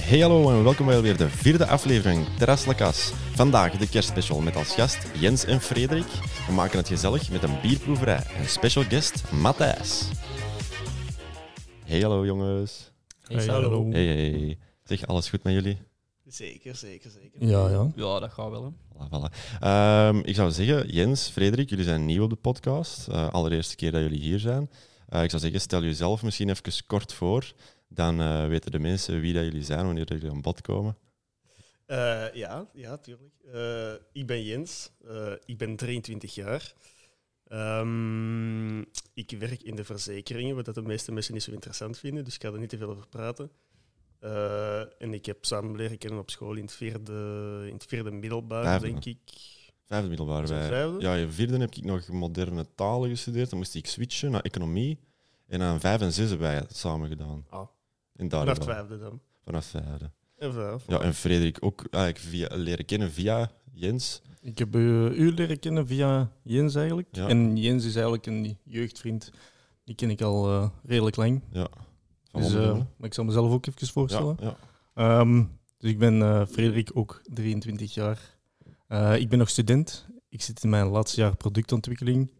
Hey hallo en welkom bij alweer de vierde aflevering Terras La Cas. Vandaag de kerstspecial met als gast Jens en Frederik. We maken het gezellig met een bierproeverij en special guest Matthijs. Hey hallo jongens. Hey, hallo. Hey hey. Zeg, alles goed met jullie? Zeker, zeker, zeker. Ja, ja. Ja, dat gaat wel. Hè. Voilà, voilà. Ehm, ik zou zeggen, Jens, Frederik, jullie zijn nieuw op de podcast. Eh, allereerste keer dat jullie hier zijn. Eh, ik zou zeggen, stel jezelf misschien even kort voor. Dan eh, weten de mensen wie dat jullie zijn wanneer jullie aan bod komen. Eh, ja, ja, tuurlijk. Eh, ik ben Jens, eh, ik ben 23 jaar. Ehm, ik werk in de verzekeringen, wat dat de meeste mensen niet zo interessant vinden, dus ik ga er niet te veel over praten. Eh, en ik heb samen leren kennen op school in het vierde, in het vierde middelbaar, Vijfde. denk ik. Vijfde middelbaar. Is dat Bij, vijfde? ja, in vierde heb ik nog moderne talen gestudeerd. Dan moest ik switchen naar economie. En aan vijf en zes hebben wij het samen gedaan. Ah. En daar Vanaf hebben we- vijfde dan. Vanaf vijfde. En vanaf. Ja, en Frederik ook eigenlijk via, leren kennen via Jens. Ik heb eh, u leren kennen via Jens eigenlijk. Ja. En Jens is eigenlijk een jeugdvriend. Die ken ik al eh, redelijk lang. Ja. Van Dus, eh, Wonderdoelen. maar ik zal mezelf ook even voorstellen. ja, ja. Ehm, dus ik ben eh, Frederik, ook 23 jaar. Eh, ik ben nog student. Ik zit in mijn laatste jaar productontwikkeling.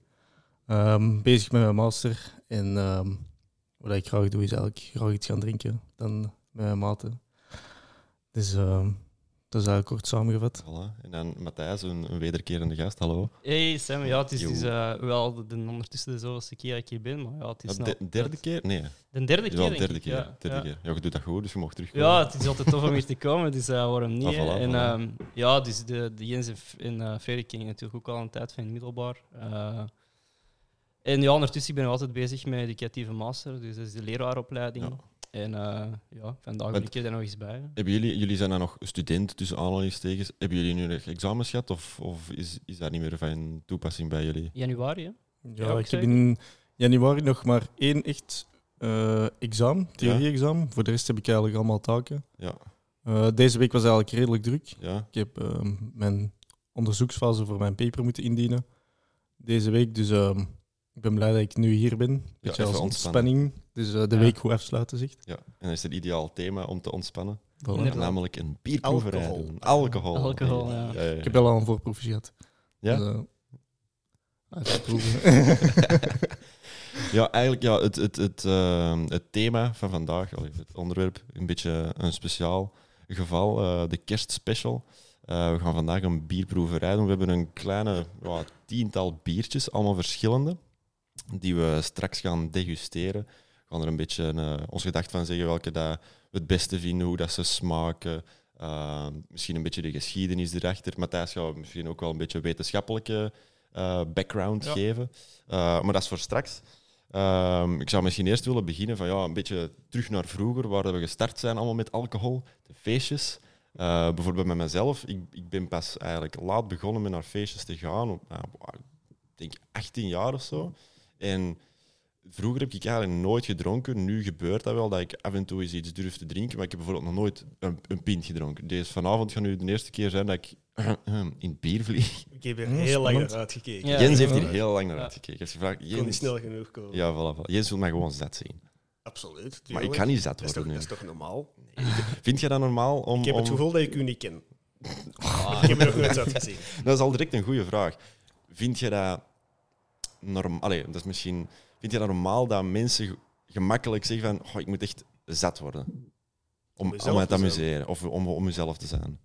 Ehm, bezig met mijn master. En ehm, wat ik graag doe is eigenlijk graag iets gaan drinken dan met mijn maten. Dus ehm, dat is eigenlijk kort samengevat. Voilà. En dan Matthijs, een, een wederkerende gast. Hallo. Hey Sam, ja, het is, Yo. het is, eh, wel de, de ondertussen de zoveelste keer dat ik hier ben, maar ja, het is Ja, nou- de- derde het- keer? Nee, De derde het is keer, wel denk derde ik, keer. ja. derde ja. keer. Ja, je doet dat goed, dus je mag terugkomen. Ja, het is altijd tof om hier te komen, dus eh, waarom niet? Ah, voilà, hè? en voilà. ehm, ja, dus de, de Jens en, F- en eh Frederik ken ik natuurlijk ook al een tijd van in het middelbaar. Eh, en ja, ondertussen ik ben ik altijd bezig met educatieve master, dus dat is de leraaropleiding. Ja. En eh, ja, vandaag ben Want- ik er dan nog eens bij. hè. Hebben jullie, jullie zijn dan nog student, tussen aanhalingstekens. Hebben jullie nu nog examens gehad of, of is, is dat niet meer van toepassing bij jullie? Januari, hè? Ja, Ja, ook ik heb in januari nog maar één echt eh, examen, theorie-examen. Voor de rest heb ik eigenlijk allemaal taken. Ja. Eh, deze week was eigenlijk redelijk druk. Ja? Ik heb ehm, mijn onderzoeksfase voor mijn paper moeten indienen deze week. Dus ehm, ik ben blij dat ik nu hier ben. Beetje even als ontspannen. ontspanning. Dus eh, de Ja. week goed afsluiten, zegt. Ja, en dat is het ideaal thema om te ontspannen. Inderdaad. Namelijk een bierproeverij. Alcohol. doen. Alcohol. Alcohol, ja. Ik heb wel al een voorproefje gehad. Ja? Dus, eh, Ah, uitgeproeven. Ja, eigenlijk ja, het, het, het, ehm, het thema van vandaag, allee, het onderwerp, een beetje een speciaal geval, eh, de kerstspecial. Eh, we gaan vandaag een bierproeverij doen. We hebben een kleine ja, tiental biertjes, allemaal verschillende, die we straks gaan degusteren. We gaan er een beetje eh, ons gedacht van zeggen welke dat we het beste vinden, hoe dat ze smaken. eh, misschien een beetje de geschiedenis erachter. Matthijs gaat misschien ook wel een beetje wetenschappelijke eh, background Ja. geven. Eh, maar dat is voor straks. Ehm, ik zou misschien eerst willen beginnen van ja, een beetje terug naar vroeger, waar dat we gestart zijn allemaal met alcohol, de feestjes. Eh, bijvoorbeeld met mezelf, ik, ik ben pas eigenlijk laat begonnen met naar feestjes te gaan, op, nou, op, ik denk 18 jaar of zo. En vroeger heb ik eigenlijk nooit gedronken, nu gebeurt dat wel, dat ik af en toe eens iets durf te drinken, maar ik heb bijvoorbeeld nog nooit een, een pint gedronken. Deze vanavond gaat nu de eerste keer zijn dat ik in het bier vlieg. Ik heb er Mm, heel lang spannend. naar uitgekeken. Ja. Jens heeft hier ja. heel lang naar Ja. uitgekeken. Hij heeft gevraagd, Ik kon niet Jens... snel genoeg komen. Ja, voilà, voilà. Jens wil mij gewoon zat zien. Absoluut. Maar ik tuurlijk. kan niet zat dat is, worden toch, nu. dat is toch normaal? Vind jij dat normaal om... Ik heb het om- Ah. gevoel dat ik u niet ken. Ik heb er nog nooit zat gezien. Dat is al direct een goede vraag. Vind je dat... Norm... Allee, dat is misschien... Vind je dat normaal dat mensen ge- gemakkelijk zeggen van oh, ik moet echt zat worden? Om, mezelf om mij te te zijn. amuseren of om, om mezelf te zijn.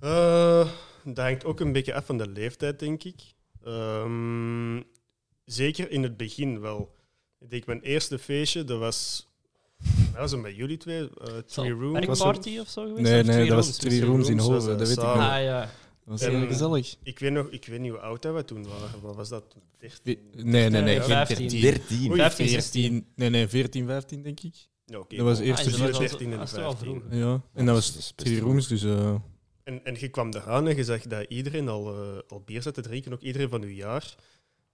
Eh, dat hangt ook een beetje af van de leeftijd, denk ik. Ehm, zeker in het begin wel. Ik denk, mijn eerste feestje, dat was... Dat was hem bij jullie twee, eh, Three Room. was zo- party of zo geweest? nee, Of nee, Three dat was Rooms Three misschien? Rooms in Rooms was Hoven, dat dat weet ik samen. nog. Ah ja. Dat was En- heel gezellig. Ik weet, nog, ik weet niet hoe oud dat we toen waren. Wat was dat? 13? Nee, nee, nee, geen 15. 13. 13. Oei. 15, 16. 14, nee, nee, 14, 15 denk ik. Ja, oké. Dat was Ah, is eerst dat vier- wel zo- 13 en ah, is dat wel 15. vroeger? Ja, en dat Dat is was best Three vroeg. Rooms, dus eh, En, en je kwam eraan en je zag dat iedereen al, eh, al bier zat te drinken, ook iedereen van uw jaar.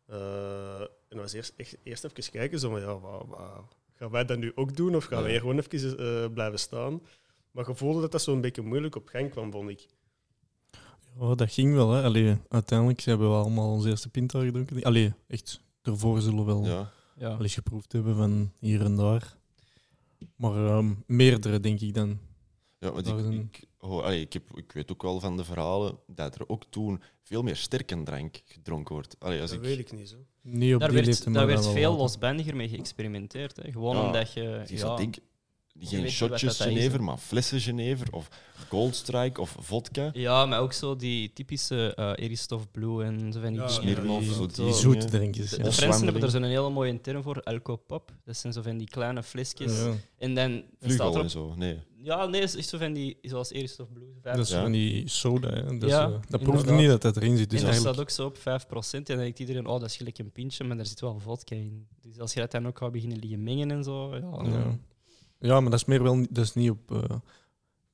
Eh, en dan was eerst, echt, eerst even kijken, zo van ja, wa- wa- gaan wij dat nu ook doen of gaan Ja. wij hier gewoon even eh, blijven staan? Maar je voelde dat dat zo'n beetje moeilijk op gang kwam, vond ik. ja, dat ging wel. Hè. Allee, uiteindelijk hebben we allemaal onze eerste pinta gedronken. Allee, echt, daarvoor zullen we wel Ja. Ja. al eens geproefd hebben van hier en daar. Maar ehm, meerdere, denk ik dan. Ja, want Dat ik, is een- ik, hoor- allee, ik, heb, ik weet ook wel van de verhalen dat er ook toen veel meer sterke drank gedronken wordt. Allee, als Dat ik, weet ik niet zo. Niet op Daar die leeftijd, werd, maar daar werd dan wel veel later. losbandiger mee geëxperimenteerd. Hè. Gewoon Ja, omdat je... ik Ja, zou denken, weet geen niet wat shotjes dat is, hè. Genever, maar flessen Genever of Goldstrike of vodka. ja, maar ook zo die typische eh Eristoff Blue en zo van die Ja, dingen. Smirnoff, Die- zo Die zo. zoete drankjes. De, de ja. Fransen Slangeling. hebben er zo'n hele mooie term voor, alcopop. Dat zijn zo van die kleine flesjes. Ja, En dan staat Vlugel erop... en zo. Nee. Hm. Ja, nee, is echt zo van die, zoals Eristoff Blue. Dat is Ja. van die soda. hè. Dat, is, Ja, eh, dat proefde inderdaad. niet dat dat erin zit. Dus en daar eigenlijk... staat ook zo op 5%. En dan denkt iedereen, oh, dat is gelijk een pintje, maar daar zit wel vodka in. Dus als je dat dan ook gaat beginnen liggen mengen en zo... Ja, ja. dan- ja, maar dat is meer wel niet- dat is niet op eh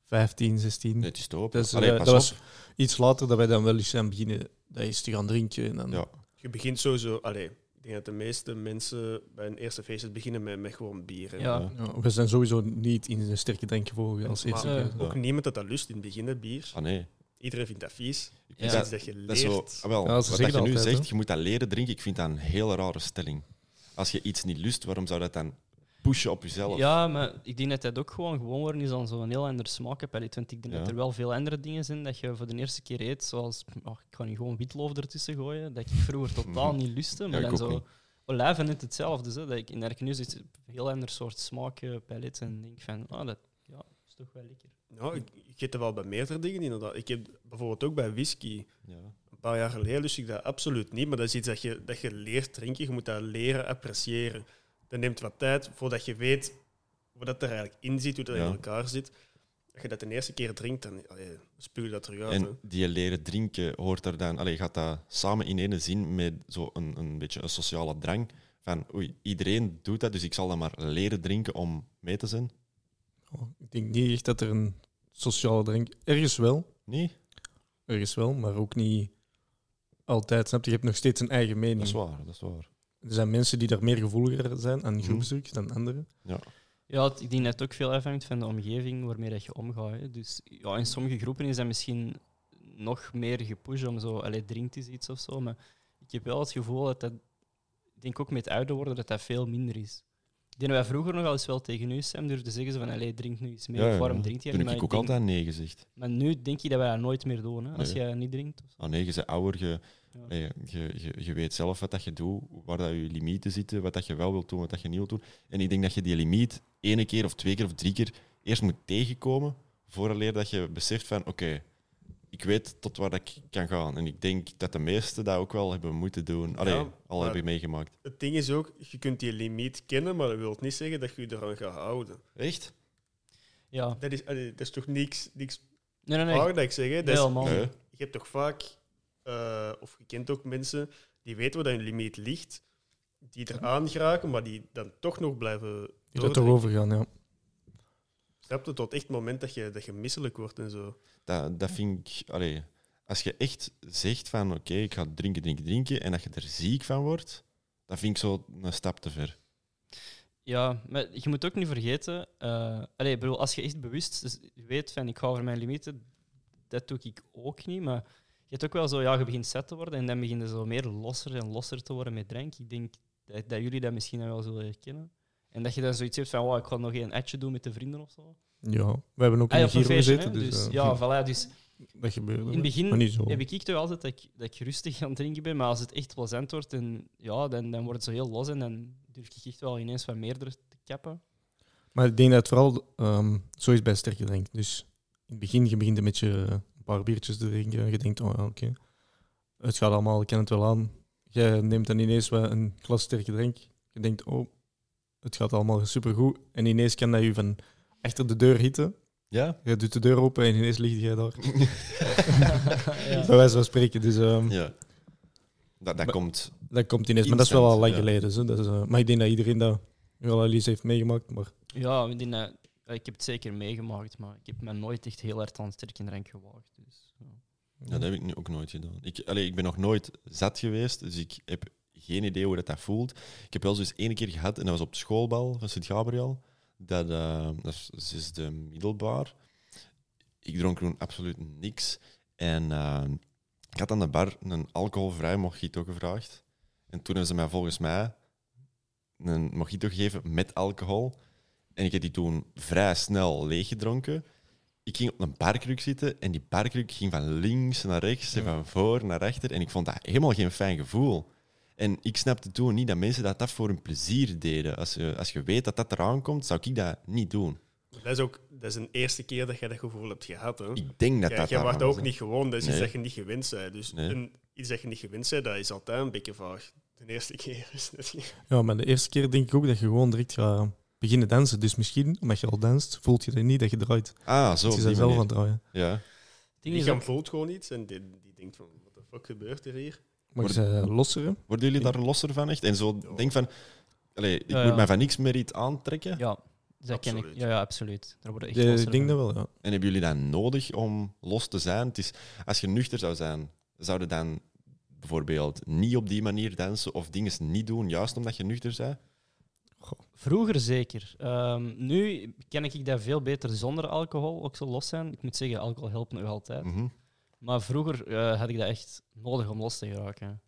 15, 16. Nee, het is te hopen. Dat, is, eh, Allee, pas dat op. was iets later dat wij dan wel eens zijn beginnen dat eens te gaan drinken. En dan, Ja. Je begint sowieso. Allee, ik denk dat de meeste mensen bij hun eerste feestjes beginnen met, met gewoon bier. hè. Ja. Ja, we zijn sowieso niet in een sterke drank gevolgen als eerste. Maar, eh, keer. Ook niemand dat dat lust in het begin, hè, bier. Ah, nee. Iedereen vindt dat vies. Ik Ja. vind dat, Sinds dat je dat is zo, leert. ah, wel, Ja, ze wat dat je zeggen nu dat altijd, zegt, hè. je moet dat leren drinken, ik vind dat een hele rare stelling. Als je iets niet lust, waarom zou dat dan pushen op jezelf? Ja, maar ik denk dat dat ook gewoon gewoon worden is aan zo'n heel ander smaakpalet. Want ik denk dat Ja. er wel veel andere dingen zijn dat je voor de eerste keer eet. Zoals, oh, ik kan nu gewoon witloof ertussen gooien. Dat ik vroeger totaal Mhm. niet lustte. Ja, Maar ik dan ook zo... niet. Olijven net hetzelfde. Zo, dat ik in nu zit een heel ander soort smaakpalet. En denk van, ah, dat ja, is toch wel lekker. Nou, ik, ik heb er wel bij meerdere dingen inderdaad. Ik heb bijvoorbeeld ook bij whisky. Ja. Een paar jaar geleden lust ik dat absoluut niet, maar dat is iets dat je, dat je leert drinken. Je moet dat leren appreciëren. Dat neemt wat tijd voordat je weet wat dat er eigenlijk in zit, hoe dat in Ja. elkaar zit. Als je dat de eerste keer drinkt, dan allee, spuw je dat terug uit. hè. En die leren drinken hoort er dan, allee, gaat dat samen in ene zin met zo'n een, een beetje een sociale drang. Van oei, iedereen doet dat, dus ik zal dan maar leren drinken om mee te zijn. Oh, ik denk niet echt dat er een sociale drank... Ergens wel, Nee, ergens wel, maar ook niet altijd. Snap je? Je hebt nog steeds een eigen mening. dat is waar, dat is waar. Er zijn mensen die daar meer gevoeliger zijn aan Mhm. groepsdruk dan anderen. Ja, het- ik denk dat het ook veel afhangt van de omgeving waarmee dat je omgaat. hè. Dus ja, in sommige groepen is dat misschien nog meer gepusht om zo, allee, drinkt is iets of zo. Maar ik heb wel het gevoel dat dat, ik denk ook met ouder worden, dat dat veel minder is. Ik denk dat wij vroeger nog al eens wel tegen u, Sam, durfden zeggen zo van, allee, drink nu iets meer, Ja, of ja, waarom ja. drinkt jij Toen niet? heb ik ook denk- altijd nee gezegd. Maar nu denk je dat wij dat nooit meer doen, hè, als Nee. jij niet drinkt. of zo. Ah nee, je bent ouder, je, Ja. nee, je, je, je weet zelf wat dat je doet, waar dat je limieten zitten, wat dat je wel wilt doen, wat dat je niet wilt doen. En ik denk dat je die limiet ene keer of twee keer of drie keer eerst moet tegenkomen, vooraleer dat je beseft van oké, ik weet tot waar dat ik kan gaan. En ik denk dat de meesten dat ook wel hebben moeten doen. Allee, Ja, al maar- heb ik meegemaakt. Het ding is ook, je kunt die limiet kennen, maar dat wil niet zeggen dat je je eraan gaat houden. Echt? Ja. Dat is, allee, dat is toch niks, niks Nee, nee, nee. waar dat ik zeg. Hè? Dat is- Helemaal. Nee. je hebt toch vaak, eh, of je kent ook mensen die weten waar hun limiet ligt, die eraan geraken, maar die dan toch nog blijven. Die dat doordrinken. erover gaan, ja. Snap je? Tot echt het moment dat je, dat je misselijk wordt en zo. Dat, dat vind ik... Allee, als je echt zegt van oké, ik ga drinken, drinken, drinken, en dat je er ziek van wordt, dat vind ik zo een stap te ver. Ja, maar je moet ook niet vergeten. eh allee, ik bedoel, als je echt bewust dus weet van ik ga over mijn limieten, dat doe ik ook niet. Maar je hebt ook wel zo, ja, je begint zet te worden en dan begin je zo meer losser en losser te worden met drank. Ik denk dat, dat jullie dat misschien wel zullen herkennen. En dat je dan zoiets hebt van, wow, ik ga nog een etje doen met de vrienden of zo. Ja, we hebben ook Ah, in ja, op de een Giro feestje, gezeten, hè. dus, dus eh, ja, voilà. Dus dat gebeurde. in wel. het begin maar niet zo. heb ik ik toch altijd dat ik, dat ik rustig aan het drinken ben, maar als het echt plezant wordt, en, ja, dan, dan wordt het zo heel los en dan durf ik echt wel ineens wat meerdere te kappen. Maar ik denk dat het vooral ehm, zo is bij sterke drank. Dus in het begin, je begint met je een paar biertjes te drinken. Je denkt, oh ja, oké, het gaat allemaal, ik ken het wel aan. Jij neemt dan ineens wel een glas sterke drank. Je denkt, oh, het gaat allemaal supergoed. En ineens kan dat je van achter de deur hitten. Ja? Je doet de deur open en ineens ligt jij daar. Ja. Bij wijze van spreken. Dus ehm, Ja. Dat, dat Maar- komt. dat komt ineens. Maar dat is wel al Instant, lang ja. geleden. zo. Dat is, eh, maar ik denk dat iedereen dat wel al eens heeft meegemaakt. Maar Ja, ik, denk dat- ik heb het zeker meegemaakt, maar ik heb me nooit echt heel hard aan sterke drank gewaagd. Dus, ja. Ja, dat heb ik nu ook nooit gedaan. Ik, allee, ik ben nog nooit zat geweest, dus ik heb geen idee hoe dat, dat voelt. Ik heb wel zoiets één keer gehad, en dat was op het schoolbal van Sint-Gabriel. Dat, eh, dat is- dat is de middelbaar. Ik dronk toen absoluut niks. En eh, ik had aan de bar een alcoholvrij mojito gevraagd. En toen hebben ze mij volgens mij een mojito gegeven met alcohol. En ik heb die toen vrij snel leeggedronken. Ik ging op een barkruk zitten en die barkruk ging van links naar rechts en Ja. van voor naar achter. En ik vond dat helemaal geen fijn gevoel. En ik snapte toen niet dat mensen dat, dat voor hun plezier deden. Als je, als je weet dat dat eraan komt, zou ik dat niet doen. Dat is ook dat is een eerste keer dat jij dat gevoel hebt gehad. Hè? Ik denk dat Jij, dat jij daaraan wordt dat ook zit. niet gewoon, dat is iets Nee. dat je niet gewend bent. Dus Nee. een- iets dat je niet gewend bent, dat is altijd een beetje vaag. De eerste keer is het niet. Ja, maar de eerste keer denk ik ook dat je gewoon direct gaat beginnen dansen. Dus misschien, omdat je al danst, voelt je er niet dat je draait. Ah, zo. Het op is die daar zelf aan manier. het draaien. Ja. ding Die is gaan ook, voelt gewoon iets en die, die denkt van, wat de fuck gebeurt er hier? Maar Maar- ze losseren. Worden jullie daar losser van echt? En zo Ja. denk van, allee, ik Ja, moet ja. mij van niks meer iets aantrekken. ja, dat ken ik. Absoluut. Ja, ja, absoluut. Daar worden echt Ja, losser ik denk van. dat wel, ja. En hebben jullie dat nodig om los te zijn? Het is, als je nuchter zou zijn, zouden dan bijvoorbeeld niet op die manier dansen of dingen niet doen, juist omdat je nuchter bent? Vroeger zeker. Ehm, nu ken ik dat veel beter zonder alcohol, ook zo los zijn. Ik moet zeggen, alcohol helpt nog altijd. Mhm. Maar vroeger eh, had ik dat echt nodig om los te geraken.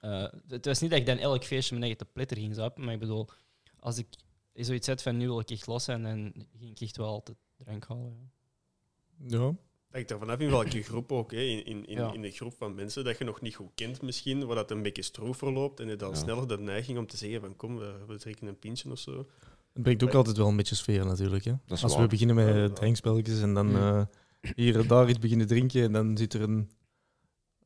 Eh, het was niet dat ik dan elk feestje mijn eigen te pletter ging zappen, maar ik bedoel, als ik zoiets had van nu wil ik echt los zijn, dan ging ik echt wel altijd drank halen. ja. Ja, Dat ik er vanaf in welke groep ook, hè, in, in, in, Ja. in de groep van mensen dat je nog niet goed kent misschien, waar dat een beetje stroef verloopt en je dan Ja. sneller de neiging om te zeggen van kom, we, we drinken een pintje of zo. het brengt ook altijd wel een beetje sfeer natuurlijk. Hè. Dat is Als we waar. beginnen met Ja, eh, ja. drankspelletjes en dan Mm. eh, hier en daar iets beginnen drinken en dan zit er een...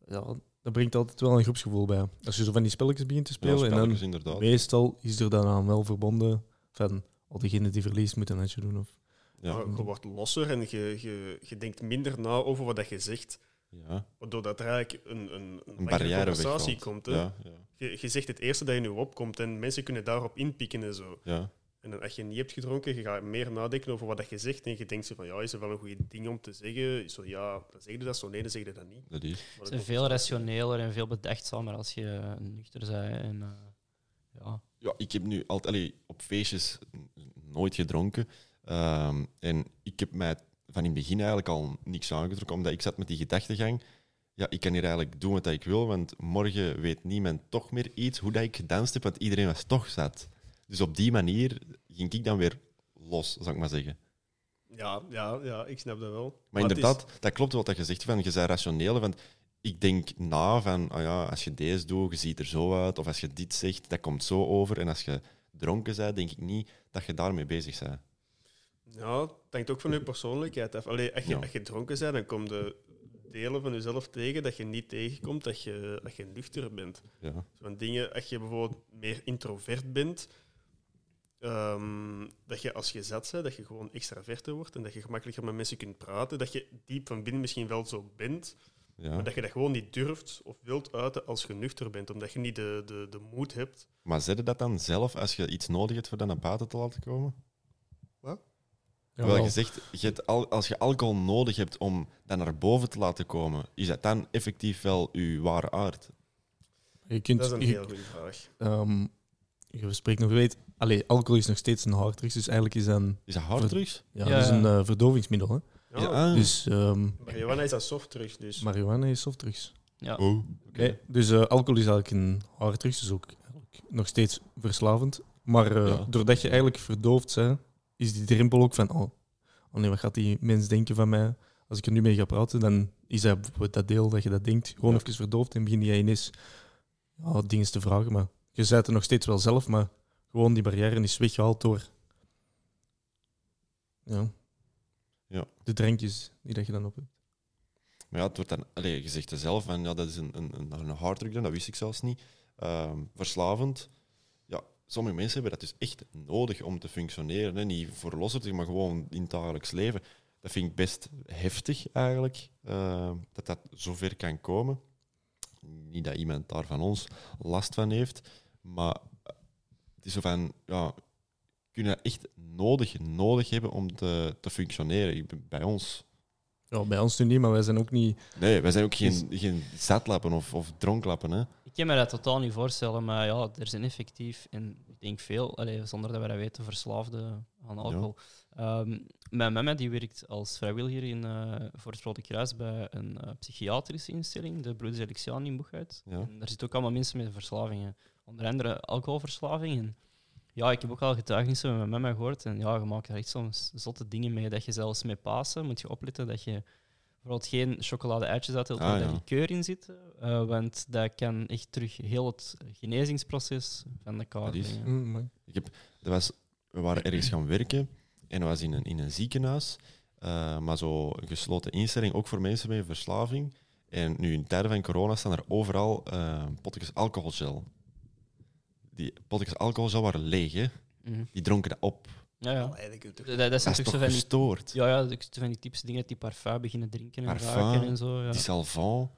Ja, dat brengt altijd wel een groepsgevoel bij. Als je zo van die spelletjes begint te Ja, spelen en dan spelletjes inderdaad. Meestal is er daaraan wel verbonden van al diegenen die verliest moeten een netje doen. Of... Ja. Maar je wordt losser en je, je, je denkt minder na over wat dat je zegt, Ja. waardoor dat er eigenlijk een, een, een, langere barrière conversatie wegvalt. komt. Hè. Ja, ja, Je, je zegt het eerste dat je nu opkomt en mensen kunnen daarop inpikken en zo. ja. En dan, als je niet hebt gedronken, je gaat meer nadenken over wat dat je zegt. En je denkt zo van, ja, is er wel een goed ding om te zeggen? Zo, ja, dan zeg je dat, zo nee, dan zeg je dat niet. dat is. Maar Het dan is veel rationeler en veel bedachtzamer als je eh, nuchter bent. En, eh, ja. Ja, ik heb nu altijd allee, op feestjes n- nooit gedronken. Ehm, en ik heb mij van in het begin eigenlijk al niks aangetrokken, omdat ik zat met die gedachtegang. Ja, ik kan hier eigenlijk doen wat ik wil, want morgen weet niemand toch meer iets hoe dat ik gedanst heb, want iedereen was toch zat. Dus op die manier ging ik dan weer los, zou ik maar zeggen. Ja, ja, ja, ik snap dat wel. Maar het is- inderdaad, dat klopt wat je zegt. Van, je bent rationeel. Van, ik denk na van, ah ja, als je deze doet, je ziet er zo uit. Of als je dit zegt, dat komt zo over. En als je dronken bent, denk ik niet dat je daarmee bezig bent. ja, het hangt ook van je persoonlijkheid af. Allee, als, je, Ja. als je dronken bent, dan komen de delen van jezelf tegen dat je niet tegenkomt dat je, dat je nuchter bent. Ja. Van dingen, als je bijvoorbeeld meer introvert bent, ehm, dat je als je zat bent, dat je gewoon extraverter wordt en dat je gemakkelijker met mensen kunt praten, dat je diep van binnen misschien wel zo bent, Ja. maar dat je dat gewoon niet durft of wilt uiten als je nuchter bent, omdat je niet de, de, de moed hebt. Maar zet je dat dan zelf als je iets nodig hebt voor dat naar buiten te laten komen? Wel, je zegt, je hebt al, als je alcohol nodig hebt om dat naar boven te laten komen, is dat dan effectief wel je ware aard? je kunt, Dat is een je- heel goede vraag. ehm, je spreekt nog weet, allee, alcohol is nog steeds een harddrugs, dus eigenlijk is dat een, Is dat harddrugs? ja, Ja, dat is ja. een eh, verdovingsmiddel. Hè. Ja, ah. Dus ehm Marihuana is dat soft terug, dus. marihuana is softdrugs. Ja. Oh, oké. Nee, dus eh, alcohol is eigenlijk een harddrugs, dus ook eigenlijk nog steeds verslavend. Maar eh, Ja. doordat je eigenlijk verdoofd bent, is die drempel ook van, oh, oh nee, wat gaat die mens denken van mij? Als ik er nu mee ga praten, dan is dat bijvoorbeeld dat deel dat je dat denkt. Gewoon Ja. even verdoofd en begin jij ineens ja, dingen te vragen. Maar je bent er nog steeds wel zelf, maar gewoon die barrière is weggehaald door ja. Ja. de drankjes die dat je dan op hebt. Maar ja, het wordt dan, allee, je zegt er zelf, van, ja, dat is een, een, een, een harddruk dan, dat wist ik zelfs niet. Ehm, verslavend. Ja, sommige mensen hebben dat dus echt nodig om te functioneren. Hè? Niet voor losser, maar gewoon in het dagelijks leven. Dat vind ik best heftig eigenlijk, ehm, dat dat zover kan komen. Niet dat iemand daar van ons last van heeft, maar eh, het is zo van, ja, kunnen dat echt nodig, nodig hebben om te, te functioneren. Ik ben- Bij ons Ja, bij ons nu niet, maar wij zijn ook niet Nee, wij zijn ook geen, geen zatlappen of, of dronklappen. Hè? Ik kan me dat totaal niet voorstellen, maar ja, er zijn effectief, en ik denk veel, allee, zonder dat wij dat weten, verslaafden aan alcohol. Ehm, mijn mama die werkt als vrijwilliger in, eh, voor het Rode Kruis bij een eh, psychiatrische instelling, de Broeders Alexiaan in Boegheid. Ja. En daar zitten ook allemaal mensen met verslavingen, onder andere alcoholverslavingen. Ja, ik heb ook al getuigenissen met mijn mama gehoord. En ja, je maakt er echt soms zotte dingen mee. Dat je zelfs met Pasen moet je opletten dat je bijvoorbeeld geen chocolade-eitjes uitdeelt Ah, waar ja. dat likeur in zit. eh, want dat kan echt terug heel het genezingsproces van de kaart Dat is- brengen. Mm, mooi. Dat was, we waren ergens gaan werken en dat was in een, in een ziekenhuis, eh, maar zo een gesloten instelling, ook voor mensen met een verslaving. En nu in tijden van corona staan er overal eh potjes alcoholgel. Die potjes alcoholgel waren leeg, hè? Mhm. die dronken dat op. Ja, ja. Eigenlijk Dat, dat Dat zijn is toch zo toch van die, gestoord? ja, ja, dat zijn van die typische dingen dat die parfum beginnen drinken en Parfum, ruiken en zo. Ja. Die salvant,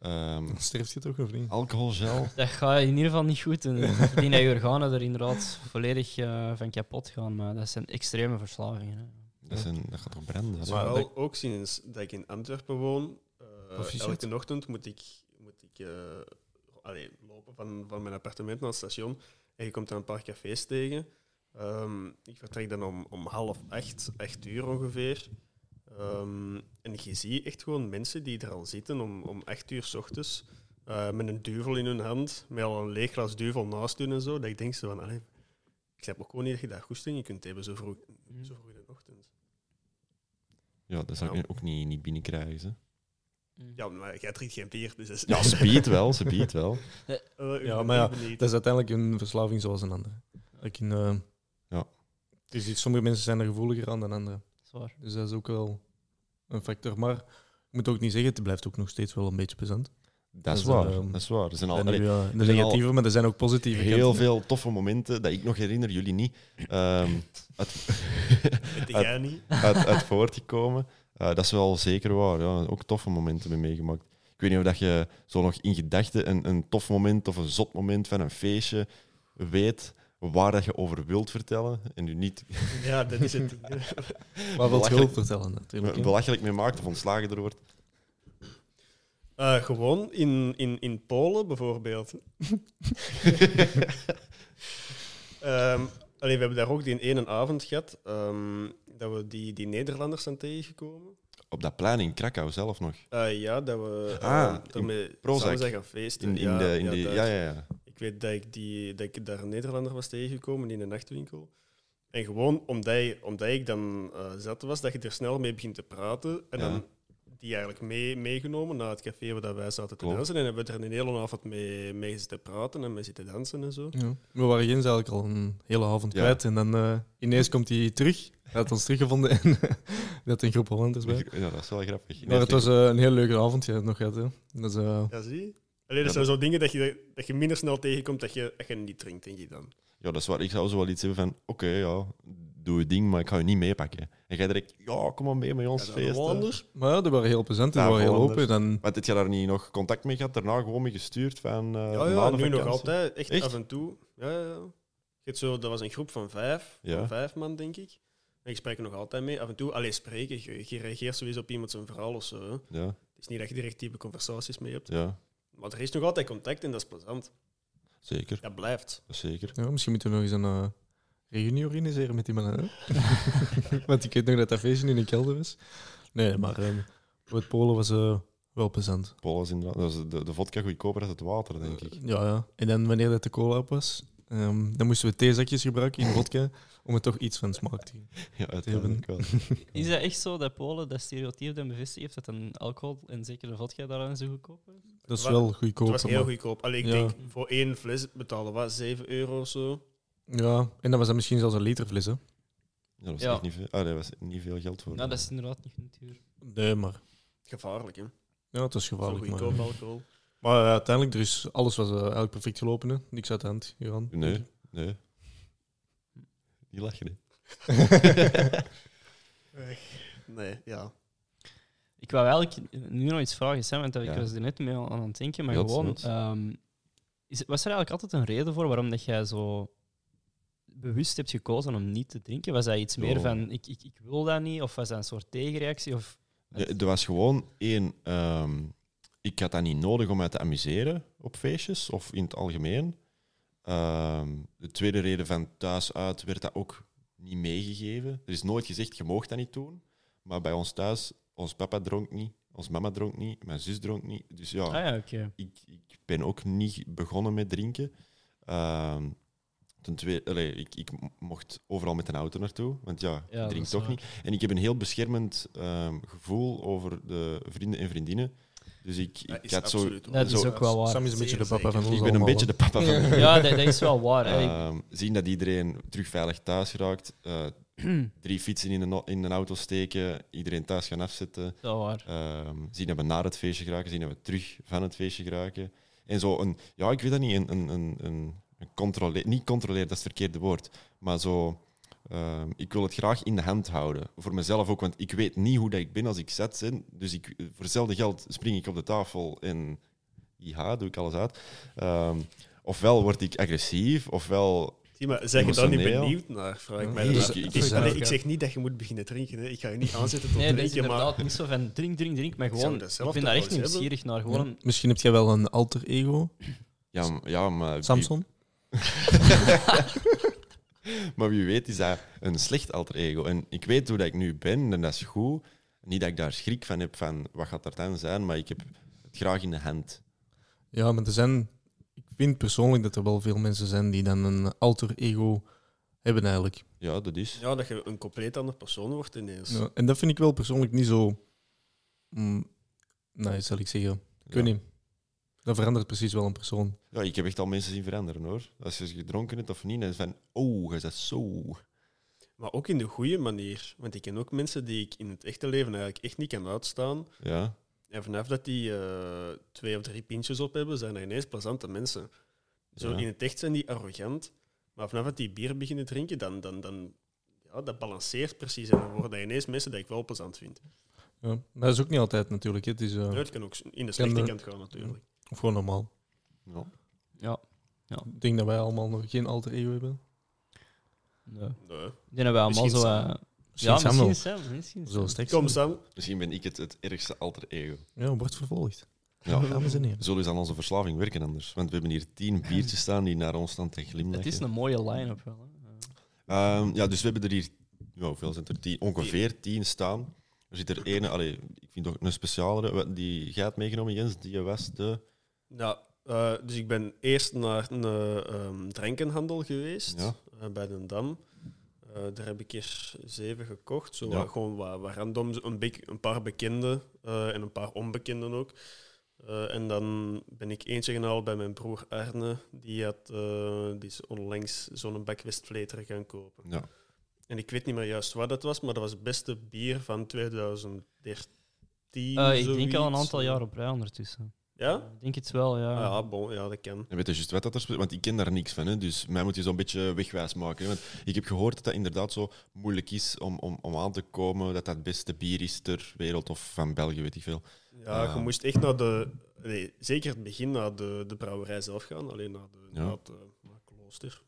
ehm, Dan sterft je toch of niet? alcoholgel. Dat ga je in ieder geval niet goed doen. Ik denk dat je organen er inderdaad volledig eh, van kapot gaan. Maar dat zijn extreme verslavingen. hè. Dat, is een, dat gaat toch branden? Dat hè? is Maar wel ook sinds dat ik in Antwerpen woon. eh, Proficiat. elke ochtend moet ik, moet ik eh, allee, lopen van, van mijn appartement naar het station. En je komt dan een paar cafés tegen. Ehm, ik vertrek dan om, om half acht, acht uur ongeveer. Ehm, en je ziet echt gewoon mensen die er al zitten om, om acht uur s ochtends. eh, met een duvel in hun hand, met al een leeg glas duvel naast hun en zo. Dat ik denk ze van, allee, ik snap ook gewoon niet dat je dat goed Je kunt hebben zo vroeg, zo vroeg in de ochtend. Ja, dat zou ik Ja. nu ook niet, niet binnenkrijgen. Ze. Mm. Ja, maar jij drinkt geen bier, dus... dat is- Ja, ze biedt wel, ze biedt wel. Eh, ik Ja, ben maar ja, echt benieuwd. Dat is uiteindelijk een verslaving zoals een andere. Ik in, eh, Ja. dus iets- sommige mensen zijn er gevoeliger aan dan anderen. Zwaar. Dus dat is ook wel een factor. Maar ik moet ook niet zeggen, het blijft ook nog steeds wel een beetje plezant. Dat is Dus, waar, ehm, dat is waar. Er zijn al Er zijn Nou, allee, nu, eh, er zijn al negatieve, maar er zijn ook positieve heel kanten. veel toffe momenten dat ik nog herinner, jullie niet, ehm, uit, Weet jij niet? uit, uit voortgekomen. Eh, dat is wel zeker waar. Ja. Ook toffe momenten mee meegemaakt. Ik weet niet of dat je zo nog in gedachten een, een tof moment of een zot moment van een feestje weet waar dat je over wilt vertellen en nu niet Ja, dat is het. Maar wel Belachelijk. hulp vertellen natuurlijk. hè. belachelijk mee maakt of ontslagen er wordt. Eh, gewoon in, in, in Polen bijvoorbeeld. Ehm, allee, we hebben daar ook die ene avond gehad ehm, dat we die, die Nederlanders zijn tegengekomen. Op dat plein in Krakau zelf nog. Eh, ja, dat we Ah, eh, ermee Prozac. samen zijn gaan feesten. In, in ja, de, in de, daar- ja, ja, ja. Ik weet dat ik, die, dat ik daar een Nederlander was tegengekomen in een nachtwinkel. En gewoon omdat, je- omdat ik dan eh, zat was, dat je er snel mee begint te praten. En Ja. dan die eigenlijk mee, meegenomen naar het café waar dat wij zaten te Klopt. dansen. En hebben we er een hele avond mee, mee zitten praten en mee zitten dansen en zo. Ja. We waren Jens eigenlijk al een hele avond Ja. kwijt. En dan eh, ineens komt hij terug. Hij had ons teruggevonden en hij had een groep Hollanders bij. Ja, dat is wel grappig. Maar het was eh, een heel leuke avond. Je hebt nog gehad, hè. Dat is, eh, Ja, zie je? Allee, dat Ja, zijn zo dingen dat je, dat je minder snel tegenkomt dat je, dat je niet drinkt, denk ik dan. Ja, dat is waar. Ik zou zo wel iets hebben van, oké, ja, doe je ding, maar ik ga je niet meepakken. En jij direct, ja, kom maar mee met ons Ja, dat is feest. wel hè. anders. Maar ja, die waren heel plezant. Die Ja, waren heel open. Hollanders. Dan, Want heb je daar niet nog contact mee gehad? Daarna gewoon mee gestuurd van... eh, Ja, ja na de nu nog vakantie? altijd. Echt, Echt? af en toe. Ja, ja, ja. Je hebt Zo, dat was een groep van vijf, Ja. van vijf man, denk ik. En ik spreek er nog altijd mee. Af en toe, alleen spreken. Je, je reageert sowieso op iemand zijn verhaal of zo. hè. Ja, Het is niet dat je direct diepe conversaties mee hebt. ja, Maar er is nog altijd contact en dat is plezant. zeker. Dat blijft. Zeker. ja, misschien moeten we nog eens een eh, reunie organiseren met die mannen. hè. Want ik weet nog dat dat feestje in de kelder was. Nee, maar eh, voor het Polen was eh, wel plezant. Pol is inderdaad... Dat is de, de vodka goedkoper dan het water, denk Eh, ik. Ja, ja. En dan wanneer dat de cola op was, ehm, dan moesten we theezakjes gebruiken in vodka om er toch iets van smaak te geven. Ja, uiteindelijk wel. Is dat echt zo dat Polen dat stereotype dat bevestigd heeft dat een alcohol en zeker een vodka daaraan zo goedkoop is? Dat is Wa- wel Het goedkoop. was heel maar- goedkoop. Allee, ik Ja. denk, voor één fles betalen we 7 euro of zo. Ja, en dan was dat misschien zelfs een liter fles, hè. Ja, dat was Ja. echt niet veel, ah, daar was niet veel geld voor. Nou, dat is inderdaad niet genoeg duur. Nee, maar... Gevaarlijk, hè? Ja, het was Zo gevaarlijk, maar... goedkoop alcohol. Maar eh, uiteindelijk, er is, alles was eh, eigenlijk perfect gelopen, hè. Niks uit de hand, Johan. Nee, nee. Die lachen, hè. Nee, ja. Ik wou eigenlijk nu nog iets vragen, Sam, want ik Ja. was er net mee aan aan het denken, maar Ja, het is gewoon... goed. ehm, is, was er eigenlijk altijd een reden voor waarom dat jij zo bewust hebt gekozen om niet te drinken? Was dat iets Ja. meer van, ik, ik, ik wil dat niet, of was dat een soort tegenreactie? Of, Ja, Er was gewoon één. ehm, ik had dat niet nodig om mij te amuseren op feestjes of in het algemeen. Ehm, de tweede reden van thuis uit werd dat ook niet meegegeven. Er is nooit gezegd, je moogt dat niet doen. Maar bij ons thuis, ons papa dronk niet, ons mama dronk niet, mijn zus dronk niet. Dus ja, Ah ja, oké. ik, ik ben ook niet begonnen met drinken. Ehm, Ten tweede, allee, ik, ik mocht overal met een auto naartoe, want ja, Ja, ik dat drink is toch waar. niet. En ik heb een heel beschermend ehm, gevoel over de vrienden en vriendinnen. Dus ik, Dat ik is had zo... absoluut waar. Dat is Zo- ook wel waar. Sam is een beetje de Zeer papa van zeker. ons Ik ben een allemaal, beetje hè. de papa van de Ja, dat, dat is wel waar. hè. Ik- Ehm, zien dat iedereen terug veilig thuis geraakt. eh, drie fietsen in een, au- in een auto steken. Iedereen thuis gaan afzetten. dat is waar. Ehm, zien dat we naar het feestje geraken. Zien dat we terug van het feestje geraken. En zo een, ja, ik weet dat niet, een, een, een, een, een controle- niet controleren, dat is het verkeerde woord. Maar zo, ehm, ik wil het graag in de hand houden. Voor mezelf ook, want ik weet niet hoe dat ik ben als ik zet ben. Dus ik, voor hetzelfde geld spring ik op de tafel en ja, doe ik alles uit. Ehm, ofwel word ik agressief, ofwel Zie, maar zijn je daar niet Emotioneel. benieuwd naar? Vraag ik Ja. mij. Nee, dat ik- af. ik- Allee, ik- ik, ik- zeg niet dat je moet beginnen drinken. Hè. Ik ga je niet aanzetten tot Nee, dat is drinken, maar inderdaad niet zo van drink, drink, drink. Maar Zou gewoon, dat zelf ik ben toch daar wel echt eens hebben? nieuwsgierig naar. Gewoon, Ja. Misschien heb jij wel een alter ego, Ja, m- ja maar, wie- Samson. maar wie weet is dat een slecht alter ego. En ik weet hoe dat ik nu ben en dat is goed. Niet dat ik daar schrik van heb van wat gaat dat dan zijn, maar ik heb het graag in de hand. Ja, maar er zijn... Ik vind persoonlijk dat er wel veel mensen zijn die dan een alter ego hebben eigenlijk. Ja, dat is. ja, dat je een compleet andere persoon wordt ineens. Ja, en dat vind ik wel persoonlijk niet zo... Mm, nee, zal ik zeggen. Ik weet Ja. niet. Dat verandert precies wel een persoon. Ja, ik heb echt al mensen zien veranderen hoor. Als je gedronken hebt of niet, dan is van, oh, je dat zo. Maar ook in de goede manier. Want ik ken ook mensen die ik in het echte leven eigenlijk echt niet kan uitstaan. Ja, En vanaf dat die eh, twee of drie pintjes op hebben, zijn er ineens plezante mensen. Zo Ja. in het echt zijn die arrogant. Maar vanaf dat die bier beginnen drinken, dan, dan, dan ja, dat balanceert precies. En dan worden dat ineens mensen die ik wel plezant vind. Ja. Maar dat is ook niet altijd natuurlijk. hè. Het is, eh, Ja, het kan ook in de slechte Kan, eh, kant gaan, natuurlijk. Of gewoon normaal. ja. Ik denk dat wij allemaal nog geen alter ego hebben. nee. Ik Nee. denk dat wij allemaal Misschien zo... eh, Sam. Sam ja, misschien wel. zelf. Misschien Zo zelf. straks. Kom, Sam. misschien ben ik het, het ergste alter ego. Ja, wordt vervolgd. Ja. Dames en heren. Zullen eens aan onze verslaving werken anders? Want we hebben hier tien biertjes staan die naar ons staan te glimlachen. Het is een mooie line-up wel. hè. Ja. Ehm, ja, dus we hebben er hier ja, hoeveel zijn er? Tien, ongeveer tien staan. Er zit er ene, allee, ik vind toch een specialere, wat- die jij had meegenomen, Jens, die was de... Nou, eh, dus ik ben eerst naar een eh, ehm, drankenhandel geweest Ja. eh, bij Den Dam. Eh, daar heb ik er zeven gekocht. Zo Ja. wat- gewoon wat, wat random, zo een, bik- een paar bekende eh, en een paar onbekenden ook. Eh, en dan ben ik eentje gehaald bij mijn broer Arne. Die, had, eh, die is onlangs zo'n bak Westvleteren gaan kopen. Ja. En ik weet niet meer juist wat dat was, maar dat was het beste bier van 2013. Eh, ik denk al een zoiets. aantal jaar op rij ondertussen. Ja? Ik denk het wel, ja. Ah, ja, bon, ja, dat kan. En weet je juist wat dat er speelt? Want ik ken daar niks van, hè, dus mij moet je zo'n beetje wegwijs maken. Hè, want ik heb gehoord dat dat inderdaad zo moeilijk is om, om, om aan te komen, dat dat het beste bier is ter wereld of van België, weet ik veel. Ja, Ja. je moest echt naar de. Nee, zeker het begin naar de, de brouwerij zelf gaan, alleen naar, de, Ja. naar het eh, naar het klooster.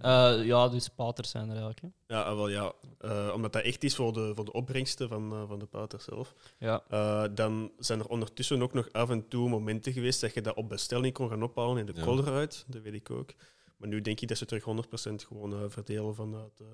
Eh, ja, dus paters zijn er eigenlijk. Hè. Ja, ah, wel ja. Eh, omdat dat echt is voor de, voor de opbrengsten van, eh, van de pater zelf. Ja. Eh, dan zijn er ondertussen ook nog af en toe momenten geweest dat je dat op bestelling kon gaan ophalen in de Ja. kolderuit. Dat weet ik ook. Maar nu denk ik dat ze terug 100% gewoon eh, verdelen vanuit, eh,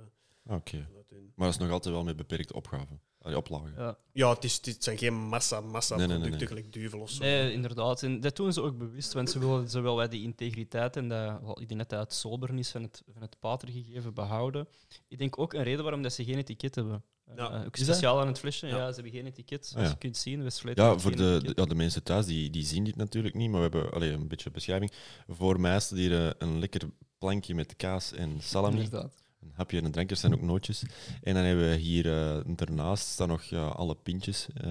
Oké. vanuit hun. Maar dat is nog altijd wel met beperkte opgaven, allee, oplagen. ja. Ja, het, is, het zijn geen massa, massa Nee, nee, nee, producten, gelijk duvel of zo. Nee, inderdaad. En dat doen ze ook bewust, want ze willen zowel bij die integriteit en dat, wel, ik denk dat dat het sobernis van het, van het patergegeven behouden. Ik denk ook een reden waarom dat ze geen etiket hebben. Ja. Eh, ook Is dat? speciaal aan het flesje. Ja. Ja. ze hebben geen etiket. Zoals Ah, ja. je kunt zien, Westfleet Ja, heeft voor geen de, de- etiket. ja, de mensen thuis die, die zien dit natuurlijk niet, maar we hebben allee, een beetje beschrijving. Voor mij staat hier eh, een lekker plankje met kaas en salami. Inderdaad. Een hapje en een drankje, er zijn ook nootjes. En dan hebben we hier eh, daarnaast staan nog ja, alle pintjes. eh,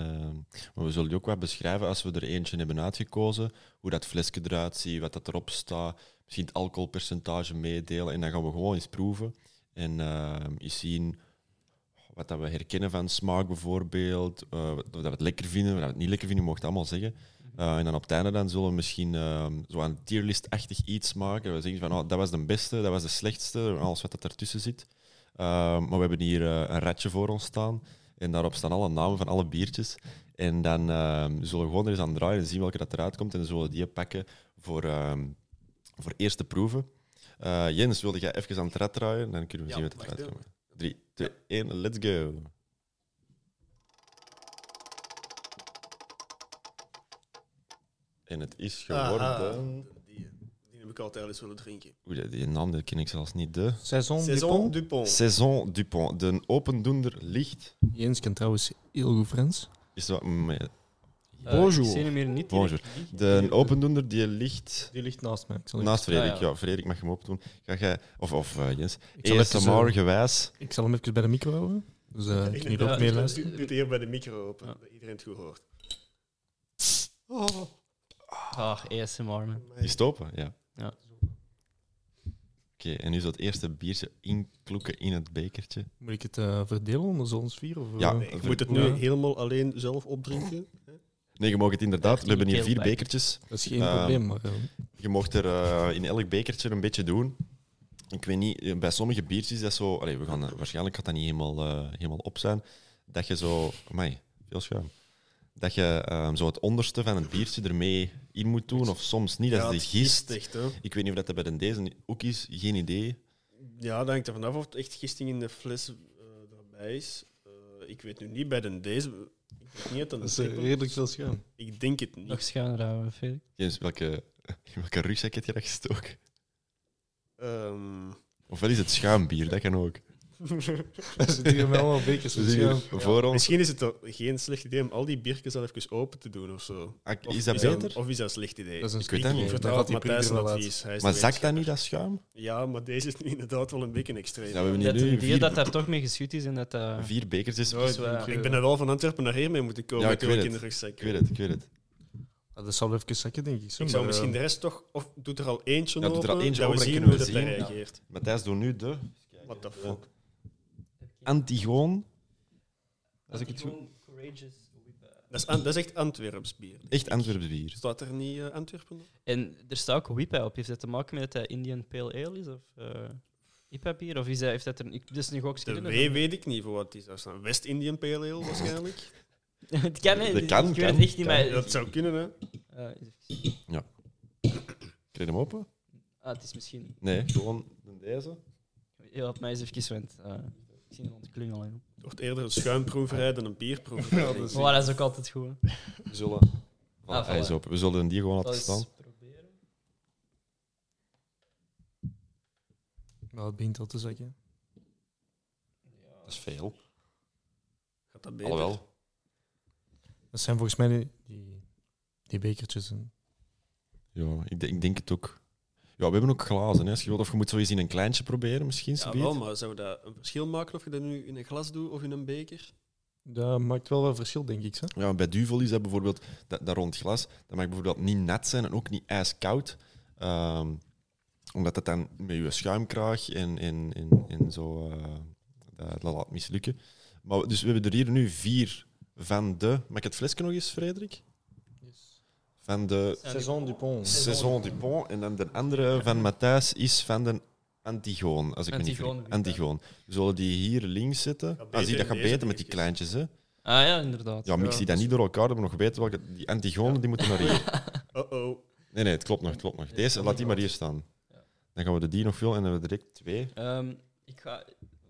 maar we zullen die ook wat beschrijven als we er eentje hebben uitgekozen. Hoe dat flesje eruit ziet, wat dat erop staat. Misschien het alcoholpercentage meedelen. En dan gaan we gewoon eens proeven. En eh, eens zien wat dat we herkennen van smaak bijvoorbeeld. eh, wat- dat we het lekker vinden, wat we het niet lekker vinden, mocht het allemaal zeggen. Eh, en dan op het einde dan zullen we misschien zo'n zo een tierlist-achtig iets maken. We zeggen van oh, dat was de beste, dat was de slechtste, alles wat dat ertussen zit. Eh, maar we hebben hier eh, een ratje voor ons staan. En daarop staan alle namen van alle biertjes. En dan eh, zullen we gewoon er eens aan draaien en zien welke dat eruit komt. En dan zullen we die pakken voor, ehm, voor eerste proeven. Eh, Jens, wilde jij even aan het rad draaien? Dan kunnen we Ja, zien wat wacht eruit komt. 3, 2, 1, let's go. En het is Aha. geworden. Ah, Ah, Die, die heb ik altijd eens willen drinken. Oeh, die- die naam die ken ik zelfs niet. De Saison, Saison Dupont. Dupont. Saison Dupont, de opendoender licht. Jens kan trouwens heel goed Frans. Is dat, mm, ja. Eh, Bonjour. Ik zie hem hier niet. Bonjour. direct. de opendoender die licht Die ligt naast mij. Ik zal, hem- naast Frederik. Ah, ja. ja. Frederik mag hem opdoen. Ga jij, of, of eh, Jens, ik zal even, eh, ASMR gewijs. ik zal hem even bij de micro houden. Dus eh kun je Ik hier ook Ja. mee luisteren. doe- doe het hier bij de micro open, Ja. dat iedereen het goed hoort. Ah, ASMR, man. Die stoppen, ja. Ja. Oké, en nu zo het eerste biertje inkloeken in het bekertje. Moet ik het eh, verdelen onder ons vier? Of, eh, Ja. Nee, je moet het nu Ja. helemaal alleen zelf opdrinken. Nee, je mag het inderdaad. We hebben hier vier Keelpijn. bekertjes. Dat is geen Ehm, probleem, maar eh, Je mocht er eh, in elk bekertje een beetje doen. Ik weet niet, eh, bij sommige biertjes is dat zo. Allee, we gaan, eh, waarschijnlijk gaat dat niet helemaal, eh, helemaal op zijn. Dat je zo. Amai, veel schuim. Dat je eh, zo het onderste van een biertje ermee in moet doen, of soms niet. Dat Ja, is het de gist. echt, hè. Ik weet niet of dat bij de deze ook is, geen idee. Ja, dat hangt er vanaf of het echt gisting in de fles eh, erbij is. Eh, ik weet nu niet bij de deze. Ik weet niet dat dat een is eh, triple- redelijk veel schuim. Ik denk het niet. Nog schuiner houden, Felix. Jens, welke, in welke rugzak heb je dat gestoken? Ehm, Ofwel is het schuimbier, dat kan ook. Er zitten hier met allemaal dus bekers Ze met zien hier schuim. voor ons. misschien is het toch geen slecht idee om al die biertjes al even open te doen of zo. Ak- Of Is dat Dat, beter? of is dat een slecht idee? Dat is een Ik weet sneaky dat niet. idee. ik vertrouw gaat op die Matthijs prikkel een wel uit. advies. Hij is Maar de zakt dat wetenschapper. niet, dat schuim? Ja, maar deze is nu inderdaad wel een beetje extreem. Ja, we hebben Dat hier het nu idee dat vier, daar toch mee geschiet is en dat... eh, vier bekers. is. dat is wel- Dus, ik eh, ben er wel van Antwerpen naar hier mee moeten komen. Ja, ik ik natuurlijk weet in de het. rugzak. Ik weet het, ik weet het. Ah, Dat zal wel even zakken, denk ik. eh, Ik zou misschien de rest toch... Of doet er al eentje Ja, doe er al open, eentje dat we open, dan zien hoe kunnen dat we hij zien. reageert. Matthijs doet nu de What the fuck? Antigoon. Als ik het goed... Gewoon courageous with, eh, Dat is, Ant- dat is echt Antwerps bier. Echt Antwerps bier. Staat er niet eh, Antwerpen op? En er staat ook whip op. Heeft dat te maken met dat hij Indian Pale Ale is? Of eh IPA bier? Of is dat, heeft dat er... Ik, dat is nu ook De schrijven. W weet ik niet voor wat het is. Dat is een West-Indian Pale Ale waarschijnlijk. Het kan, Dat kan, hè. ik weet kan, het echt niet, kan. maar... dat zou kunnen, hè? Eh, Krijg je hem open? ah, het is misschien... Nee, gewoon deze. Heel wat mij eens even went. eh, ik zie hem ontklungelen. joh. Het wordt eerder een schuimproeverij dan een bierproeverij. Ja, denk dat ik. is- Maar dat is ook altijd goed. hè. We zullen... Ah, hij is voilà. open. We zullen die gewoon Dat laten is staan. proberen. Nou, het begint al te zakken. Dat is veel. Gaat dat beter? Alhoewel. Dat zijn volgens mij die, die, die bekertjes. En Ja, ik, denk- ik denk het ook. Ja, we hebben ook glazen. Hè. Als je wilt, of je moet zo eens in een kleintje proberen, misschien. Ja, zoiets. wel, maar zou dat een verschil maken of je dat nu in een glas doet of in een beker? dat maakt wel wat verschil, denk ik. Hè? Ja, maar bij Duvel is dat bijvoorbeeld, dat, dat rond glas, dat mag bijvoorbeeld niet nat zijn en ook niet ijskoud. Ehm, omdat dat dan met je schuimkraag en, en, en, en zo, eh, dat, dat laat mislukken. Maar, we- dus we hebben er hier nu vier van de... Mag ik het flesje nog eens, Frederik? Van de Saison Dupont. Saison Dupont. En dan de andere van Matthijs is van de Antigoon, als ik me Antigoon, niet vergis. inderdaad. Antigoon. We zullen die hier links zetten. Gaat Ah, zie, dat beter gaat in deze beter met die biertjes. kleintjes, hè. Ah ja, inderdaad. Ja, mix die dan niet door elkaar, dat we nog weten welke... Die Antigonen, die moeten naar hier. Uh-oh. Nee, nee, het klopt nog, het klopt nog. Deze, laat die maar hier staan. Ja. Dan gaan we de die nog vullen en dan hebben we direct twee. Ehm, ik ga...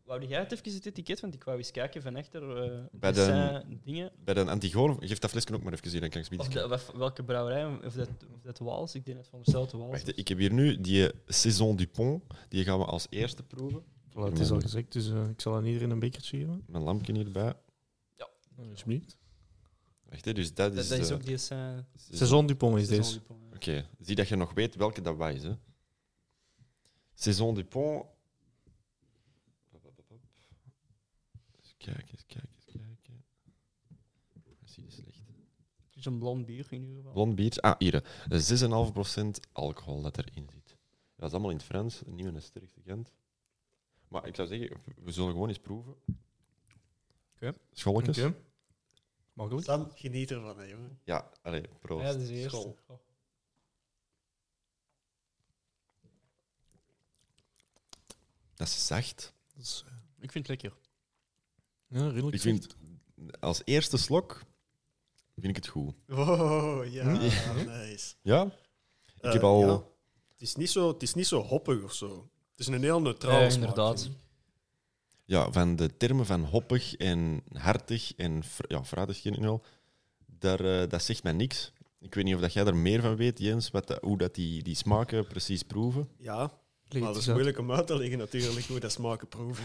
Wou jij het even het etiket? Want ik wou eens kijken van achter. eh, Bij er de- zijn dingen. Bij de Antigoon, geef dat flesje ook maar even zien, dan kan ik Of het de- bieden. of welke brouwerij? Of dat, of dat Waals? Ik denk dat van dezelfde Waals. Wacht, ik heb hier nu die eh, Saison du Pont. Die gaan we als eerste proeven. Voilà, het is al gezegd, dus eh, ik zal aan iedereen een bekertje geven. Mijn lampje hierbij. Alsjeblieft. Wacht, hè, dus dat Dat, is... dat is eh, ook die Saint- Saison- Saison Dupont is Saison deze. Dupont, ja. Oké, zie dat je nog weet welke dat wij is. Hè. Saison du Pont. Eens kijken, eens kijken, eens kijken. Dat is hier slecht. Het is een blond bier in ieder geval. Blond bier. Ah, hier. hè. 6,5% alcohol dat erin zit. Dat is allemaal in het Frans. Niet mijn sterkste kent. Maar ik zou zeggen, we zullen gewoon eens proeven. Oké. Scholletjes? Oké. dus. Makkelijk. Sam, geniet ervan, hè, jongen. Ja, allee, proost. Ja, dat is de eerste. School. Oh. Dat is zacht. Dat is, eh, Ik vind het lekker. ja, redelijk. Ik vind, zacht. als eerste slok, vind ik het goed. Wow, ja, Hm? nice. Eh, Ja? Ik heb al... ja. Het, is niet zo, het is niet zo hoppig of zo. Het is een heel neutraal Ja, smaak, inderdaad. vind ik. Ja, van de termen van hoppig en hartig en fr- ja, fruitig geen al, daar, eh, dat zegt mij niks. Ik weet niet of dat jij er meer van weet, Jens, wat dat- hoe dat die, die smaken precies proeven. Ja, Leg maar het dat is eens uit. moeilijk om uit te leggen natuurlijk, hoe dat smaken proeven.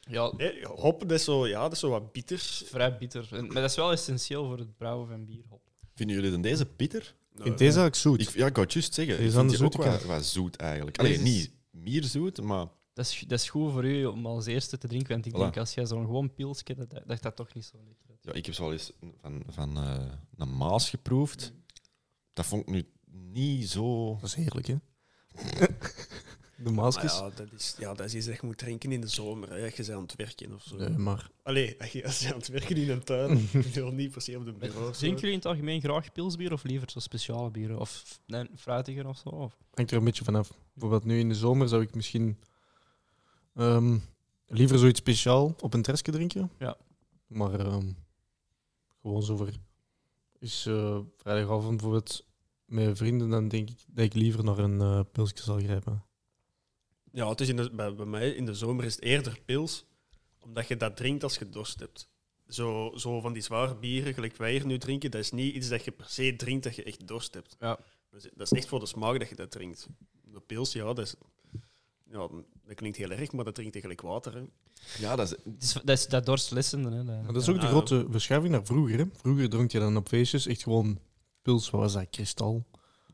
Ja, Nee, hop, dat is, zo, ja, dat is zo wat bitter. vrij bitter. En- Maar dat is wel essentieel voor het brouwen van bier. hop. Vinden jullie dan deze bitter? Nou, Ik vind eh, deze eigenlijk zoet. Ik, ja, ik wou het juist zeggen. Deze Ik aan vind de die ook zoete wel kant. wat zoet eigenlijk. Alleen Deze is- niet meer zoet, maar Dat is, dat is goed voor u om als eerste te drinken. Want ik Voilà. denk, als jij zo'n gewoon pilsje, dat, dat dat toch niet zo lekker is. ja, ik heb zo al eens van, van eh, een Maas geproefd. Dat vond ik nu niet zo... Dat is heerlijk, hè? De Maar maasjes. ja, dat is, ja, dat is iets dat je moet drinken in de zomer, hè, als je bent aan het werken of zo. Nee, Eh, maar Allee, als je als je aan het werken in een tuin, ik wil niet per se op de bureau. of zo. Drinken jullie in het algemeen graag pilsbier of liever zo speciale bieren? Of nee, fruitiger of zo? Of? hangt er een beetje vanaf. Bijvoorbeeld nu in de zomer zou ik misschien ehm, liever zoiets speciaal op een terrasje drinken. Ja. Maar ehm, gewoon zo voor... Is eh, vrijdagavond bijvoorbeeld met vrienden, dan denk ik dat ik liever naar een eh pilsje zal grijpen. Ja, het is in de, bij, bij mij in de zomer is het eerder pils, omdat je dat drinkt als je dorst hebt. Zo, zo van die zware bieren, gelijk wij hier nu drinken, dat is niet iets dat je per se drinkt dat je echt dorst hebt. Ja. Dat is- dat is echt voor de smaak dat je dat drinkt. De pils, ja, dat, is, ja, dat klinkt heel erg, maar dat drinkt eigenlijk water. Hè. Ja, dat is... Het is, dat is dat dorstlessende. Hè, dat, Maar dat is ook de Ja. grote verschuiving naar vroeger. Hè? Vroeger dronk je dan op feestjes echt gewoon pils, wat was dat, kristal?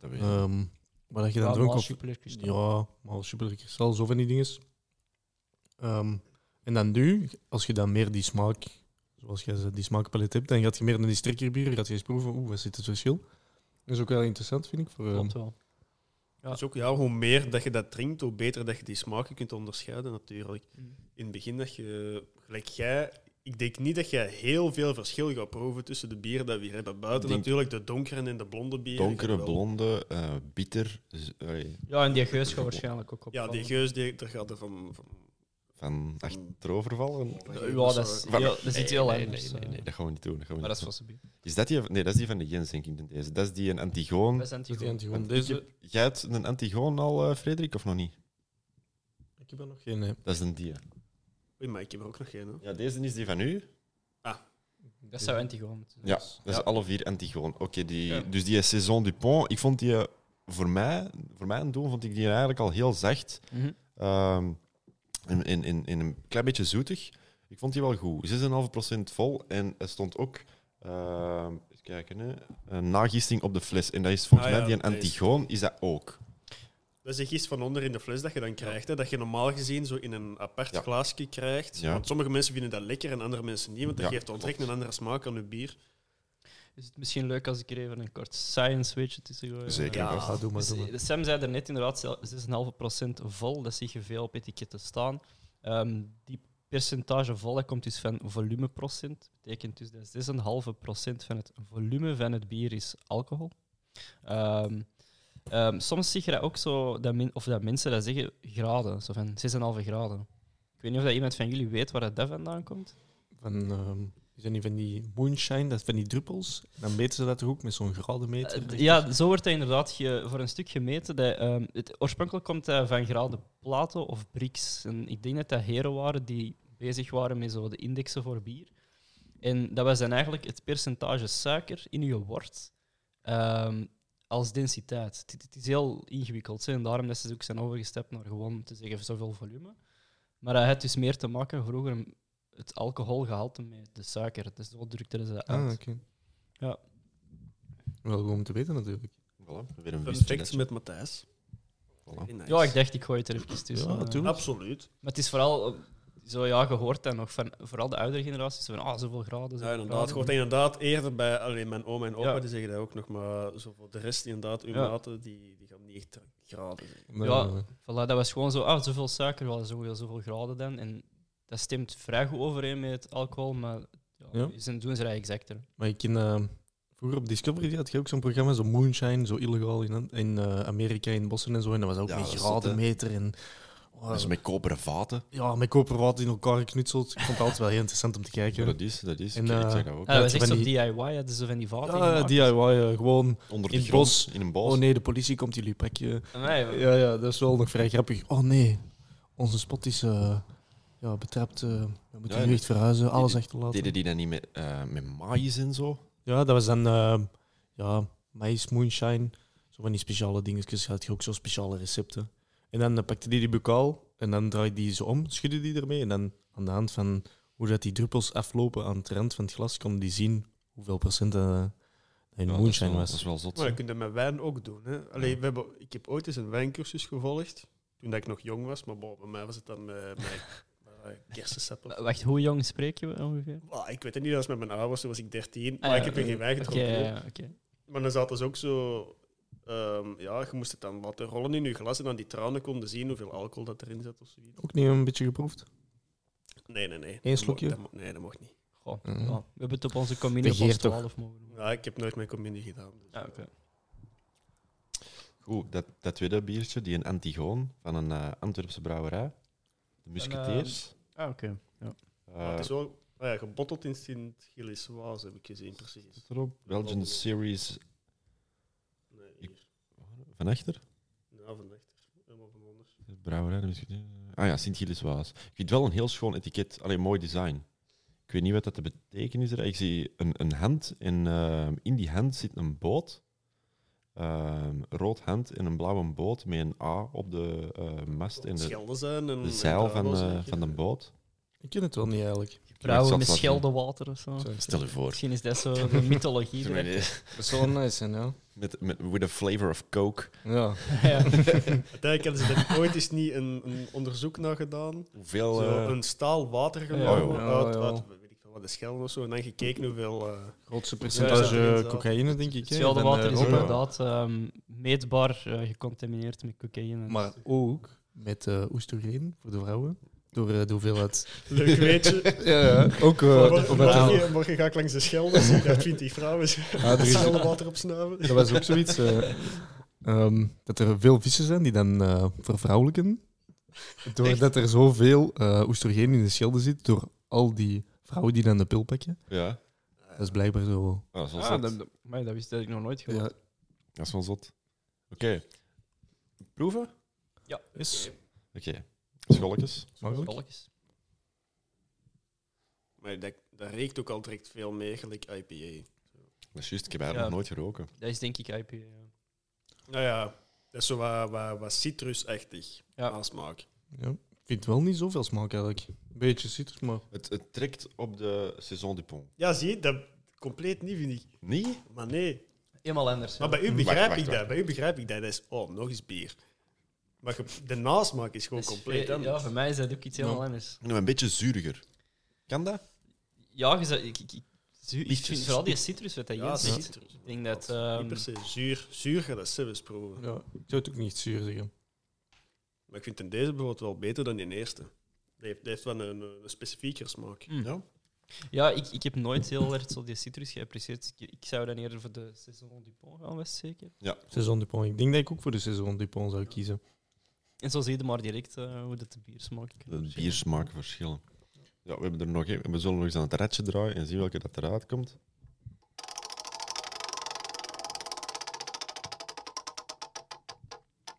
Dat weet ik. Ehm maar dat je dan Ja, dronk maar op super lekker is dat. Ja, maar super kristal, zo van die dingen. Ehm, en dan nu, als je dan meer die smaak, zoals jij zei, die smaakpalet hebt, dan gaat je meer naar die sterkere bieren, gaat je eens proeven, oeh, wat zit het verschil? Dat is ook wel interessant, vind ik. Voor, ehm, Klopt wel. Ja. Dus ook, ja, hoe meer dat je dat drinkt, hoe beter dat je die smaken kunt onderscheiden natuurlijk. In het begin dat je, gelijk jij, ik denk niet dat jij heel veel verschil gaat proeven tussen de bieren dat we hier hebben. Buiten Ik denk- natuurlijk de donkere en de blonde bieren. Donkere, Wel. blonde, eh, bitter, z- allee, Ja, en die geus gaat waarschijnlijk ook op. Ja, die geus, die, daar gaat er van... van van achterovervallen. Ja, dat is, Van- heel, dat is iets heel nee, anders. Nee, nee, nee, eh. dat gaan we niet doen. Dat gaan we Maar niet dat is doen. vast een Is dat die? Nee, dat is die van de Jens, denk ik. dan Deze. Dat is die een Antigoon. Dat is dat die Antigone. Antigone. Want Deze, ik heb- jij hebt een Antigoon al, eh, Frederik, of nog niet? ik heb er nog geen. eh, nee. Ah, Dat is een die. Oei, maar ik heb er ook nog geen. Hè. Ja, deze is die van u. Dat zou Antigone moeten Ja, dat is alle vier Antigoon. Oké, die, Ja. dus die Saison Dupont, ik vond die eh, voor mij, voor mijn doen, vond ik die eigenlijk al heel zacht. zijn. Mhm. Ehm, in, in, in, in een klein beetje zoetig. Ik vond die wel goed. 6,5% vol en er stond ook, ehm even kijken, hè, een nagisting op de fles. En dat is volgens Ah, mij ja, die een deze. Antigoon, is dat ook. Dat is iets van onder in de fles dat je dan krijgt. Hè, dat je normaal gezien zo in een apart Ja. glaasje krijgt. Ja. Want sommige mensen vinden dat lekker en andere mensen niet. Want dat Ja, geeft ontdekt een klopt. andere smaak aan je bier. Is het misschien leuk als ik er even een kort science weetje tussen gooi? Zeker. Ja. Ja. Ah, doe maar, Dus, doe maar. eh, Sam zei er net inderdaad, zel- 6,5% vol, dat zie je veel op etiketten staan. Ehm, die percentage vol dat komt dus van volumeprocent. betekent dus dat 6,5% van het volume van het bier is alcohol. Ehm, ehm, soms zie je dat ook zo, dat men- of dat mensen dat zeggen, graden, zo van 6,5 graden. Ik weet niet of dat iemand van jullie weet waar dat, dat vandaan komt. Van, ehm, is dat niet van die moonshine, dat is van die druppels? Dan meten ze dat toch ook met zo'n gradenmeter? Eh, ja, zo wordt dat inderdaad ge- voor een stuk gemeten. Dat, ehm, het, oorspronkelijk komt dat van graden Plato of Brix. En ik denk dat dat heren waren die bezig waren met zo de indexen voor bier. En dat was dan eigenlijk het percentage suiker in je wort ehm, als densiteit. Het, het is heel ingewikkeld hè, en daarom dat ze ook zijn overgestapt naar gewoon te zeggen zoveel volume. Maar dat had dus meer te maken vroeger met het alcoholgehalte met de suiker. Dus zo drukten ze dat uit. Ah, oké. Ja. Wel goed om te weten, natuurlijk. Voilà, weer een whisky. Perfect met Matthijs. Voilà. Heel nice. Ja, ik dacht, ik gooi het er even tussen. Ja, Eh, doe. Absoluut. Maar het is vooral, eh, zo ja, gehoord dan nog van vooral de oudere generaties van ah, zoveel graden. Ja, zoveel inderdaad. Je graden. hoort inderdaad eerder bij alleen mijn oom en opa, Ja. die zeggen dat ook nog, maar zo voor de rest, inderdaad, uw Ja. maten, die, die gaan niet echt graden. zeggen. Ja. Voilà, dat was gewoon zo, ah, zoveel suiker, wel zoveel, zoveel graden dan. En dat stemt vrij goed overeen met het alcohol, maar ja, Ja. ze doen ze dat exacter. Maar ik ken, eh, vroeger op Discovery die had je ook zo'n programma, zo Moonshine, zo illegaal in, in eh, Amerika, in bossen en zo. En dat was ook Ja, met dat is gradenmeter en oh, Dat is met koperen vaten. ja, met koperwater in elkaar geknutseld. Ik vond het altijd wel heel interessant om te kijken. Dat is, dat is. En, ik, ik eh, zeg dat ook. Ja, Ah, dat was van echt zo die- DIY, hadden ze van die vaten Ja, DIY, eh, gewoon. Onder de in het grond, bos. in een bos. Oh nee, de politie komt jullie pakje. Ah, Nee, Ja, ja, dat is wel nog vrij grappig. Oh nee, onze spot is eh, ja, betrapt. eh, we moeten Ja, nu en- echt verhuizen, alles Deden- achterlaten. Deden die dat niet met, eh met maïs en zo? Ja, dat was dan eh, ja, maïs moonshine. Zo van die speciale dingetjes. Had je ook zo speciale recepten. En dan eh, pakte die die bokaal en dan draaide die ze om, schudde die ermee. En dan aan de hand van hoe dat die druppels aflopen aan het rand van het glas, kon die zien hoeveel procent eh, dat in Ja, dat is moonshine wel- was. Dat is wel zot. Maar hè. dat kun je met wijn ook doen. Hè? Allee, we hebben, ik heb ooit eens een wijncursus gevolgd, toen dat ik nog jong was. Maar bon, bij mij was het dan met, met, met kersensap of W- Wacht, hoe jong spreken we ongeveer? Ah, ik weet het niet, dat was met mijn ouders, toen was ik 13. Ah, Maar ja, ik heb er geen wijn Oké, gedronken. ja, hoor. ja, oké. Maar dan zat dus ook zo... ehm, ja, je moest het dan laten rollen in je glas en dan die tranen konden zien hoeveel alcohol dat erin zat of zoiets. Ook niet een beetje geproefd? Nee, nee, nee. Eén slokje? Dat mo- dat mo- nee, dat mocht niet. Goh, Mhm. ja, We hebben het op onze communie op ons Begeer toch. 12 mogen doen. Ja, ik heb nooit mijn communie gedaan. dus, Ah, eh, oké. Goed, dat, dat tweede biertje, die een Antigoon van een eh, Antwerpse brouwerij. eh, De Musketeers. Ah, oké. Ja. Eh, maar het is wel ah ja, gebotteld in Sint-Gilles-Waas, heb ik gezien, precies. zit erop. Belgian Series Nee, hier. van achter. Ja, van achter. Helemaal van onder. De Brouwerij, de Musketeers. Ah ja, Sint-Gilles-Waas. Ik vind wel een heel schoon etiket. Alleen mooi design. Ik weet niet wat dat te betekenen is. er. Ik zie een, een hand en ehm, in die hand zit een boot. Ehm, rood hand en een blauwe boot met een A op de eh, mast en de, Schelden zijn en... de zeil en van, draden, eh, zeker. van de boot. Ik ken het wel niet eigenlijk. Vrouwen zat met wat in. scheldenwater of zo. Ah. Stel je voor. Misschien is dat zo de mythologie. erachter. Dat zou wel nice zijn, ja. Met, met, with a flavor of coke. Ja. ja. Uiteindelijk hadden ze daar ooit eens niet een, een onderzoek naar gedaan. Hoeveel... Zo eh, een staal water Oh, genomen ja. uit, Ja, ja. uit weet ik veel wat, de schelden of zo. En dan gekeken hoeveel... eh, Grootste percentage percentage eh, cocaïne, denk ik. hè, Hetzelfde van, eh, water is Europa. Europa. inderdaad ehm, meetbaar eh, gecontamineerd met cocaïne. Maar ook met eh oestrogeen voor de vrouwen. Door eh, de hoeveelheid. leuk weetje. ja, ja, ook. eh, Mor- omdat de- morgen, morgen ga ik langs de Schelde, zie ik daar 20 vrouwen ah, er is- scheldenwater opsnuiven. dat was ook zoiets. eh, ehm, dat er veel vissen zijn die dan eh, vervrouwelijken. Doordat er zoveel eh oestrogeen in de schelde zit. Door al die vrouwen die dan de pil pakken. ja. Dat is blijkbaar zo. Ah, dat is wel Ah, zot. dat, dat- maar dat wist dat ik nog nooit gehoord. Ja, Dat is wel zot. Oké. Proeven? Oké. is Scholletjes. makkelijk. Volgens. Maar dat, dat reekt ook al direct veel meer, gelijk IPA. Dat is juist, ik heb haar Ja. nog nooit geroken. Dat is denk ik eh. IPA. ja. Nou ja, dat is zo wat, wat, wat citrusachtig Ja. aansmaak. Ja. Ik vind wel niet zoveel smaak eigenlijk. Een beetje citrus, maar. Het, het trekt op de Saison du Pont. Ja, zie je, dat compleet niet, vind ik. Nee? Maar nee. Helemaal anders. Maar ja. bij u Wacht, begrijp wacht, ik wacht. dat. Bij u begrijp ik dat. Dat is, oh, nog eens bier. Maar ge- de nasmaak is gewoon Dat is eh, compleet veel- Dus, eh, Ja, anders. voor mij is dat ook iets helemaal Ja. anders. En een beetje zuuriger. Kan dat? Ja, je zou- ik, ik, ik, zu- ik Lichtjes. vind vooral die citrus wat dat Ja, je zegt. citrus. Ik denk dat... Niet ehm per se zuur. Zuur gaat dat zelfs proeven. Ja, ik zou het ook niet zuur zeggen. Maar ik vind in deze bijvoorbeeld wel beter dan in eerste. Die heeft, die heeft wel een, een specifieker smaak. Mm. Ja. ja, ik, ik heb nooit heel erg zo die citrus geapprecieerd. Ik, ik zou dan eerder voor de Saison du Pont gaan, was zeker. Saison Dupont. Ik denk dat ik ook voor de Saison Dupont zou kiezen. En zo zie je maar direct eh, hoe dat de bier smaakt. De biersmaken verschillen. Ja, we hebben er nog één. We zullen nog eens aan het ratje draaien en zien welke dat eruit komt.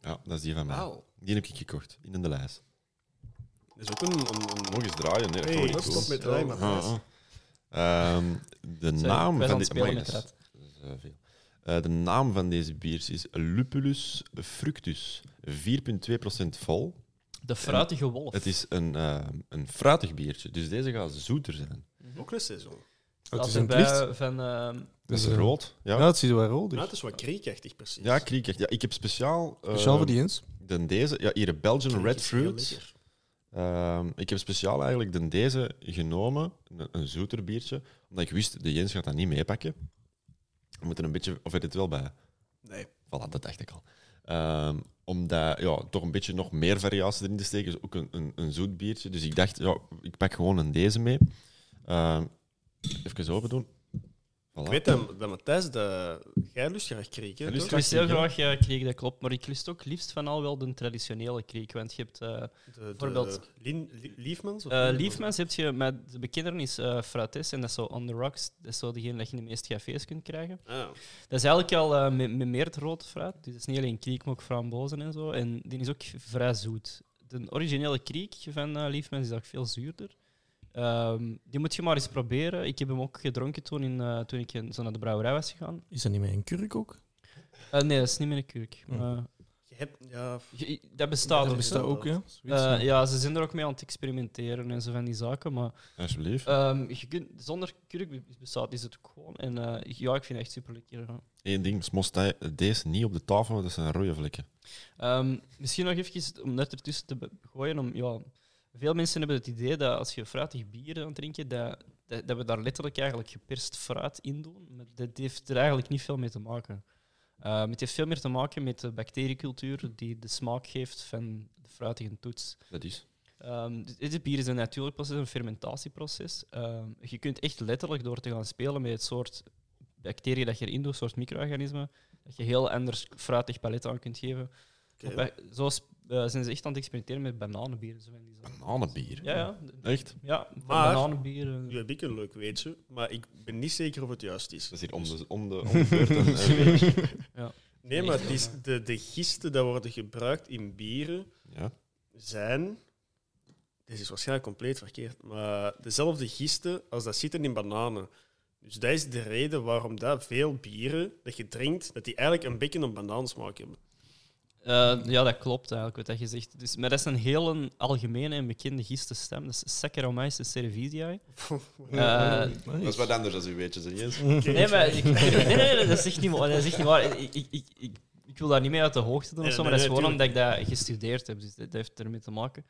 Ja, dat is die van mij. Die heb ik gekocht, in de lijst. Dat is ook een... een, een Nog eens draaien, nee, dat Hey, kan niet stop doen. met rijmen, Matthijs. Ah, ah. Ehm, de naam van wij zijn dit spelen amai, met dat is- dat. dat is, eh, veel. Eh, de naam van deze biers is Lupulus fructus. 4,2% vol. De fruitige wolf. Het is een, eh, een fruitig biertje, dus deze gaat zoeter zijn. Ook een seizoen. Oh, het is Laten in het wij licht. van, ehm, Dat is Dus, eh, rood. Ja, Ja, het ziet er wel rood. uit. Ja, dus. het is wat kriekachtig, precies. ja kriek echt. Ja, ik heb speciaal... eh, Speciaal voor die eens. dan deze. Ja, hier een Belgian Kriek Red is heel Fruit. lekker. Ehm, ik heb speciaal eigenlijk dan deze genomen, een, een zoeter biertje, omdat ik wist, de Jens gaat dat niet meepakken. We moeten een beetje, of hij dit wel bij. Nee. Voilà, dat dacht ik al. Ehm, omdat, ja, toch een beetje nog meer variatie erin te steken, is ook een, een, een zoet biertje. Dus ik dacht, ja, ik pak gewoon een deze mee. Ehm, even open doen. Voilà. Ik weet dat, dat Matthijs, dat... jij lust graag kriek, hè? Jij lust Ik toch? lust heel Ja. graag eh, kreeg, dat klopt. Maar ik lust ook liefst van al wel de traditionele kreeg. Want je hebt... eh, De- de- Bijvoorbeeld- Lin- Li- Liefmans? of Eh, Liefmans? Liefmans heb je met de bekender is eh Frates en dat is zo On The Rocks. Dat is zo degene dat je in de meeste cafés kunt krijgen. Ah, Dat is eigenlijk al eh, met, met meer het rood fruit. Dus dat is niet alleen kriek, maar ook frambozen en zo. En die is ook vrij zoet. De originele kriek van eh Liefmans is ook veel zuurder. Ehm, die moet je maar eens proberen. Ik heb hem ook gedronken toen, in, eh, toen ik in- zo naar de brouwerij was gegaan. Is dat niet met een kurk ook? Eh, nee, dat is niet meer een kurk. Hm. Eh, Je hebt, ja, f- je- je- dat bestaat Dat ook. bestaat hè. ook, ja. Eh, ja, ze zijn er ook mee aan het experimenteren en zo van die zaken. Maar Alsjeblieft. ehm, je kunt, zonder kurk bestaat is het ook gewoon. En eh, ik- ja, ik vind het echt super lekker. Eén ding, smost hij- deze niet op de tafel, want dat zijn rode vlekken. Ehm, misschien nog even om net ertussen te be- gooien. Om, ja, veel mensen hebben het idee dat als je fruitig bier aan het drinken, dat, dat, dat we daar letterlijk eigenlijk geperst fruit in doen. Maar dat heeft er eigenlijk niet veel mee te maken. Ehm, het heeft veel meer te maken met de bacteriecultuur die de smaak geeft van de fruitige toets. Dat is. Ehm dus dit bier is een natuurlijk proces, een fermentatieproces. Ehm, je kunt echt letterlijk door te gaan spelen met het soort bacteriën dat je erin doet, soort micro-organismen, dat je heel anders fruitig palet aan kunt geven. oké. Bij- Zo sp- eh, zijn ze echt aan het experimenteren met bananenbier. en Zo van die zaken. Bananenbier. Ja, ja. Echt? ja Maar- bananenbier. eh. nu heb ik een leuk weetje, maar ik ben niet zeker of het juist is. Dat is hier om de, om de, om de beurt. een, eh, week. Nee, maar het is de, de gisten die worden gebruikt in bieren ja. zijn. Dit is waarschijnlijk compleet verkeerd, maar dezelfde gisten als dat zitten in bananen. Dus dat is de reden waarom dat veel bieren dat je drinkt, dat die eigenlijk een beetje een banaansmaak hebben. Eh, ja, dat klopt eigenlijk, wat dat je zegt. Dus, maar dat is een heel een algemene en bekende gistenstem. Dat is Saccharomyces cerevisiae. Eh, Dat is wat anders dan u weet, je serieus. Nee, maar ik, nee, nee, nee, dat is echt niet waar. Dat is echt niet waar. Ik, ik, ik, ik, ik wil daar niet mee uit de hoogte doen of Nee, zo, maar nee, dat is nee, gewoon omdat ik dat gestudeerd heb. Dus dat, dat heeft ermee te maken.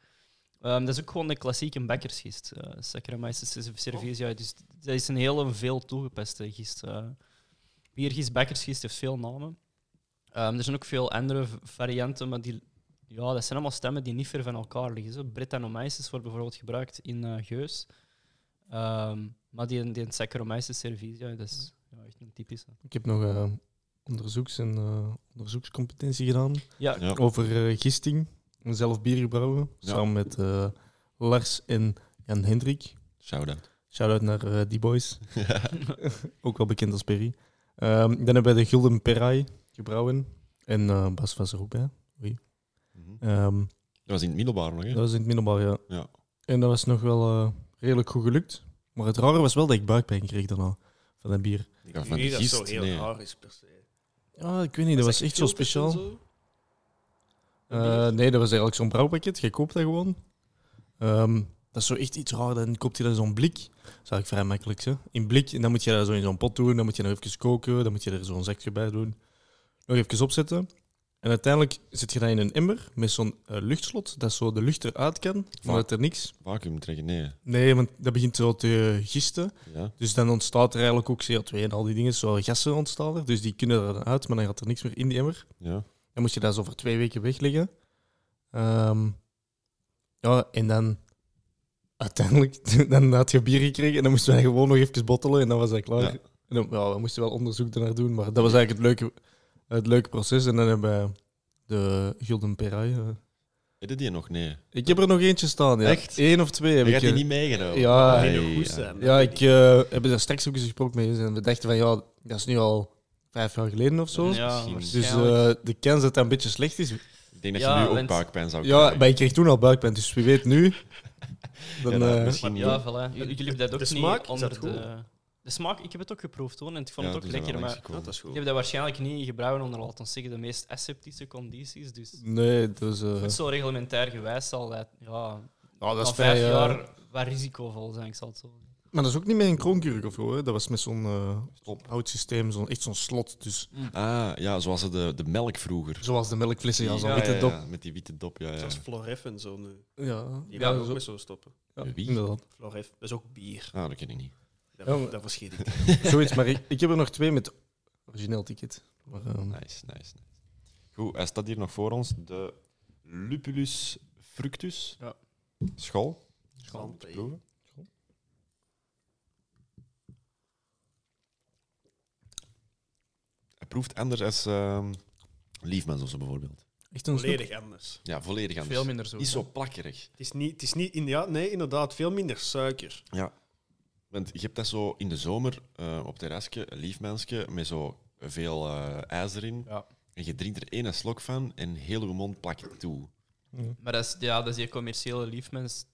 Ehm, dat is ook gewoon de klassieke bekkersgist. eh Saccharomyces Oh. cerevisiae. Dus dat is een heel veel toegepaste gist. eh. biergist, bekkersgist heeft veel namen. Ehm, er zijn ook veel andere v- varianten, maar die, ja, dat zijn allemaal stemmen die niet ver van elkaar liggen. Zo. Brettanomyces wordt bijvoorbeeld gebruikt in eh, geus. Ehm, maar die, die Saccharomyces cerevisiae, dat is ja, echt een typische. Ik heb nog eh, onderzoeks- en eh, onderzoekscompetentie gedaan Ja, Ja. over eh, gisting. en Zelf bier gebrouwen. Ja. Samen met eh, Lars en Jan Hendrik. Shout-out. Shout-out naar eh, die boys. Ook wel bekend als Perry. Ehm, dan hebben we de Gulden Perai gebrouwen. En eh, Bas was er ook bij. Mhm. Ehm, Dat was in het middelbaar nog, hè? Dat was in het middelbaar, ja. Ja. En dat was nog wel eh, redelijk goed gelukt. Maar het rare was wel dat ik buikpijn kreeg daarna van dat bier. Ik Ja, denk van niet de dat zo gist, heel nee. raar is per se. Ja, ik weet niet, dat was echt zo filters en speciaal. zo? Eh, nee, dat was eigenlijk zo'n brouwpakket. Je koopt dat gewoon. Ehm, dat is zo echt iets raar. Dan koopt hij dat in zo'n blik. Dat is eigenlijk vrij makkelijk. Hè? In blik. En dan moet je dat zo in zo'n pot doen. Dan moet je er even koken. Dan moet je er zo'n zakje bij doen. Nog even opzetten. En uiteindelijk zit je dat in een emmer met zo'n eh, luchtslot. Dat zo de lucht eruit kan. Maar dat er niks. Vacuüm trekken, nee. Nee, want dat begint zo te gisten. Ja. Dus dan ontstaat er eigenlijk ook CO2 en al die dingen. Zo gassen ontstaan er. Dus die kunnen er dan uit, maar dan gaat er niks meer in die emmer. ja. Dan moet je dat zo voor twee weken wegleggen. Ehm, ja, en dan uiteindelijk dan had je bier gekregen en dan moesten wij gewoon nog even bottelen en dan was dat klaar. Ja. En dan, ja, we moesten wel onderzoek ernaar doen, maar dat was eigenlijk het leuke, het leuke proces. En dan hebben we de Gulden Perai. eh. Heb je die nog? Nee. Ik heb er nog eentje staan. Ja. Echt? Eén of twee heb Heb je ik. die eh. niet meegenomen? Ja. Die nog Ai, goed ai. zijn. Ja, ik eh, heb daar straks ook eens gesproken mee. En we dachten van, ja, dat is nu al vijf jaar geleden of zo. ja Dus, Dus eh, waarschijnlijk. de kans dat dat een beetje slecht is... Ik denk dat Ja, je nu ook want- buikpijn zou Ja, krijgen. maar ik kreeg toen al buikpijn, dus wie weet nu... Dan, Ja, dat eh, misschien niet. ja, voilà. J- Jullie hebben dat ook De niet smaak, is onder dat goed? de... De smaak, ik heb het ook geproefd hoor, en ik vond Ja, het ook toen zijn we lekker, maar langs ik Ja, gekomen. dat is goed. heb dat waarschijnlijk niet gebruiken onder, laten we zeggen, de meest aseptische condities. Dus nee, dus... eh goed zo reglementair gewijs zal dat, ja, ja, dat na is vijf vrij, eh, jaar wat risicovol zijn, ik zal het zo zeggen. Maar dat is ook niet met een kroonkurk of zo, hè. Dat was met zo'n eh, Stop. oud systeem, zo'n, echt zo'n slot. Dus Ah, ja, zoals de, de melk vroeger. zoals de melkflessen, ja, zo'n Ja, witte ja, dop. ja, met die witte dop, ja. ja. Zoals Floref en zo nu. Ja, Die gaan ja, ook zo- met zo stoppen. ja, Wie? inderdaad. Floref, dat is ook bier. Ah, dat ken ik niet. Daar, Ja, maar- daar verschiet ik. Zoiets, maar ik, ik heb er nog twee met origineel ticket. Maar, eh, Nice, nice, nice. Goed, hij staat hier nog voor ons. De Lupulus fructus. Ja. School. School. Te proeven. Hij proeft anders als ehm Liefmens of zo bijvoorbeeld. echt een snoep. Volledig anders. Ja, volledig anders. Veel minder zo. Is zo plakkerig. Het is niet, het is niet in, ja, nee, inderdaad, veel minder suiker. Want je hebt dat zo in de zomer eh, op terrasje, een lief mensje, met zo veel eh, ijzer in. Ja. En je drinkt er één slok van en heel je mond plakt toe. Maar dat is, ja, dat is die commerciële liefmens,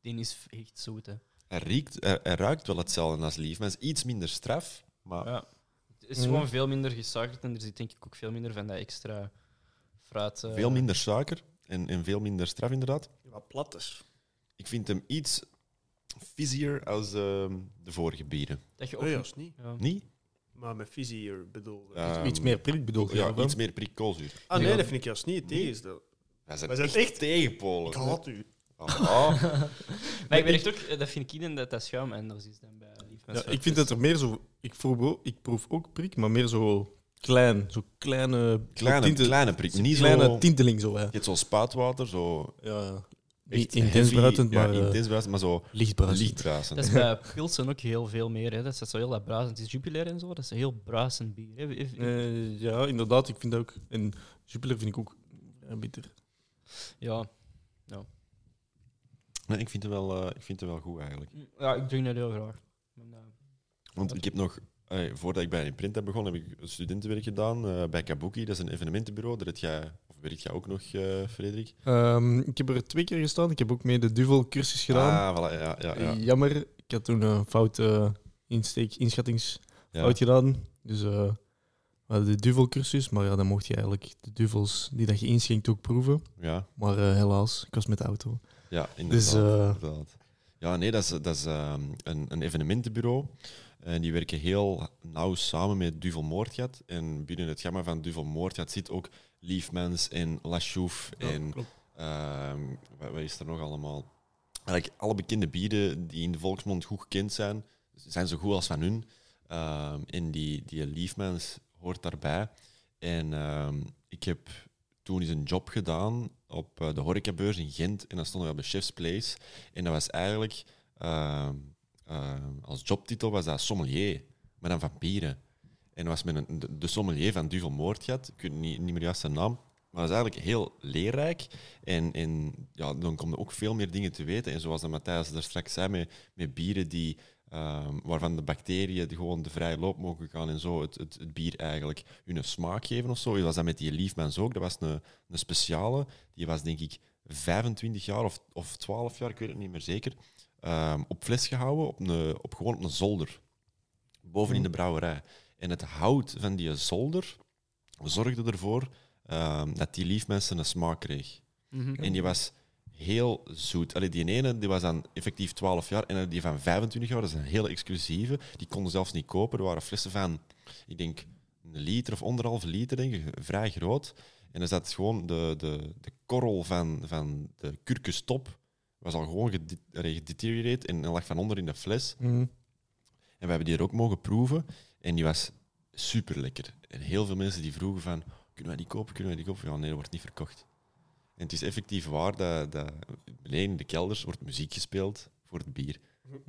die is echt zoet. Hè. hij, riekt, hij, hij ruikt wel hetzelfde als lief. Maar het is iets minder straf. Maar Ja. Het is gewoon veel minder gesuikerd en er zit denk ik ook veel minder van dat extra fruit. eh, veel minder suiker en, en veel minder straf, inderdaad. Wat plat is. Ik vind hem iets fizzier als ehm, de vorige bieren. Dat je ook Nee, juist niet. Hm. ja. Niet? Maar met visie hier bedoel. Ehm, Iets meer prik bedoel je? Ja, daarvan? iets meer prikkelzuur. ah nee, dat vind ik juist niet. Het is dat. Wij zijn, Wij zijn echt, echt- tegenpolen. Ik haat u. Ah, ah. Maar ik merk ook, eh, dat vind ik in dat dat schuim en dat is dan bij lief. Ja, ik vind dat er meer zo. Ik proef, ook- ik proef ook prik, maar meer zo klein. Zo kleine. Kleine, tinte- kleine prik. Niet kleine zo... Je tinteling zo. Hè. hebt zo'n spuitwater, zo... Ja, Echt niet intens heavy, bruisend, ja, maar eh, intens bruisend, maar zo licht licht bruisend. bruisend. Dat is bij Pilsen ook heel veel meer. Hè. Dat is dat zo heel dat bruisend. Het is Jupiler en zo. Dat is een heel bruisend bier. Hè. If- Eh, ja, inderdaad. Ik vind dat ook. En Jupiler vind ik ook eh, bitter. Ja. Nee, ik, vind het wel, eh, ik vind het wel goed, eigenlijk. ja, ik drink dat heel graag. eh, Want ik heb nog... eh, voordat ik bij een print heb begonnen, heb ik studentenwerk gedaan eh, bij Kabuki. Dat is een evenementenbureau. Daar heb jij... Of werkt jij ook nog, eh, Frederik? Ehm, ik heb er twee keer gestaan. Ik heb ook mee de Duvel-cursus gedaan. Ah, voilà, ja, ja, ja. Jammer, ik had toen een fout eh, insteek, inschattingsfout ja. gedaan. Dus eh, we hadden de Duvel-cursus, maar ja, dan mocht je eigenlijk de Duvels die dat je inschenkt ook proeven. Ja, Maar eh, helaas, ik was met de auto. ja, inderdaad. Dus eh, Inderdaad. Ja, nee, dat is, dat is ehm, een, een evenementenbureau. En die werken heel nauw samen met Duvel Moordgat. En binnen het gamma van Duvel Moordgat zit ook Liefmens en Lachouf en ehm, wat, wat is er nog allemaal? Eigenlijk alle bekende bieren die in de volksmond goed gekend zijn, zijn zo goed als van hun. Ehm, en die, die Liefmens hoort daarbij. En ehm, ik heb toen eens een job gedaan op eh, de horecabeurs in Gent. En dan stonden we op de Chef's Place. En dat was eigenlijk, ehm, ehm, als jobtitel was dat sommelier, maar dan van bieren. En dat was met een, de, de sommelier van Duvel Moordgat, ik weet niet, niet meer juist zijn naam. Maar dat is eigenlijk heel leerrijk. En, en ja, dan komen er ook veel meer dingen te weten. En zoals dat Matthijs daar straks zei, met, met bieren die, ehm, waarvan de bacteriën die gewoon de vrije loop mogen gaan en zo het, het, het bier eigenlijk hun smaak geven of zo. Dat was dat met die Liefmans ook. Dat was een, een speciale. Die was denk ik 25 jaar of, of 12 jaar, ik weet het niet meer zeker, ehm, op fles gehouden, op een, op, gewoon op een zolder. Boven in de brouwerij. En het hout van die zolder zorgde ervoor ehm, dat die liefmensen een smaak kreeg. En die was heel zoet. Allee, die ene die was dan effectief 12 jaar en die van 25 jaar, dat is een hele exclusieve. Die konden zelfs niet kopen. Er waren flessen van, ik denk, een liter of anderhalve liter, denk ik, vrij groot. En er zat gewoon de, de, de korrel van, van de kurkustop, was al gewoon gede- allee, gedeterioreerd en lag van onder in de fles. mm, En we hebben die er ook mogen proeven. En die was super lekker. En heel veel mensen die vroegen van, kunnen wij die kopen, kunnen wij die kopen? Ja, nee, dat wordt niet verkocht. En het is effectief waar dat, dat beneden in de kelders wordt muziek gespeeld voor het bier.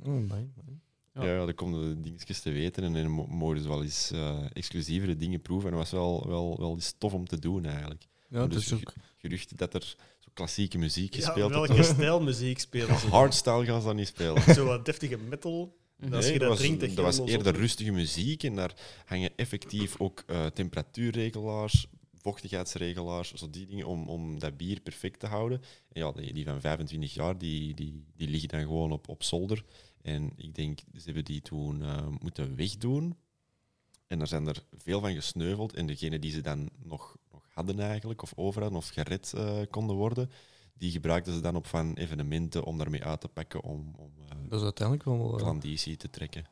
mm, bye, bye. Ja, Ja. ja dan komen de dingetjes te weten en dan mo- mogen ze wel eens eh, exclusievere dingen proeven. En dat was wel, wel, wel eens tof om te doen eigenlijk. Ja, het Dus is ook Geruchten dat er zo klassieke muziek Ja, gespeeld welke wordt. stijl muziek spelen ze? Hardstyle gaan ze dan niet spelen. Zo wat deftige metal. Als je Nee, dat was, drinkt, echt dat was helemaal eerder zot. rustige muziek en daar hangen effectief ook eh, temperatuurregelaars, vochtigheidsregelaars, zo die dingen om, om dat bier perfect te houden. En ja, die, die van 25 jaar, die, die, die liggen dan gewoon op, op zolder. En ik denk, ze hebben die toen eh, moeten wegdoen. En daar zijn er veel van gesneuveld. En degene die ze dan nog, nog hadden eigenlijk, of over hadden, of gered eh, konden worden, die gebruikten ze dan op van evenementen om daarmee uit te pakken, om, om eh, dat is uiteindelijk wel. eh, klandizie te trekken.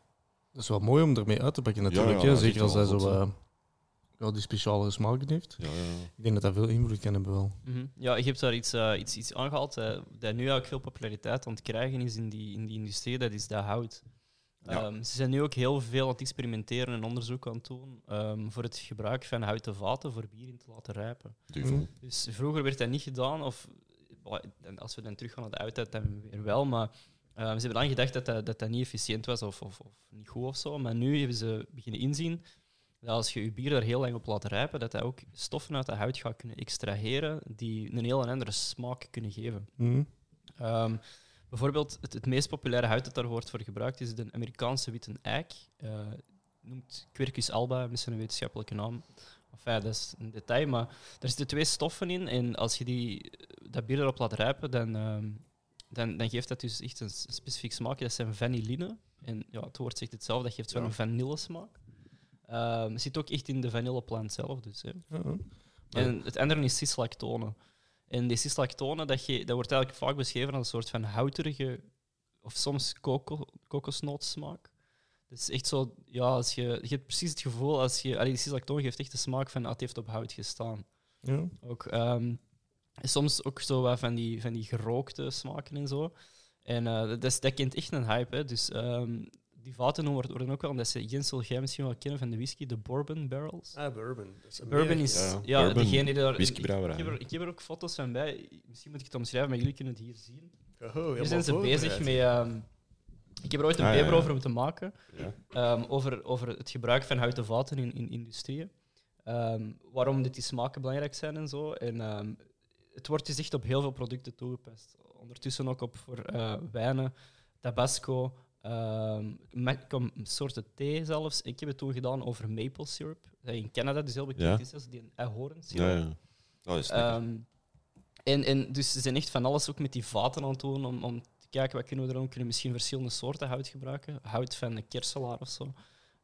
dat is wel mooi om ermee uit te pakken, natuurlijk. ja, hè. dat is Zeker als echt hij wel zo goed, eh, ja, die speciale smaken heeft. Ja, ja. Ik denk dat dat veel invloed kan hebben wel. Mhm. Ja, je hebt daar iets, eh, iets, iets aangehaald eh, dat nu eigenlijk veel populariteit aan het krijgen is in die, in die industrie, dat is dat hout. Ja. Ehm, ze zijn nu ook heel veel aan het experimenteren en onderzoek aan het doen ehm, voor het gebruik van houten vaten voor bier in te laten rijpen. Duvel. Dus vroeger werd dat niet gedaan, of eh, en als we dan terug gaan naar de oudheid, dan weer wel, maar ehm, ze hebben dan gedacht dat dat, dat, dat niet efficiënt was of, of, of niet goed of zo, maar nu hebben ze beginnen inzien dat als je je bier daar heel lang op laat rijpen, dat dat ook stoffen uit de hout gaat kunnen extraheren die een heel andere smaak kunnen geven. Mm. Ehm, bijvoorbeeld, het, het meest populaire hout dat daar wordt voor gebruikt is de Amerikaanse witte eik. Eh, noemt Quercus alba, misschien een wetenschappelijke naam. Enfin, dat is een detail, eh, maar er zitten twee stoffen in en als je die, dat bier erop laat rijpen, dan, ehm, dan, dan geeft dat dus echt een s- specifiek smaakje. Dat zijn vanilline. En ja, het woord zegt hetzelfde, dat geeft wel Ja. een vanillesmaak. Ehm, het zit ook echt in de vanilleplant zelf. Dus, hè. Maar- En het andere is cislactone. En die cislactone, dat, ge- dat wordt eigenlijk vaak beschreven als een soort van houterige of soms koko, kokosnootsmaak. Het is echt zo, ja, als je, je hebt precies het gevoel als je. Allee, die cislactone geeft echt de smaak van ah, het heeft op hout gestaan. Ja. Ook, ehm, soms ook zo wat van die, van die gerookte smaken en zo. En eh, dat, is, dat kent echt een hype. Hè. Dus ehm, die vaten worden, worden ook wel, en dat ze Jens zult jij misschien wel kennen van de whisky, de Bourbon Barrels. Ah, bourbon. Dat is Bourbon Amerika. is Ja, ja, bourbon, degene die daar. Ik, whiskybrouwerij. ik heb er, ik heb er ook foto's van bij. Misschien moet ik het omschrijven, maar jullie kunnen het hier zien. Oh, Hier helemaal zijn ze bezig voorbereid. met. ehm, ik heb er ooit een Ah, ja, paper ja. over moeten maken. Ja. ehm, over, over het gebruik van houten vaten in, in industrieën. Ehm, waarom dit die smaken belangrijk zijn en zo. En ehm, het wordt dus echt op heel veel producten toegepast. Ondertussen ook op voor eh, wijnen, tabasco, ehm, me- kom- soorten thee zelfs. Ik heb het toen gedaan over maple syrup. dat In Canada dus heel bekend Ja. is als die eh, ahorn Ja, syrup. ja. Oh, Eh, Dat is lekker. Ehm, en, en dus ze zijn echt van alles ook met die vaten aan het doen om, om te kijken wat kunnen we erom kunnen. Misschien verschillende soorten hout gebruiken. Hout van de kerselaar of zo.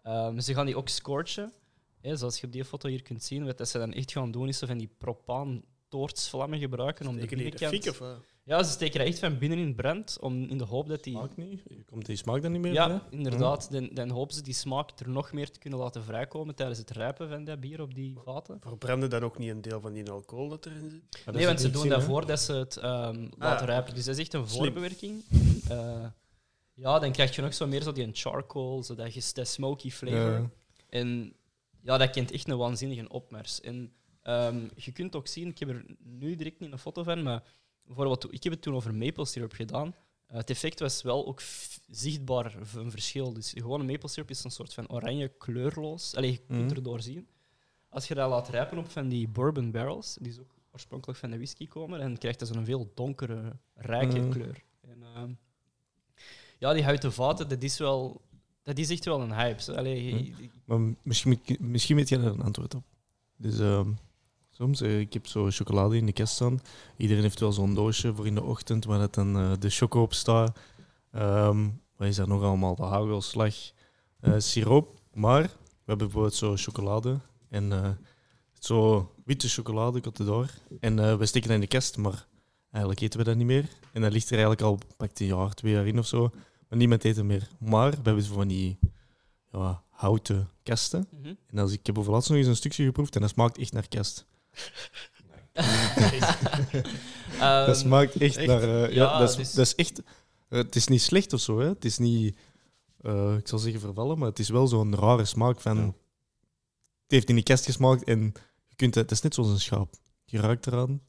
Ehm, ze gaan die ook scorchen. Hè, zoals je op die foto hier kunt zien, wat dat ze dan echt gaan doen is ze van die propaan toortsvlammen gebruiken om de Steken die de binnenkant... fiek of wat? ja, ze steken dat echt van binnen in brand om in de hoop dat Ah, die... Smaakt niet? Komt die smaak dan niet meer bij? Ja, inderdaad. Dan, dan hopen ze die smaak er nog meer te kunnen laten vrijkomen tijdens het rijpen van dat bier op die vaten. Verbranden dan ook niet een deel van die alcohol dat erin zit? Maar dat Nee, is want ze niet doen zin, dat hè? voordat ze het ehm, laten rijpen. Dus dat is echt een Slim. voorbewerking. Eh, ja, dan krijg je nog zo meer zo die charcoal, zo dat, ges- dat smoky flavor. Ja. En ja, dat kent echt een waanzinnige opmars. En ehm, je kunt ook zien, ik heb er nu direct niet een foto van, maar bijvoorbeeld, ik heb het toen over maple syrup gedaan. Eh, het effect was wel ook f- zichtbaar v- een verschil. Dus gewone maple syrup is een soort van oranje kleurloos. Allee, je kunt Mhm. erdoor zien. Als je dat laat rijpen op van die bourbon barrels, die is ook oorspronkelijk van de whisky komen, en krijgt dat zo'n veel donkere, rijke Mhm. kleur. En, ehm, ja, die houten vaten, dat is wel... Dat is echt wel een hype. zo. Allee, Mhm. je- je- Maar misschien, moet ik- misschien weet jij daar een antwoord op. Dus ehm, soms, eh, ik heb zo chocolade in de kast staan. Iedereen heeft wel zo'n doosje voor in de ochtend waar dat dan eh, de choco op staat. Ehm, wat is daar nog allemaal? De hagelslag, eh, siroop. Maar we hebben bijvoorbeeld zo chocolade en eh, zo witte chocolade, komt het door. En eh, we steken dat in de kast, maar eigenlijk eten we dat niet meer. En dat ligt er eigenlijk al pakt een jaar, twee jaar in of zo. Maar niemand eet het meer. Maar we hebben zo van die ja, houten kasten. Mhm. En als ik heb over laatst nog eens een stukje geproefd en dat smaakt echt naar kerst. dat Ehm, smaakt echt, echt? naar. eh, ja, Ja, dat, is, dus- dat is echt. eh, het is niet slecht of zo, hè? Het is niet. eh, ik zal zeggen vervallen, maar het is wel zo'n rare smaak van. Ja. Het heeft in de kerst gesmaakt en je kunt het. Het is net zoals een schaap. Je ruikt eraan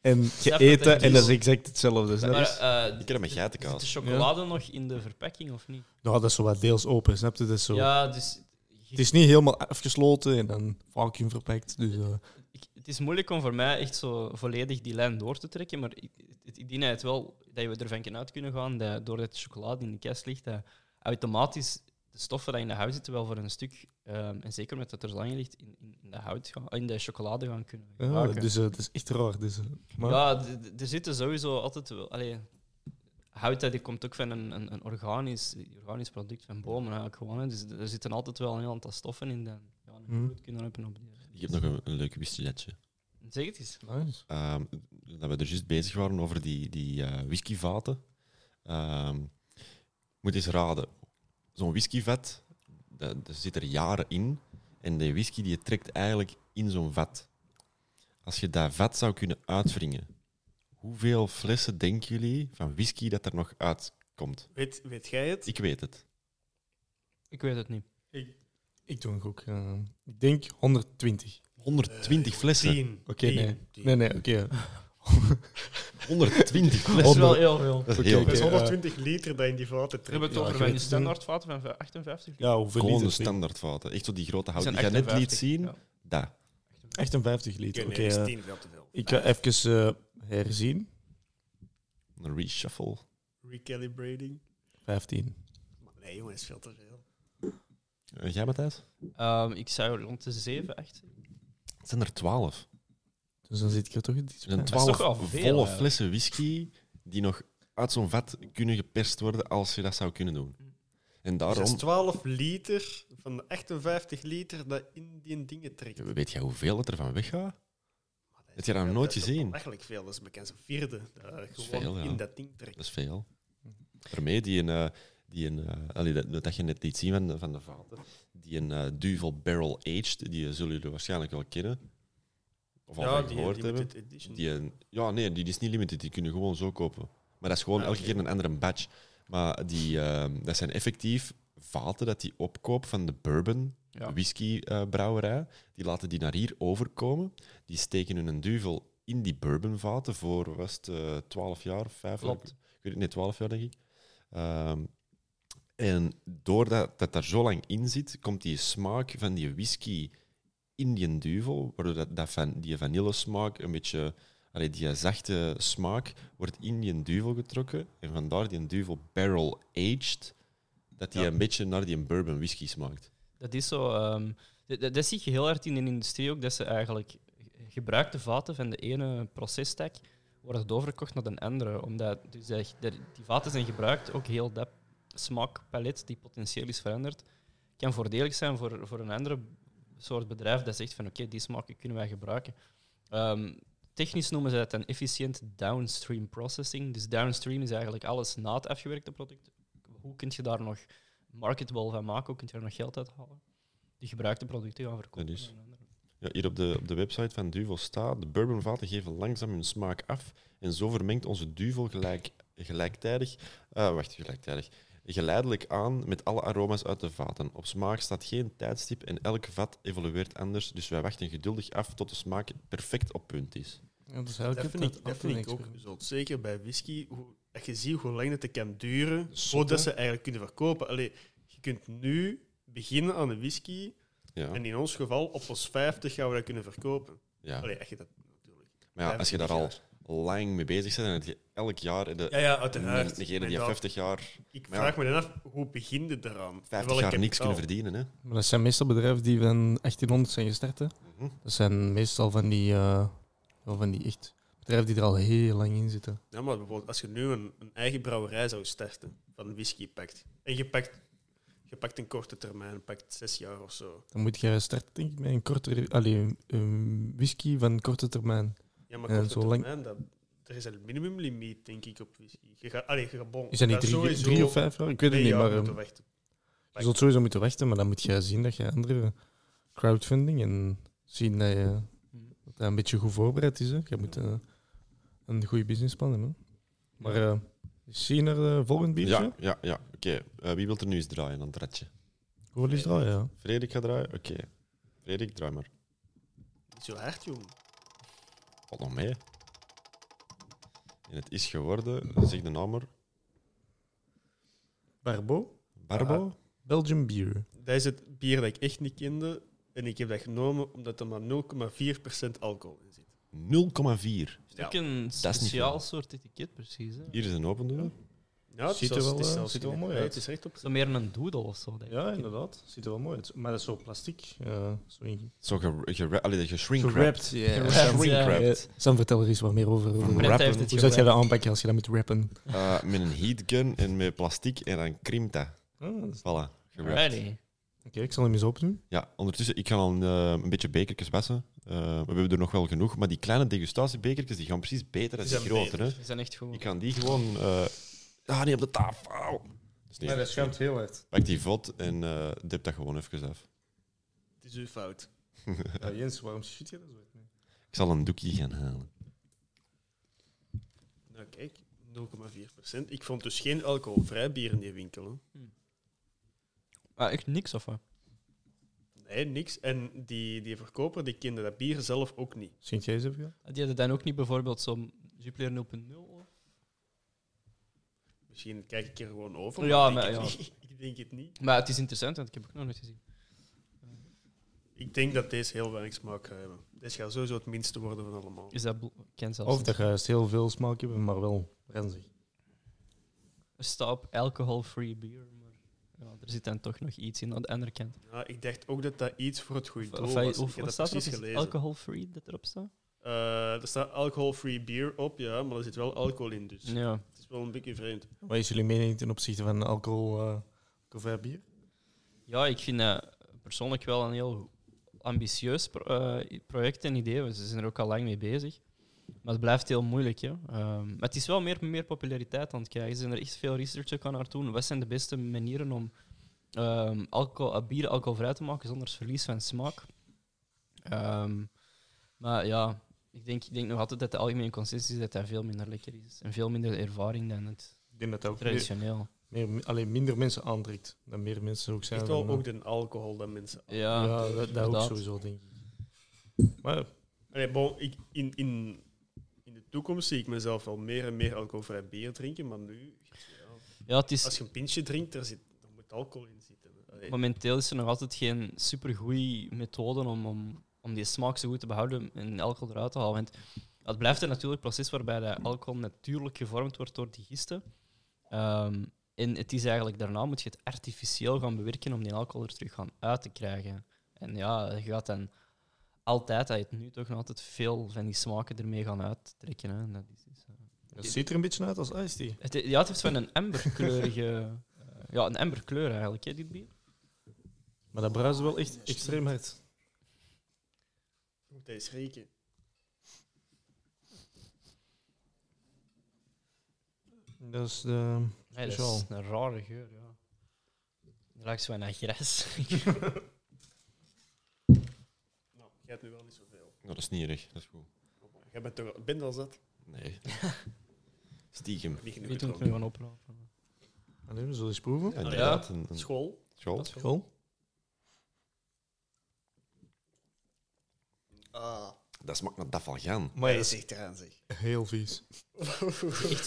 en je Snap wat eet dat het en is. dat is exact hetzelfde. Snap je? maar, eh, Ik ken hem met zit de geitenkaas. chocolade nog in de verpakking of niet? Nou, dat is zo wat deels open, snap je? Dat is zo. Ja, dus Het is niet helemaal afgesloten en dan vacuüm verpakt. Dus, eh, ik- het is moeilijk om voor mij echt zo volledig die lijn door te trekken, maar ik, het, ik denk het wel dat we ervan kunnen uit kunnen gaan dat doordat de chocolade in de kast ligt, dat automatisch de stoffen die in de hout zitten wel voor een stuk, ehm, en zeker omdat het er zo lang ligt, in, in- in de, hout gaan, in de chocolade gaan kunnen ja, gebruiken. dus eh, het is echt raar. Dus, eh, maar- Ah, Ja, d- d- er zitten sowieso altijd wel. Allee, hout dat die komt ook van een, een, een organisch, organisch product van bomen eigenlijk gewoon. Hè. Dus d- er zitten altijd wel een heel aantal stoffen in die ja, een Mhm. invloed kunnen hebben op die. Ik heb nog een, een leuk whiskyletje. Zeg het eens. Nice. Ehm, dat we er juist bezig waren over die, die eh, whiskyvaten. Ehm, moet eens raden. Zo'n whiskyvat, da- daar zit er jaren in. En de whisky die trekt eigenlijk in zo'n vat. Als je dat vat zou kunnen uitwringen, hoeveel flessen denken jullie van whisky dat er nog uitkomt? Weet, weet jij het? Ik weet het. Ik weet het niet. Ik doe een gok. eh, ik denk 120. 120 flessen. Eh, Tien. Oké, Tien. nee. Tien. Nee, nee, oké. 120 Dat is flessen. wel heel veel. Dat is Oké, heel oké. Dat is veel. 120 liter dat in die vaten We hebben het trekt. Ja, over je mijn weet- standaardvaten van 58 liter. Ja, hoeveel Gewoon de liter? standaardvaten. Echt zo die grote hout. Die Ik zijn ga net liet 58, zien. ja. Dat. 58 liter. Oké, Oké, nee, dat eh, is Ah, 10 veel te veel. ik ga even eh, herzien. Een reshuffle. Recalibrating. 15. Maar nee, jongen, dat is veel te veel. Eh, jij, Matthijs? Ehm, ik zou rond de 7, 8. Het zijn er 12. Dus dan zit ik er toch in die Er zijn is toch 12 wel veel, volle hè? flessen whisky die nog uit zo'n vat kunnen geperst worden als je dat zou kunnen doen. En Dat is daarom, 12 liter van de 58 liter dat in die dingen trekt. weet jij hoeveel het er van weggaat? Heb je dat nog nooit gezien? Eigenlijk veel, dat is bekend een vierde. Dat is gewoon veel, ja. in dat ding trekt. Dat is veel. Daarmee die een. eh, die een eh, allee, dat, dat je net liet zien van, de- van de vaten. Die een eh, Duvel Barrel Aged, die zullen jullie waarschijnlijk wel kennen. Of al van gehoord hebben. limited edition. Die een- ja, nee, die is niet limited. Die kunnen gewoon zo kopen. Maar dat is gewoon Ah, elke oké. keer een andere batch. Maar die, ehm, dat zijn effectief vaten dat die opkopen van de bourbon Ja. whiskybrouwerij. die laten die naar hier overkomen. Die steken hun een duvel in die bourbonvaten voor was het, eh, 12 jaar, 5 jaar. Klopt. Ik weet het niet, 12 jaar denk ik. Ehm, en doordat dat daar zo lang in zit, komt die smaak van die whisky in die duvel, waardoor dat, dat van, die vanillesmaak een beetje, allee, die zachte smaak, wordt in die duvel getrokken. En vandaar die duvel barrel aged, dat die een beetje naar die bourbon whisky smaakt. Dat is zo. ehm, dat, dat- dat zie je heel hard in de industrie ook, dat ze eigenlijk gebruikte vaten van de ene processtak worden doorverkocht naar de andere. Omdat dus dat- dat- die vaten zijn gebruikt, ook heel dat smaakpalet die potentieel is veranderd, kan voordelig zijn voor, voor een andere soort bedrijf dat zegt van oké, die smaken kunnen wij gebruiken. Ehm, technisch noemen ze dat een efficiënt downstream processing. Dus downstream is eigenlijk alles na het afgewerkte product. Hoe kun je daar nog marketable van maken, hoe kun je er nog geld uit halen? Die gebruikte producten gaan verkopen. Dat is- aan anderen. Ja, hier op de, op de website van Duvel staat, de bourbonvaten geven langzaam hun smaak af en zo vermengt onze Duvel gelijk, gelijktijdig, eh, wacht, gelijktijdig, geleidelijk aan met alle aroma's uit de vaten. Op smaak staat geen tijdstip en elk vat evolueert anders, dus wij wachten geduldig af tot de smaak perfect op punt is. Ja, dat is Dat eigenlijk vind ik, dat vind ik ook. Je zult zeker bij whisky, hoe, dat je ziet hoe lang het kan duren, voordat ze eigenlijk kunnen verkopen. Allee, je kunt nu beginnen aan de whisky, Ja, en in ons geval op ons 50 gaan we dat kunnen verkopen. ja. Allee, echt dat natuurlijk. Maar ja, als je daar al 25 lang mee bezig bent en dat je elk jaar... in De, jaar. Ja, ja, en uiteraard. Degene die Maar 50 jaar, Ik Maar ja. vraag me dan af, hoe begin je eraan? 50 Welk jaar niks kapitaal? kunnen verdienen, hè? Maar dat zijn meestal bedrijven die van 1800 zijn gestart. Hè. Mhm. Dat zijn meestal van die, eh, wel van die echt bedrijven die er al heel lang in zitten. Ja, maar bijvoorbeeld als je nu een, een eigen brouwerij zou starten van whisky pakt. En je pakt, je pakt een korte termijn, pakt zes jaar of zo. Dan moet je starten denk ik, met een, kortere, allee, een- een whisky van korte termijn. Ja, maar Ja, korte zo lang- termijn, dat, er is een minimumlimiet, denk ik, op whisky. Je gaat, allee, je gaat bon, Is dat niet je gaat drie, sowieso drie of vijf jaar? Ik weet het twee niet, jaar maar moeten eh, wachten. je zult sowieso moeten wachten. Maar dan moet je zien dat je andere crowdfunding en zien dat, je, dat dat een beetje goed voorbereid is. Hè. Je moet eh, een goede businessplan hebben. Maar eh zie je naar de volgende biertje? Ja, ja, ja. Oké, Eh, wie wil er nu eens draaien aan het ratje? Hoeveel is dat? Ja. Frederik gaat draaien? Oké. Frederik, draai maar. Niet zo hard, jong. Valt nog mee. En het is geworden, zeg de naam maar, Barbo? Barbo. Belgium Beer. Dat is het bier dat ik echt niet kende. En ik heb dat genomen omdat er maar 0,4% alcohol in zit. 0,4. Het is ook een niet speciaal veel. soort etiket, precies. Hè. Hier is een opendoener. Ja, het is Ziet er zelfs- wel, het is eh, zelfs ziet er wel geen- mooi nee, uit. Het is echt op. Zo meer een doodle of zo. Denk ik. Ja, inderdaad. Ziet er wel mooi uit. Maar dat is zo plastic. eh, zo in- Zo ge- ge- allee, geshrink-wrapped. Gewrapped. ja. Eh, Gewrapped, Shrink-wrapped. Sam, vertel er eens wat meer over. over- Wrappen. Brett heeft het Hoe zou jij gedaan. dat aanpakken als je dat moet rappen? Eh, met een heatgun en met plastic en dan krimpt dat. Ah, dat is- Voilà, gewrapped. Alrighty. Oké, ik zal hem eens opdoen. Ja, ondertussen, ik ga al een, eh, een beetje bekertjes wassen. Eh, we hebben er nog wel genoeg. Maar die kleine degustatiebekertjes die gaan precies beter dan die Die zijn grote. Hè? Die zijn echt goed. Ik kan die gewoon... eh, Ah, nee, op de tafel. Auw. Dus nee, heel hard. Pak die vod en eh dip dat gewoon even af. Het is uw fout. Jens, waarom schiet je dat zo? Ik zal een doekje gaan halen. Nou, kijk, 0,4%. Ik vond dus geen alcoholvrij bier in die winkel. hè. Ah, echt niks of wat? Nee, niks. En die, die verkoper die kende dat bier zelf ook niet. Sint jij eens even? Die hadden dan ook niet bijvoorbeeld zo'n Jupiler 0.0? of- Misschien kijk ik er gewoon over. Ja, ik denk maar het niet. Ik denk het niet. Maar het is interessant, want ik heb ook nog nooit gezien. Ik denk dat deze heel weinig smaak gaat hebben. Deze gaat sowieso het minste worden van allemaal. Is dat bl- ik ken zelfs Of niet. dat je juist heel veel smaak hebben, maar wel renzig. Er staat op alcohol-free beer, maar ja, er zit dan toch nog iets in aan de andere kant. Ja, ik dacht ook dat dat iets voor het goede Of, doel of, was. of ik heb wat dat staat precies er? Is het gelezen. alcohol-free dat erop staat? Eh, er staat alcohol-free bier op, ja, maar er zit wel alcohol in. Dus Ja. het is wel een beetje vreemd. Wat is jullie mening ten opzichte van alcohol, eh alcoholvrij bier? Ja, ik vind eh, persoonlijk wel een heel ambitieus pro- eh, project en idee. We zijn er ook al lang mee bezig. Maar het blijft heel moeilijk. Hè. Ehm, maar het is wel meer, meer populariteit aan het krijgen. Ze zijn er echt veel research ook aan haar doen. Wat zijn de beste manieren om ehm alcohol, eh, bier alcoholvrij te maken zonder verlies van smaak? Ehm, maar ja, ik denk, ik denk nog altijd dat de algemene consensus is dat dat veel minder lekker is. En veel minder ervaring dan het Ik denk dat dat ook meer, traditioneel. meer- alleen minder mensen aantrekt. Dat meer mensen ook zijn. Echt wel van, eh, ook de alcohol dat mensen. Ja, ja, dat, dat ook inderdaad. sowieso, denk ik. Maar Allee, bon, ik, in, in, in de toekomst zie ik mezelf wel meer en meer alcoholvrij bier drinken, maar nu, Ja, het is, als je een pintje drinkt, er zit, er moet alcohol in zitten. Allee, Momenteel is er nog altijd geen supergoeie methode om, om, om die smaak zo goed te behouden en alcohol eruit te halen. Want het blijft een natuurlijk proces waarbij de alcohol natuurlijk gevormd wordt door die gisten. Ehm, en het is eigenlijk daarna moet je het artificieel gaan bewerken om die alcohol er terug gaan uit te krijgen. En ja, je gaat dan altijd, dat je het nu toch nog altijd veel van die smaken ermee gaan uittrekken. Hè. En Dat is, is, eh, dat ziet er een beetje uit als iced tea. het, ja, het heeft van een amberkleurige... eh, ja, een amberkleur eigenlijk, hè, dit bier. Maar dat bruist wel echt extreem hard. je moet eens rekenen. Dat is de... Nee, dat Speciaal. is een rare geur, ja. Het ruikt zo naar gras. Nou, jij hebt nu wel niet zoveel. Oh, dat is niet erg, dat is goed. Jij bent toch bent al zat? Nee. Ah, Stiekem. Niet genoeg Weet hoe ik gedronken. nu gaan oplopen. Allee, we zullen eens proeven. Ja, inderdaad. Een, een School? school. Cool. Ah, Dat smaakt naar dafalgan. Maar dat dat is zegt eraan, zeg. heel vies. Echt fruit,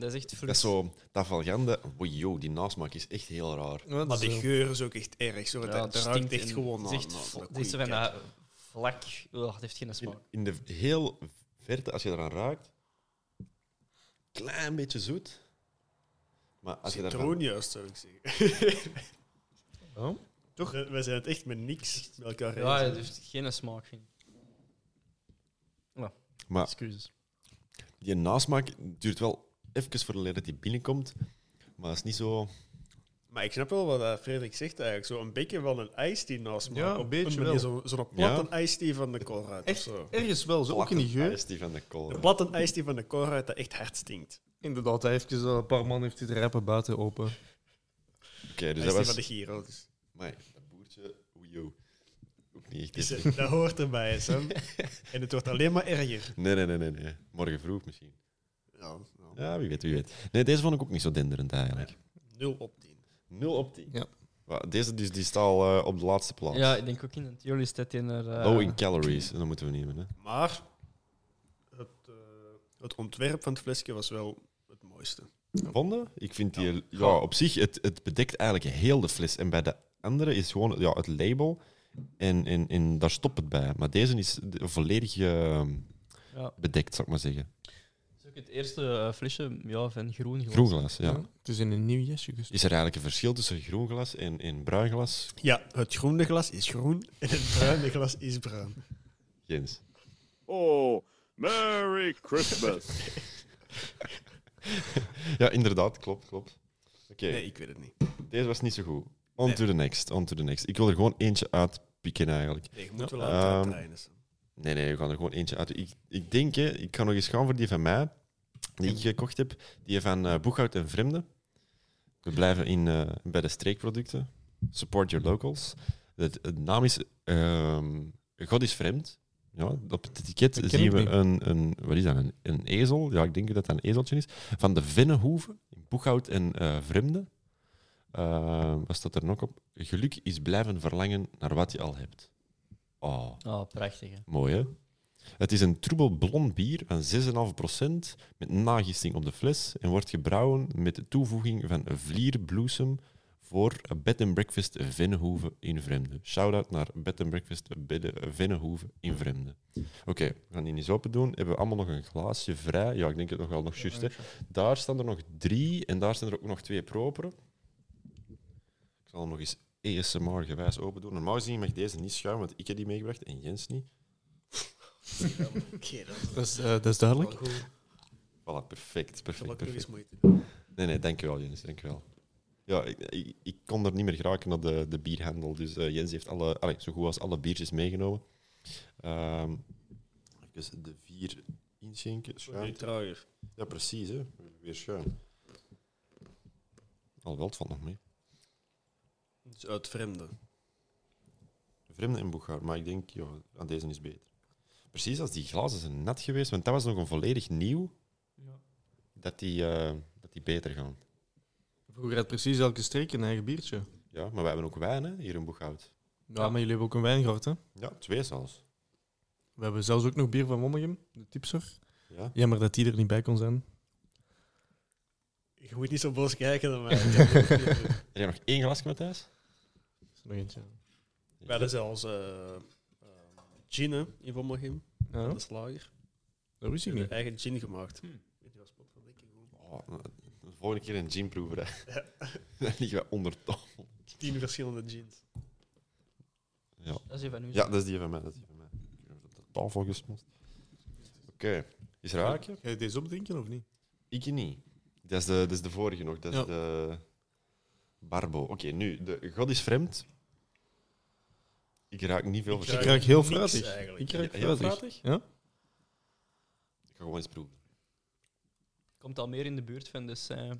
dat is echt Dat is fruit. zo, dafalgan, de, oei, joh, die nasmaak is echt heel raar. Maar de geur is ook echt erg. Zo, dat Ja, dat ruikt echt en gewoon het naar... is echt naar- vla- naar het is zo van koeienkak. dat vlak. Oh, het heeft geen In, smaak. in de heel verte, als je eraan raakt, klein beetje zoet. Maar als je daarvan... Citroen juist, zou ik zeggen. Oh. Toch? We we zijn het echt dus- met niks met elkaar Ja, eens. het heeft geen smaak, vind ik. Maar- Excuses. Die nasmaak duurt wel even voordat die binnenkomt. Maar dat is niet zo... Maar ik snap wel wat eh, Frederik zegt eigenlijk. Zo een beetje wel een ijstie naast me. Ja, een Op beetje manier wel. zo- Zo'n platte Ja. ijstie van de Colruyt. Echt? Echt zo. Ergens wel, zo ook in die platte geur. ijs die van de kool. Een platte ijstie van de Colruyt dat echt hard stinkt. Inderdaad, hij heeft eh, een paar man heeft hij de rappen buiten open. Oké, dus dat ijstie was... van de Giro. Dus. Amai, dat boertje, oei, joh. Ook niet echt. Dus, even- eh, dat hoort erbij, hè, Sam. en het wordt alleen maar erger. Nee, nee, nee, nee, nee. Morgen vroeg misschien. Ja, ja. Ja, wie weet, wie weet. Nee, deze vond ik ook niet zo denderend eigenlijk. 0 op 10. 0 op 10. Ja. Wa- Deze dus, die staat al eh, op de laatste plaats. Ja, ik denk ook in het jullie staat in er... eh, Low in calories, en dat moeten we nemen. Hè. Maar het, eh, het ontwerp van het flesje was wel het mooiste. Vonden? Ik vind die ja. Goh. op zich, het, het bedekt eigenlijk heel de fles. En bij de andere is gewoon ja, het label en, en, en daar stopt het bij. Maar deze is de- volledig eh, Ja. bedekt, zou ik maar zeggen. Het is ook het eerste eh, flesje ja, van groen glas. Groen glas, ja. Het is in een nieuw jasje gestopt. Is er eigenlijk een verschil tussen groen glas en, en bruin glas? Ja, het groene glas is groen en het bruine glas is bruin. Jens. Oh, Merry Christmas. Ja, inderdaad, klopt, klopt. Oké, Nee, ik weet het niet. deze was niet zo goed. On to the next, on to the next. Ik wil er gewoon eentje uitpikken eigenlijk. Nee, je moet wel Ja. aan het Ehm, uitdraaien, Sam. Nee, nee, we gaan er gewoon eentje uit. Ik, ik denk, hè, ik kan nog eens gaan voor die van mij, die ik gekocht heb. Die van eh Boeghout en Vreemden. We blijven in, eh, bij de streekproducten. Support your locals. Het, het naam is ehm, God is Vreemd. Ja, op het etiket Dat ken zien ik we niet. een, een, wat is dat, een, een ezel. Ja, ik denk dat dat een ezeltje is. Van de Vinnenhoeve in Boeghout en eh Vreemden. Eh, wat staat er nog op? Geluk is blijven verlangen naar wat je al hebt. Oh. Oh, prachtig. hè. Mooi, hè? Het is een troebel blond bier van 6,5% met nagisting op de fles en wordt gebrouwen met de toevoeging van vlierbloesem voor Bed and Breakfast Vennenhoeve in Vreemde. Shout-out naar Bed and Breakfast Bedde- Vennenhoeve in Vreemde. Oké, we gaan die niet open doen. Hebben we allemaal nog een glaasje vrij? Ja, ik denk het nog wel nog juist. Hè. Daar staan er nog drie en daar staan er ook nog twee properen. Ik zal hem nog eens ASMR-gewijs open doen. Normaal gezien mag deze niet schuimen, want ik heb die meegebracht en Jens niet. Oké, dat Dat is, eh, dat is duidelijk. is wel goed. Voilà, perfect. zal perfect, ook nog eens perfect. moeite doen. Nee, nee, dankjewel, Jens. Dankjewel. Ja, ik, ik, ik kon er niet meer geraken naar de, de bierhandel. Dus eh, Jens heeft alle, allee, zo goed als alle biertjes meegenomen. Ehm even de vier inschenken. Sorry, Schuim. trager. Ja, precies. Hè. Weer schuim. Alhoewel, het valt nog mee. Het is uit vreemde. Vreemde en Boegaar, maar ik denk, ja, aan deze is beter. Precies als die glazen zijn nat geweest, want dat was nog een volledig nieuw, Ja. dat die, eh, dat die beter gaan. Vroeger had precies elke streek een eigen biertje. Ja, maar wij hebben ook wijn hè, hier in Boeghout. Ja, maar jullie hebben ook een wijngaard, hè? Ja, twee zelfs. We hebben zelfs ook nog bier van Wommegem, de tipser. Ja. Jammer dat die er niet bij kon zijn. Je moet niet zo boos kijken naar mij. Ik heb het ook niet doen. Er is nog één glasje, Matthijs? Er is er nog eentje. Wij hadden zelfs eh, eh, gin hè, in Wommelgem, Ja, de slager. dat wist ik niet. Eigen gin gemaakt. Hmm. Die was wel lekker goed. Oh, de volgende keer een ginproever. hè. Dan liggen wij onder tafel. Tien verschillende gins. Ja. Dat is even nu. ja, dat is die van mij. Dat is die van mij. Ik heb de tafel gesmost. Oké, is er haakje? Ga je deze opdrinken of niet? Ik niet. Dat is de, dat is de vorige nog. Dat is Ja. de Barbo. Oké, nu, de God is vreemd. Ik raak niet veel Ik verschil. raak heel niks fruitig. eigenlijk. Ik raak Ja, heel fruitig. fruitig? Ja? Ik ga gewoon eens proeven. Komt al meer in de buurt van, dus eh,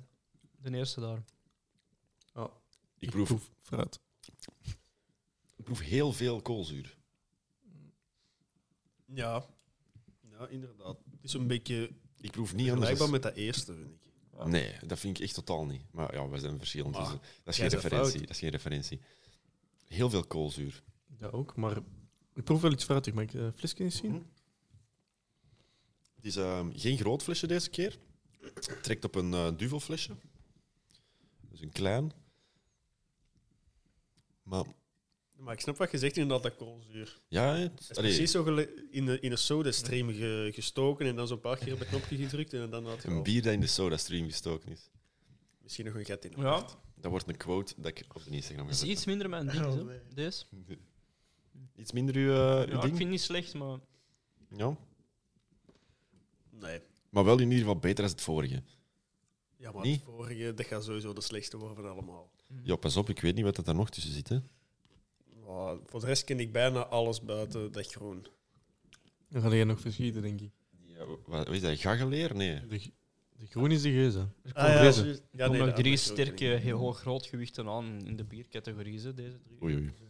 de eerste daar. Ik proef, fruit. ik proef heel veel koolzuur. Ja. ja, inderdaad. Het is een beetje Ik proef niet anders. vergelijkbaar met dat eerste, vind ik. als- Nee, dat vind ik echt totaal niet. Maar ja, we zijn verschillend. Maar dus dat is geen jij bent referentie. fout. Dat is geen referentie. Heel veel koolzuur. Ja, ook. Maar ik proef wel iets fruitig. Mag ik eh flesje eens zien? Het is ehm, geen groot flesje deze keer. Het trekt op een eh, duvelflesje. Dus een klein. Maar Maar ik snap wat je zegt inderdaad, dat koolzuur. ja, het, Het is allee, precies zo gele- in, de, in een sodastream ge- gestoken en dan zo'n paar keer op het knopje gedrukt en dan had je een al bier dat in de sodastream gestoken is. misschien nog een gat in. Ja, Dat wordt een quote dat ik op de Instagram ga dat is zetten. iets minder mijn ding, Oh, zo, nee. deze. Iets minder uw, eh, uw Ja, ik ding? vind het niet slecht, maar Ja. Nee. Maar wel in ieder geval beter dan het vorige. Ja, maar Niet? het vorige, dat gaat sowieso de slechtste worden van allemaal. Ja, pas op, ik weet niet wat dat daar nog tussen zit. Hè. Ja, voor de rest ken ik bijna alles buiten dat groen. Dan ga je nog verschieten, denk ik. Wat is dat? Gaggeleer? Nee. De, g- de groen is de geuze. er Ah, ja, deze. juist. ja, komen nee, Dus nog dat drie is ook sterke, niet. heel hoog grootgewichten aan in de biercategorie, ze, deze drie. Oei, oei. Maar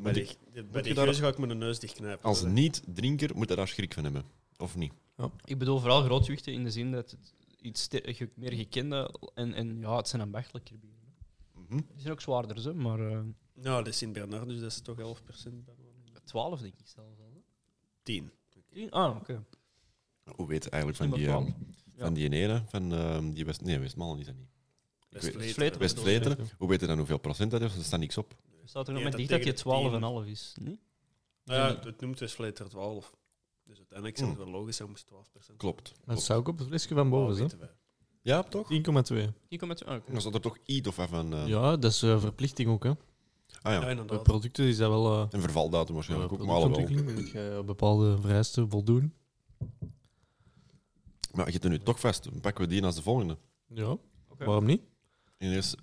Nou, Bij Moet die, ik- die- bij moet die je daar- geuze ga ik mijn neus dichtknijpen. Als hoor. niet-drinker moet je daar schrik van hebben. Of niet? Ik bedoel vooral grootgewichten in de zin dat het iets ster- ge- meer gekende en, en ja, het zijn ambachtelijke bieren. Mhm. Die zijn ook zwaarder, zo, maar eh Nou, dat is Sint-Bernard, dus dat is toch 11% bij me. 12 denk ik zelfs al. hè. 10. Tien? Ah, oké. Hoe weet je eigenlijk van Nummer die, eh, 12. Ja. van die ene? Van eh, die West... Nee, Westmallen is dat niet. Westvleteren. Vleteren. West-Vleteren. Hoe weet je dan hoeveel procent dat is? Er staat niks op. Er staat er nog Ja, met dat dicht dat tegen je de 12,5 is. Nee? Nou ja, het noemt Westvleteren 12. Dus uiteindelijk is het Hmm. wel logisch, dat moest 12%. Klopt. Dat Klopt. zou ik op het flesje van boven, hè? Ah, weten wij. Ja, toch? 10,2. Hier komt het. ah, oké. Dan staat er toch iets of even... eh, Ja, dat is eh, verplichting ook, hè. Ah Ja, ja, Bij inderdaad. producten is dat wel... eh een vervaldatum waarschijnlijk bij ook, maar alhoewel. productontwikkeling moet eh, je op bepaalde vereisten voldoen. Maar je hebt er nu toch vast. Dan pakken we die als de volgende. Ja, Oké. waarom niet? Ineens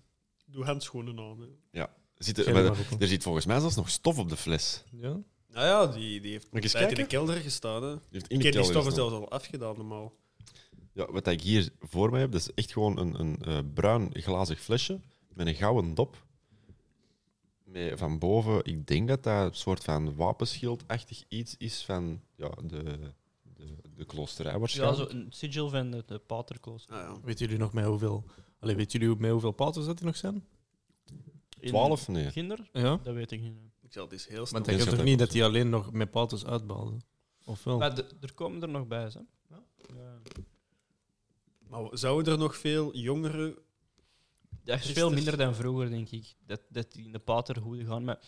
Doe handschoenen aan. hè. zit Geen er, maar maar op. er zit volgens mij zelfs nog stof op de fles. Ja. Nou ja, die, die heeft Moet ik eens tijd in de kijken? kelder gestaan. Hè. Die heeft in Ik de heb die kelder stoffen gestaan. zelfs al afgedaan normaal. Ja, wat ik hier voor mij heb, dat is echt gewoon een, een eh, bruin glazig flesje met een gouden dop. Met van boven, ik denk dat dat een soort van wapenschildachtig iets is van ja, de, de, de kloosterij Ja, waarschijnlijk. zo een sigil van de, de paterklooster. Ah, ja. Weten jullie nog met hoeveel... Allee, weten jullie met hoeveel paters dat er nog zijn? In 12? Nee. Ginder? Ja. Dat weet ik niet. Ik zal dit heel snel... Want ik is heb toch dat niet ook dat die alleen nog met paters uitbaalden? Of wel? Maar de- er komen er nog bij, hè? Ja. Maar zouden er nog veel jongeren... Dat is Is veel er- minder dan vroeger, denk ik. Dat, dat die in de paterhoede gaan. Maar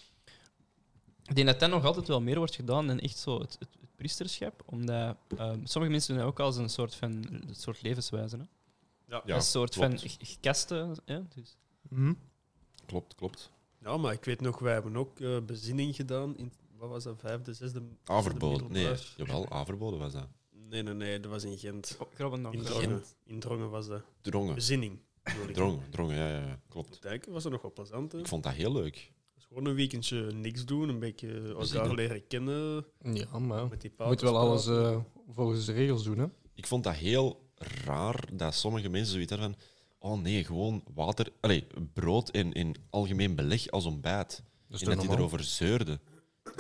ik denk dat dat nog altijd wel meer wordt gedaan dan echt zo het, het, het priesterschap. Omdat ehm, sommige mensen doen dat ook als een soort, van, een soort levenswijze. Hè? Ja, een soort klopt. van g- g- kasten. Hè? Dus. Mhm. Klopt, klopt. Ja, maar ik weet nog, wij hebben ook eh, bezinning gedaan in... Wat was dat? Vijfde, zesde... zesde Averboden. Nee, middelbaar. jawel, Averboden was dat. Nee, Nee, nee, nee, dat was in Gent. Grobben Oh, nog. In Drongen, in Drongen was dat. Drongen. Bezinning. bedoel ik. Drongen, drongen, ja, ja, ja, klopt. Dijken was er nog wel plezant. hè. Ik vond dat heel leuk. Dus gewoon een weekendje niks doen, een beetje elkaar leren kennen. Ja, maar Met die je moet wel alles eh, volgens de regels doen, hè? Dus Ik vond dat heel raar dat sommige mensen zoiets hebben van... Oh nee, gewoon water... Allee, brood in, in algemeen beleg als ontbijt. Dat en dat die erover zeurde.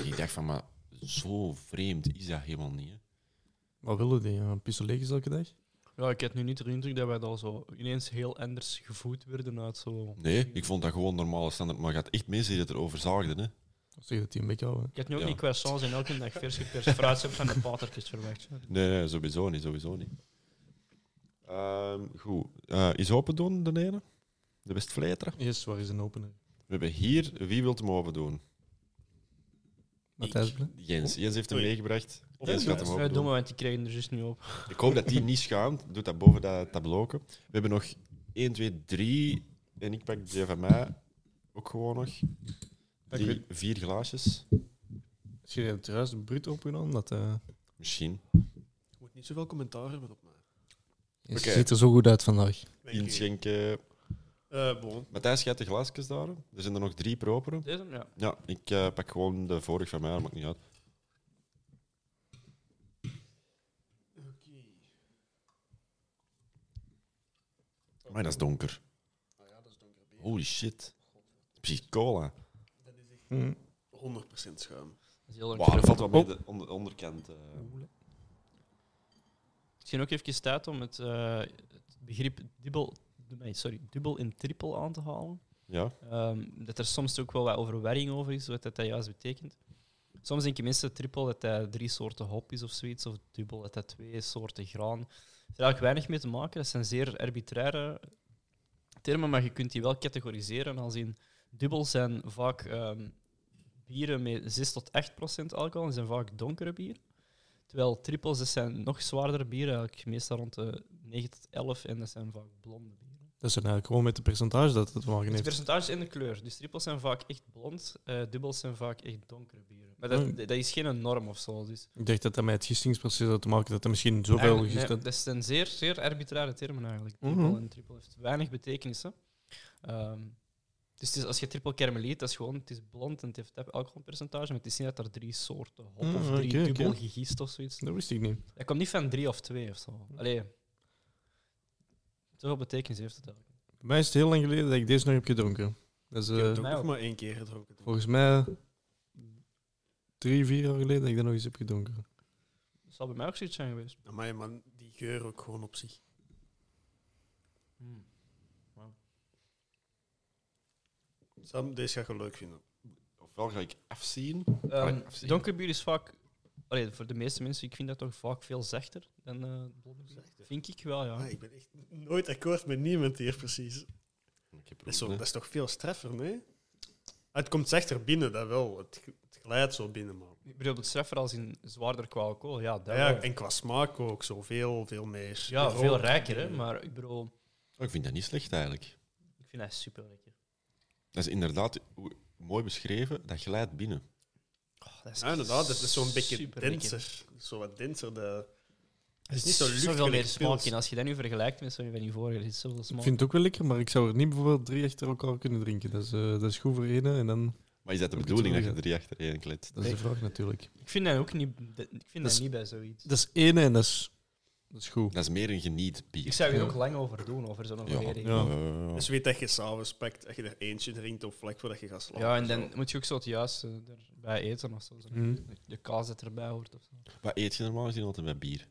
Ik dacht van, maar zo vreemd is dat helemaal niet. Hè. Wat willen die? Een pistoletjes elke dag? Ja, ik heb nu niet de indruk dat wij dan zo ineens heel anders gevoed werden uit zo... Nee, ik vond dat gewoon normale standaard. Maar je had echt mensen die het erover zaagden. Hè. Zeg dat die een beetje houden. Ik had nu ook Ja. niet croissants en elke dag verse geperst fruit van de patertjes verwacht. Nee, nee, sowieso niet. Sowieso niet. Ehm, goed. Eh, is open doen, de ene? De bestvleter. Yes, waar is een opener? We hebben hier... Wie wilt hem open doen? Matthijs Ble. Jens. Jens heeft hem Oei. meegebracht. Of Jens een gaat hem Wij open doen doen. maar, want die krijgen er dus niet op. Ik hoop dat die niet schaamt. Doet dat boven dat tabloken. We hebben nog 1, 2, 3. En ik pak die van mij ook gewoon nog. Drie, vier glaasjes. Als je het juist bruut opgedaan, dat... eh, Misschien. Ik eh, moet niet zoveel commentaar hebben op mij. Je Oké. ziet er zo goed uit vandaag. Dank u. Inschenken. Eh, bon. Matthijs, gaat de glaasjes daar. Er zijn er nog drie properen. Deze? Ja. Ja, ik eh, pak gewoon de vorige van mij. Dat maakt niet uit. Maar dat is donker. Ah Holy shit. Dat is Precies cola. Hm. 100% schuim. Dat is heel erg Oh. Wow, dat valt terug. wel mee de onder- onderkant. eh. Misschien ook even tijd om het, eh, het begrip dubbel, nee, sorry, dubbel en trippel aan te halen. Ja, Ehm, dat er soms ook wel wat overwerring over is, wat dat, dat juist betekent. Soms denken mensen triple dat dat drie soorten hop is of zoiets, of dubbel dat dat twee soorten graan. Er heeft eigenlijk weinig mee te maken, dat zijn zeer arbitraire termen, maar je kunt die wel categoriseren als in dubbel zijn vaak ehm, bieren met 6 tot 8 procent alcohol en zijn vaak donkere bieren. Terwijl trippels dat zijn nog zwaardere bieren, eigenlijk meestal rond de 9 tot 11 en dat zijn vaak blonde bieren. dat zijn eigenlijk gewoon met de percentage dat het wagen Het heeft. percentage en de kleur. Dus trippels zijn vaak echt blond, eh, dubbels zijn vaak echt donkere bieren. Maar dat, Oh. dat is geen norm of zo. Dus. Ik dacht dat dat met het gistingsproces had te maken dat er misschien zoveel Eigenlijk, gist nee, had. dat zijn zeer, zeer arbitraire termen eigenlijk. Mhm. Triple en triple heeft weinig betekenissen. Ehm, dus het is, als je triple kermeliet, dat is gewoon, het is blond en het heeft dat alcoholpercentage, maar het is niet dat er drie soorten hop Mm, of drie oké, oké. dubbel gegist of zoiets. Dat wist ik niet. Dat komt niet van drie of twee of zo. Allee, zoveel betekenis heeft het eigenlijk. Bij mij is het heel lang geleden dat ik deze nog heb gedronken. Dat is Ik heb eh, het ook mij nog ook. maar één keer gedronken. volgens mij drie, vier jaar geleden dat ik dat nog eens heb gedronken. Dat zal bij mij ook zoiets zijn geweest. Amai, man, die geur ook gewoon op zich. Hmm. Sam, deze ga je leuk vinden. ofwel ga ik afzien. Ehm, Maar- Donker donkerbier is vaak, allee, voor de meeste mensen, ik vind dat toch vaak veel zachter dan eh blonde bier. Vind ik wel, ja. Ah, ik ben echt nooit akkoord met niemand hier, precies. Ik heb er Dat is, zo- ook, dat hè. is toch veel straffer, nee? Ah, Het komt zachter binnen, dat wel. Het, g- het glijdt zo binnen, man. Ah, Ik bedoel, het straffer als in zwaarder qua alcohol, ja, dat Ja, wel. en qua smaak ook zo veel, veel meer. ja veel rood. rijker, hè. Maar ik bedoel, Oh, ik vind dat niet slecht eigenlijk. ik vind dat super lekker. Dat is inderdaad hoe- mooi beschreven. Dat glijdt binnen. dat is Ja, inderdaad, Oh, dat is zo'n beetje superlekker. denser. Zo wat denser. De... Er is niet zo luchtig zoveel meer gelijk smaak pils. in. Als je dat nu vergelijkt met zo'n van die vorige, er zit zoveel Ik smaak. vind het ook wel lekker, maar ik zou er niet bijvoorbeeld drie achter elkaar kunnen drinken. Dat is, eh, dat is goed voor ene en dan... Maar is dat de Ook bedoeling dat je natuurlijk, drie achter één kletst? Dat is de vraag natuurlijk. Ik vind dat ook niet, dat- ik vind Dat dat is- niet bij zoiets. Dat is ene en dat is, dat is goed. Dat is meer een genietbier. Ik zou hier Ja. ook lang over doen, over zo'n Ja. verleden. Ja. Eh, Dus weet dat je s'avonds pakt, dat je er eentje drinkt op vlak voordat je gaat slapen. Ja, en zo. dan moet je ook zo het juiste erbij eten of zo. zo. Mm. Mhm. De kaas dat erbij hoort of zo. wat eet je normaal gezien altijd bij bier?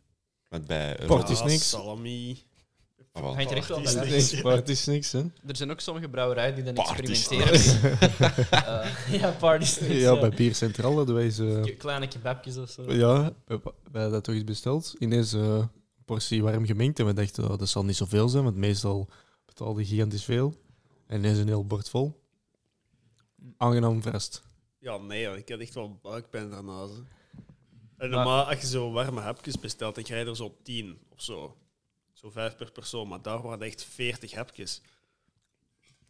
Want bij... eh, Port is Ja, niks. Salami. Ah, wel. Hangt er echt wel Party bij, is hè. niks. Nee, maar het is niks, hè? Er zijn ook sommige brouwerijen die dan Parties. experimenteren. Eh, ja, parties. Ja, bij Bier Centraal hadden wij ze... Ke- Kleine kebabjes of zo. Ja, we, we hadden dat toch iets besteld. Ineens eh, een portie warm gemengd. En we dachten, oh, dat zal niet zoveel zijn, want meestal betaalde je gigantisch veel. En ineens een heel bord vol. Aangenaam vast. Ja, nee, hoor, ik had echt wel buikpijn daarna. hè. En Maar- normaal, als je zo warme hapjes bestelt, dan krijg je er zo tien of zo. Zo vijf per persoon, maar daar waren echt veertig hapjes.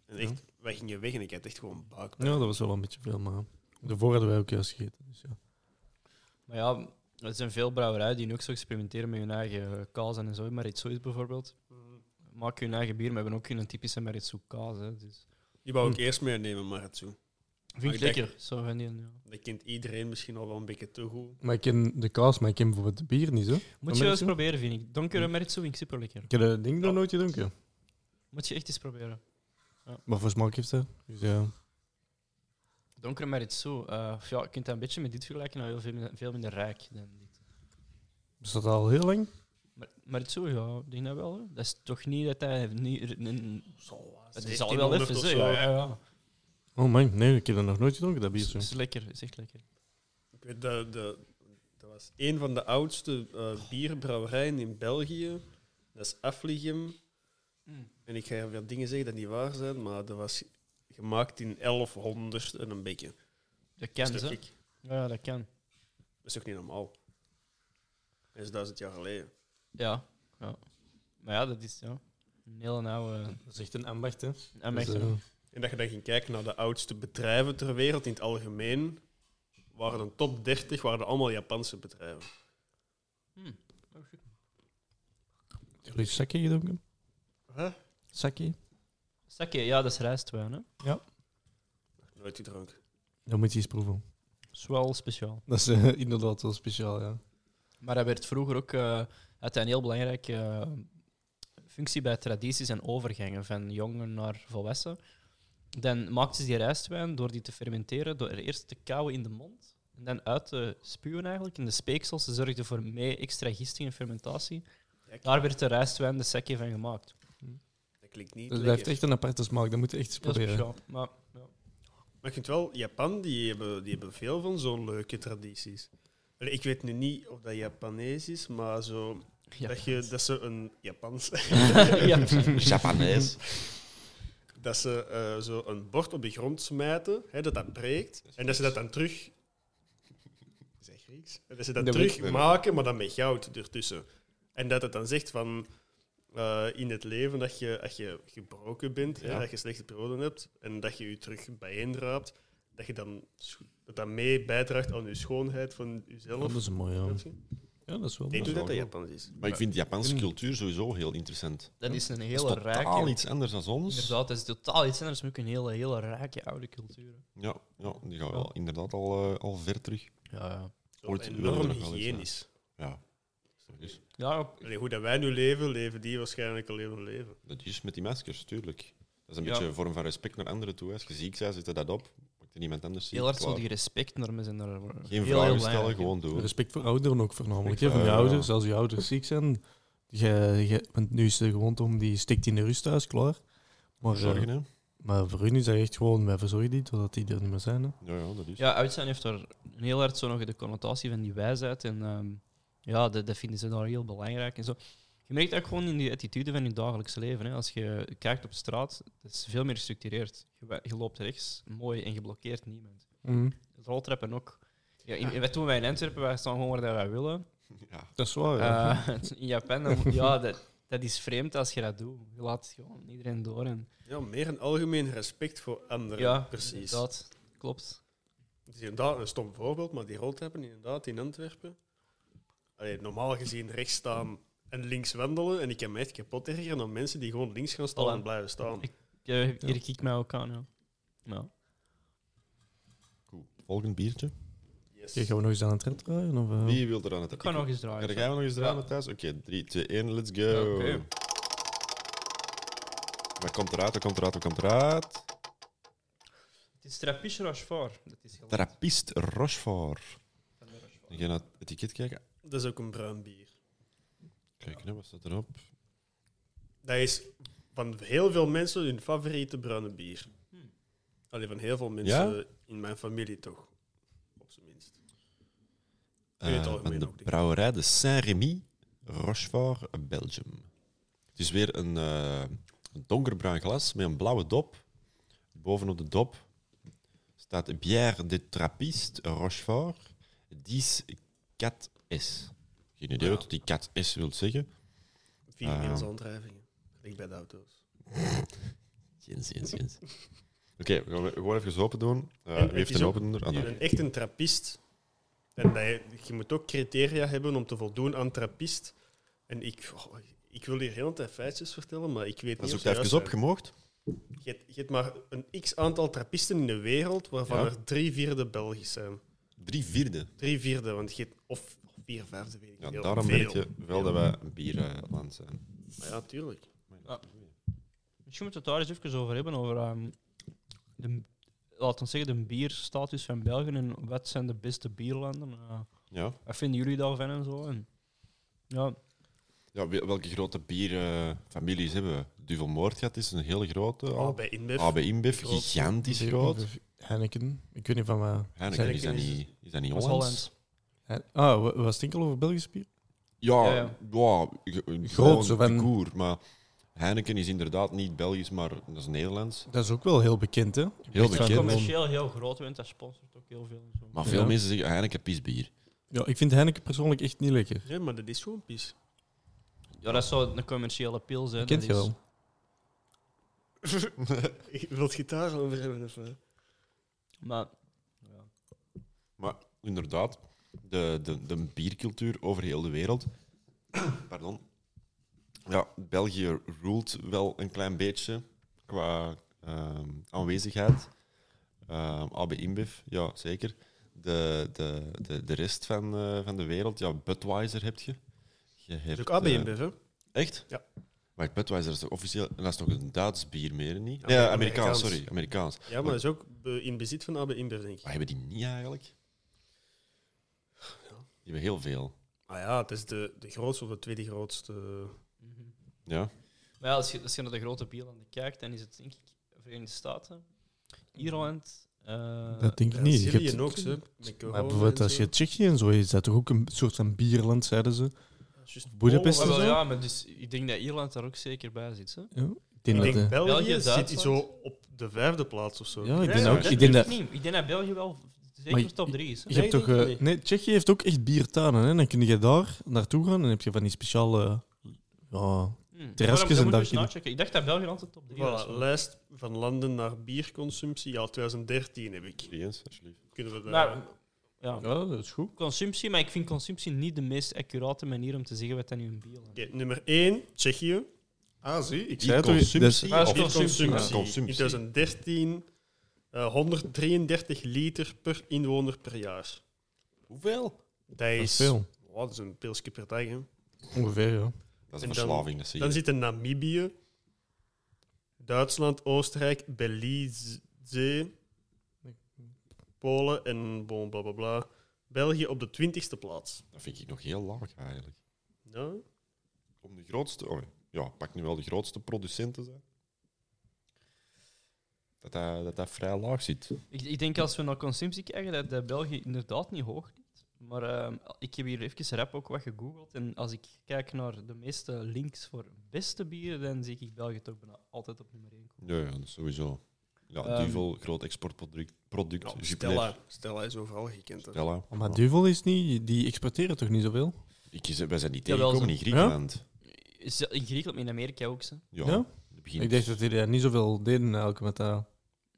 En echt, wij gingen weg en ik had echt gewoon buikpijn. Ja, dat was wel een beetje veel, maar daarvoor hadden wij ook juist gegeten. Dus ja. Maar ja, Er zijn veel brouwerijen die nu ook zo experimenteren met hun eigen eh, kaas en zo. Maritsu is bijvoorbeeld. Maak hun eigen bier, maar hebben ook hun typische Maritsu kaas. Hè, dus. Die wou ik eerst meer nemen, maar het zo. Vind ik ik denk- Ah, lekker. Zo van die, ja. Dat kent iedereen misschien al wel een beetje te goed. Maar ik ken de kaas, maar ik ken bijvoorbeeld het bier niet, zo. Moet je wel eens proberen, vind ik. Donkere Maritsu vind ik super lekker. Ik heb dat ding nog nooit gedronken. Moet je echt eens proberen. Maar voor smaak heeft dat. Dus ja. Donkere Maritsu, eh, ja, je kunt dat een beetje met dit vergelijken, maar heel veel, minder- veel minder rijk dan dit. Is dat al heel lang? Maar, maar het zo, ja, ik denk dat wel. Hè. Dat is toch niet dat hij niet. nee, het is al wel 1700 even, of hè. zo, Ja, hè. ja, ja. Oh man, nee, ik heb dat nog nooit gedronken, dat bier. Het Zo. is lekker, het is echt lekker. Ik weet dat, dat, dat was een van de oudste eh, bierbrouwerijen in België. Dat is Affligem. Mm. En ik ga weer dingen zeggen dat niet waar zijn, maar dat was gemaakt in 1100 en een beetje. Dat kan, Dat is toch ze. gek? Ja, dat kan. Dat is toch niet normaal? Dat is duizend jaar geleden. Ja, ja. Maar ja, dat is ja. een hele oude. Dat is echt een ambacht, hè? En Dus, eh, En dat je dan ging kijken naar de oudste bedrijven ter wereld in het algemeen, waren de top 30 waren allemaal Japanse bedrijven. Heb je sake gedronken? Huh? Sake? Sake, ja, dat is rijstwijn. Hè. Nooit gedronken. Dat moet je eens proeven. Dat is wel speciaal. Dat is eh, inderdaad wel speciaal, ja. Maar hij werd vroeger ook. eh had hij een heel belangrijke eh, functie bij tradities en overgangen van jongen naar volwassen. Dan maakten ze die rijstwijn door die te fermenteren, door er eerst te kauwen in de mond. En dan uit te spuwen eigenlijk in de speeksels. Ze zorgden voor mee extra gisting en fermentatie. Kijk. Daar werd de rijstwijn de sekje van gemaakt. Dat klinkt niet Dus Dat lekker. heeft echt een aparte smaak, dat moet je echt eens Heel proberen. speciaal. Maar, ja. Maar ik vind wel, Japan, die hebben, die hebben veel van zo'n leuke tradities. Allee, Ik weet nu niet of dat Japanees is, maar zo, dat, je, dat ze een Japans... Ja. Japanees. dat ze eh, zo een bord op de grond smijten, hè, dat dat breekt, en dat ze dat dan terug... Is dat Grieks? En Dat ze dat Dat terug weet maken, maar dan met goud ertussen. En dat het dan zegt van... eh, in het leven dat je, als je gebroken bent, hè, dat je slechte perioden hebt, en dat je je terug bijeenraapt, dat je dan scho- dat, dat mee bijdraagt aan je schoonheid van Oh, jezelf. dat is een mooie, ja. Ja, dat is wel. Ik denk wel dat dat goed. Japans is. Maar ik vind Japanse cultuur sowieso heel interessant. Dat is een Dat hele is totaal rijke. iets anders dan ons. Inderdaad, dat is totaal iets anders, maar ook een hele, hele rijke oude cultuur. Ja, ja, die gaan wel inderdaad al, eh, al ver terug. Ja, ja. Zo Ooit wilden we enorm nog wel eens, hygiënisch. Ja. Dat is, ja op- Allee, hoe dat wij nu leven, leven die waarschijnlijk alleen hun leven. dat is met die maskers, tuurlijk. Dat is een Ja. beetje een vorm van respect naar anderen toe. hè. Als je ziek bent, zet je dat op. Maakt er niemand anders ziek. Heel hard zo klaar. die respectnormen zijn er. Geen Geen vragen stellen, gewoon doen. Respect voor ouderen ook voornamelijk. Respect hè, van voor je ouderen, ouders, als je ouders ziek zijn. Je, je, want nu is de gewoonte om die stikt in de rusthuis klaar. Maar, eh, Zorgen, hè? maar voor hun is dat echt gewoon, wij verzorgen die totdat die er niet meer zijn. Hè. Ja, ja, dat is. Ja, uit zijn heeft daar heel hard zo nog de connotatie van die wijsheid. En ehm, ja, dat, dat vinden ze daar heel belangrijk en zo. Je merkt dat gewoon in die attitude van je dagelijks leven. Hè. Als je kijkt op straat, het is veel meer gestructureerd. Je, wa- je loopt rechts, mooi, en je blokkeert niemand. Mm. Roltrappen ook. Ja, in, Wat doen wij in Antwerpen? Wij staan gewoon waar dat wij willen. Ja. Dat is waar, Eh, in Japan, dan moet- ja, dat, dat is vreemd als je dat doet. Je laat gewoon iedereen door. En, Ja, meer een algemeen respect voor anderen. ja, precies. Het inderdaad, klopt. is inderdaad een stom voorbeeld, maar die roltrappen inderdaad in Antwerpen. Allee, normaal gezien rechts staan en links wandelen. En ik kan me echt kapot ergeren aan mensen die gewoon links gaan staan Voilà. en blijven staan. Ik- Ja, hier kijk ik mij ook aan, ja. Ja. Goed. Volgend biertje. Yes. Kijk, gaan we nog eens aan het red draaien? Of, eh? Wie wil er aan het Ik kan nog eens draaien. Ga jij Oh. nog eens draaien thuis? Oké, 3, 2, 1, let's go. Oké. Wat komt eruit, wat komt eruit, wat komt eruit? Het is Trapiche Rochefort. Dat is heel Therapist Rochefort. Ik ga naar het etiket kijken. Dat is ook een bruin bier. Kijk, hè, wat staat erop? Dat is van heel veel mensen hun favoriete bruine bier. Hmm. Alleen van heel veel mensen in mijn familie toch. Op zijn minst. In Eh, het algemeen van de ook, denk ik. brouwerij de Saint-Rémy, Rochefort, Belgium. Het is weer een, eh, een donkerbruin glas met een blauwe dop. Bovenop de dop staat Bière de Trappiste Rochefort 10-4S. Geen idee wat die 4S wil zeggen. Vier Ah. Nederlandse aandrijvingen. Gelijk bij de auto's. Jens, Jens, Jens. Oké, we gaan we gewoon even open doen. Eh, En wie heeft het is een ook- open? Ah, daar. Ik ben echt een trappist. En dat je, je moet ook criteria hebben om te voldoen aan trappist. En ik, oh, ik wil hier heel de tijd feitjes vertellen, maar ik weet Dat niet is of ook ze juist even zijn. op, gemoogd. Je hebt, je hebt maar een x aantal trappisten in de wereld, waarvan Ja. er drie vierde Belgisch zijn. Drie vierde. Drie vierde, want je hebt, of vier vijfde, weet ik Ja, niet. heel daarom veel. weet je wel dat wij een bierland zijn. Maar ja, tuurlijk. Misschien moeten we het daar eens even over hebben, over ehm, de, laten we zeggen, de bierstatus van België en wat zijn de beste bierlanden. eh Ja. wat vinden jullie daarvan en zo? En, ja, ja wel- welke grote bierfamilies hebben we? Duvelmoord gehad is een hele grote. Ah, AB, bij InBev. AB InBev, Groot. gigantisch groot. Heineken. Ik weet niet van waar. Heineken, is dat Heineken is- niet, is dat niet dat is Hollands? Hollands. Hein- Ah, wa- was het enkel over Belgische bier? Ja, ja, Ja, ja. ge- Groot, gewoon zo van- de koer, maar Heineken is inderdaad niet Belgisch, maar dat is Nederlands. Dat is ook wel heel bekend, hè? Heel Ik vind bekend. het Commercieel heel groot, want dat sponsort ook heel veel. en zo. Maar veel Ja. mensen zeggen Heineken pisbier. Ja, ik vind Heineken persoonlijk echt niet lekker. Nee, maar dat is gewoon pies. Ja, dat zou een commerciële pil zijn. Dat kent je dat is- wel. Ik wil het gitaar over hebben. Of, eh? Maar Maar inderdaad, de, de, de biercultuur over heel de wereld. Pardon. Ja, België roelt wel een klein beetje qua ehm, aanwezigheid. Ehm AB InBev, ja zeker. De, de, de, de rest van, eh, van de wereld, ja, Budweiser heb je. je Dat is hebt, ook AB eh, InBev, hè? Echt? Ja. Maar Budweiser is toch officieel... en Dat is toch een Duits bier meer, niet? Ja, Nee, Amerikaans, Amerikaans. sorry. Amerikaans. Ja, maar dat is ook be- in bezit van AB InBev, denk ik. Maar hebben die niet eigenlijk? Die hebben heel veel. Ah ja, het is de, de grootste of de tweede grootste. eh, Ja. mhm. Maar ja, als je, als je naar de grote bierlanden kijkt, dan is het denk ik Verenigde Staten, Ierland. eh, dat denk ik Ja, niet. Je Syrië hebt- ook, hè? Met corona Maar bijvoorbeeld en als zo. je Tsjechië en zo is, dat toch ook een soort van bierland, zeiden ze. Juist Boedapest maar en wel, zo. ja, maar dus, ik denk dat Ierland daar ook zeker bij zit. Hè? Ik denk dat, Ik denk eh, België, België, zit Duitsland. zo op de vijfde plaats of zo. Ja, ik Nee, denk ja, ook. dat- Ik denk dat, niet. Ik denk dat België wel zeker Maar je- top 3 is. hè. je hebt Nee, toch, ik denk eh, niet. nee, Tsjechië heeft ook echt biertuinen. Hè? Dan kun je daar naartoe gaan en dan heb je van die speciale... Ja, Hmm. terrasjes Daarom- en moet daar je eens in- nachecken. Ik dacht dat België altijd top 3 was. Voilà, lijst van landen naar bierconsumptie. Ja, 2013 heb ik. Drie eens, alsjeblieft. Kunnen we daar... Maar, ja. ja, dat is goed. Consumptie, maar ik vind consumptie niet de meest accurate manier om te zeggen wat dat nu een bierland is. Oké, nummer 1, Tsjechië. Ah, zie, ik Die consumptie dat is of consumptie. consumptie. In 2013 eh, 133 liter per inwoner per jaar. Hoeveel? Dat is, Dat is veel. Oh, dat is een pilsje per dag. Hè. Ongeveer, ja. Dat is En een dan- verslaving, dat zie je. Dan zitten Namibië, Duitsland, Oostenrijk, Belize, Polen en bon, bla bla bla. België op de 20ste plaats. Dat vind ik nog heel laag eigenlijk. Ja. Om de grootste... oh, ja, pak nu wel de grootste producent te zijn. Dat hij, dat hij vrij laag zit. Ik, ik denk als we naar consumptie kijken, dat, dat België inderdaad niet hoog ligt. Maar ehm, ik heb hier even rap ook wat gegoogeld. En als ik kijk naar de meeste links voor beste bieren, dan zie ik België toch bijna altijd op nummer 1 komen. Ja, ja dat is sowieso. Ja, Ehm. Duvel, groot exportproduct. Product, Ja, Jupiler, Stella. Stella is overal gekend. hè. Stella. Maar Ja. Duvel is niet... Die exporteren toch niet zoveel? Ik, is- wij zijn niet Jawel, tegengekomen ze- in Griekenland. Is- In Griekenland, maar in Amerika ook. Zo. Ja. Ja? Het begin- Ik dacht dat die daar niet zoveel deden eigenlijk, met dat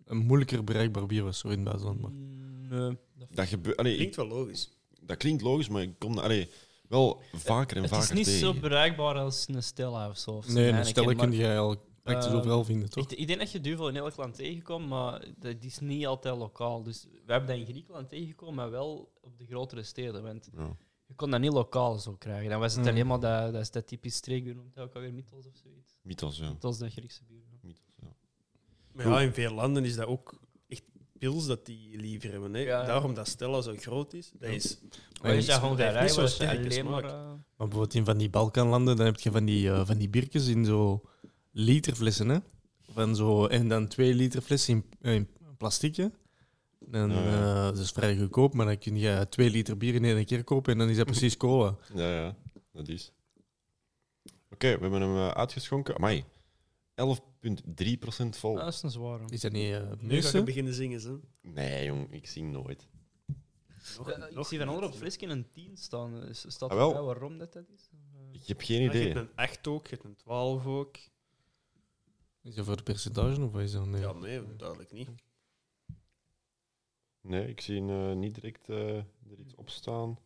een moeilijker bereikbaar bier was zo in het buitenland. Maar. Mm, nee, dat- dat, gebeurt. allee, ik- Klinkt wel logisch. dat klinkt logisch, maar ik kom allee, wel vaker en het vaker is niet tegen. zo bereikbaar als een Stella of zo. Of een Nee, een Heineken, stel maar kun je al Eh, praktisch Ehm, overal vinden, toch? ik, ik denk dat je duvel in elk land tegenkomt, maar dat is niet altijd lokaal. Dus we hebben dat in Griekenland tegengekomen, maar wel op de grotere steden. Want Ja. Je kon dat niet lokaal zo krijgen. Dan was het Mm. alleen maar dat, dat, is dat typisch streekbier, noemt dat ook alweer Mythos of zoiets. Mythos, ja. Mythos, dat Griekse bier. ja. Mythos, ja. Maar ja, in veel landen is dat ook echt pils dat die liever hebben. Hè. Ja. Daarom dat Stella zo groot is. Dat is Maar is die dat gewoon smaak dat heeft niet rij, zo'n was dat sterke alleen maar... smaak. eh, Maar bijvoorbeeld in van die Balkanlanden, dan heb je van die, eh, van die biertjes in zo literflessen, hè? Van zo, en dan twee liter flessen in, eh, in plastiekje. En Ja, ja. eh, dat is vrij goedkoop, maar dan kun je twee liter bier in één keer kopen en dan is dat precies cola. Ja, ja, dat is. Oké, we hebben hem eh, uitgeschonken. Amai, 11,3% vol. ah, dat is een zware. Is dat niet eh, het Nu ga meeste? ik beginnen zingen. Zo. Nee, jong, ik zing nooit. Ja, Eh, ik zie van onder op frisken een 10 staan. Dus Staat Ah, wel. erbij waarom dat, dat is? Ik heb geen Ah, Ah, Je idee. hebt een 8 ook, je hebt een 12 ook. Is dat voor de percentage of wat is dat? Nee. Ja, nee, duidelijk niet. Nee, ik zie eh, niet direct eh, er iets op staan.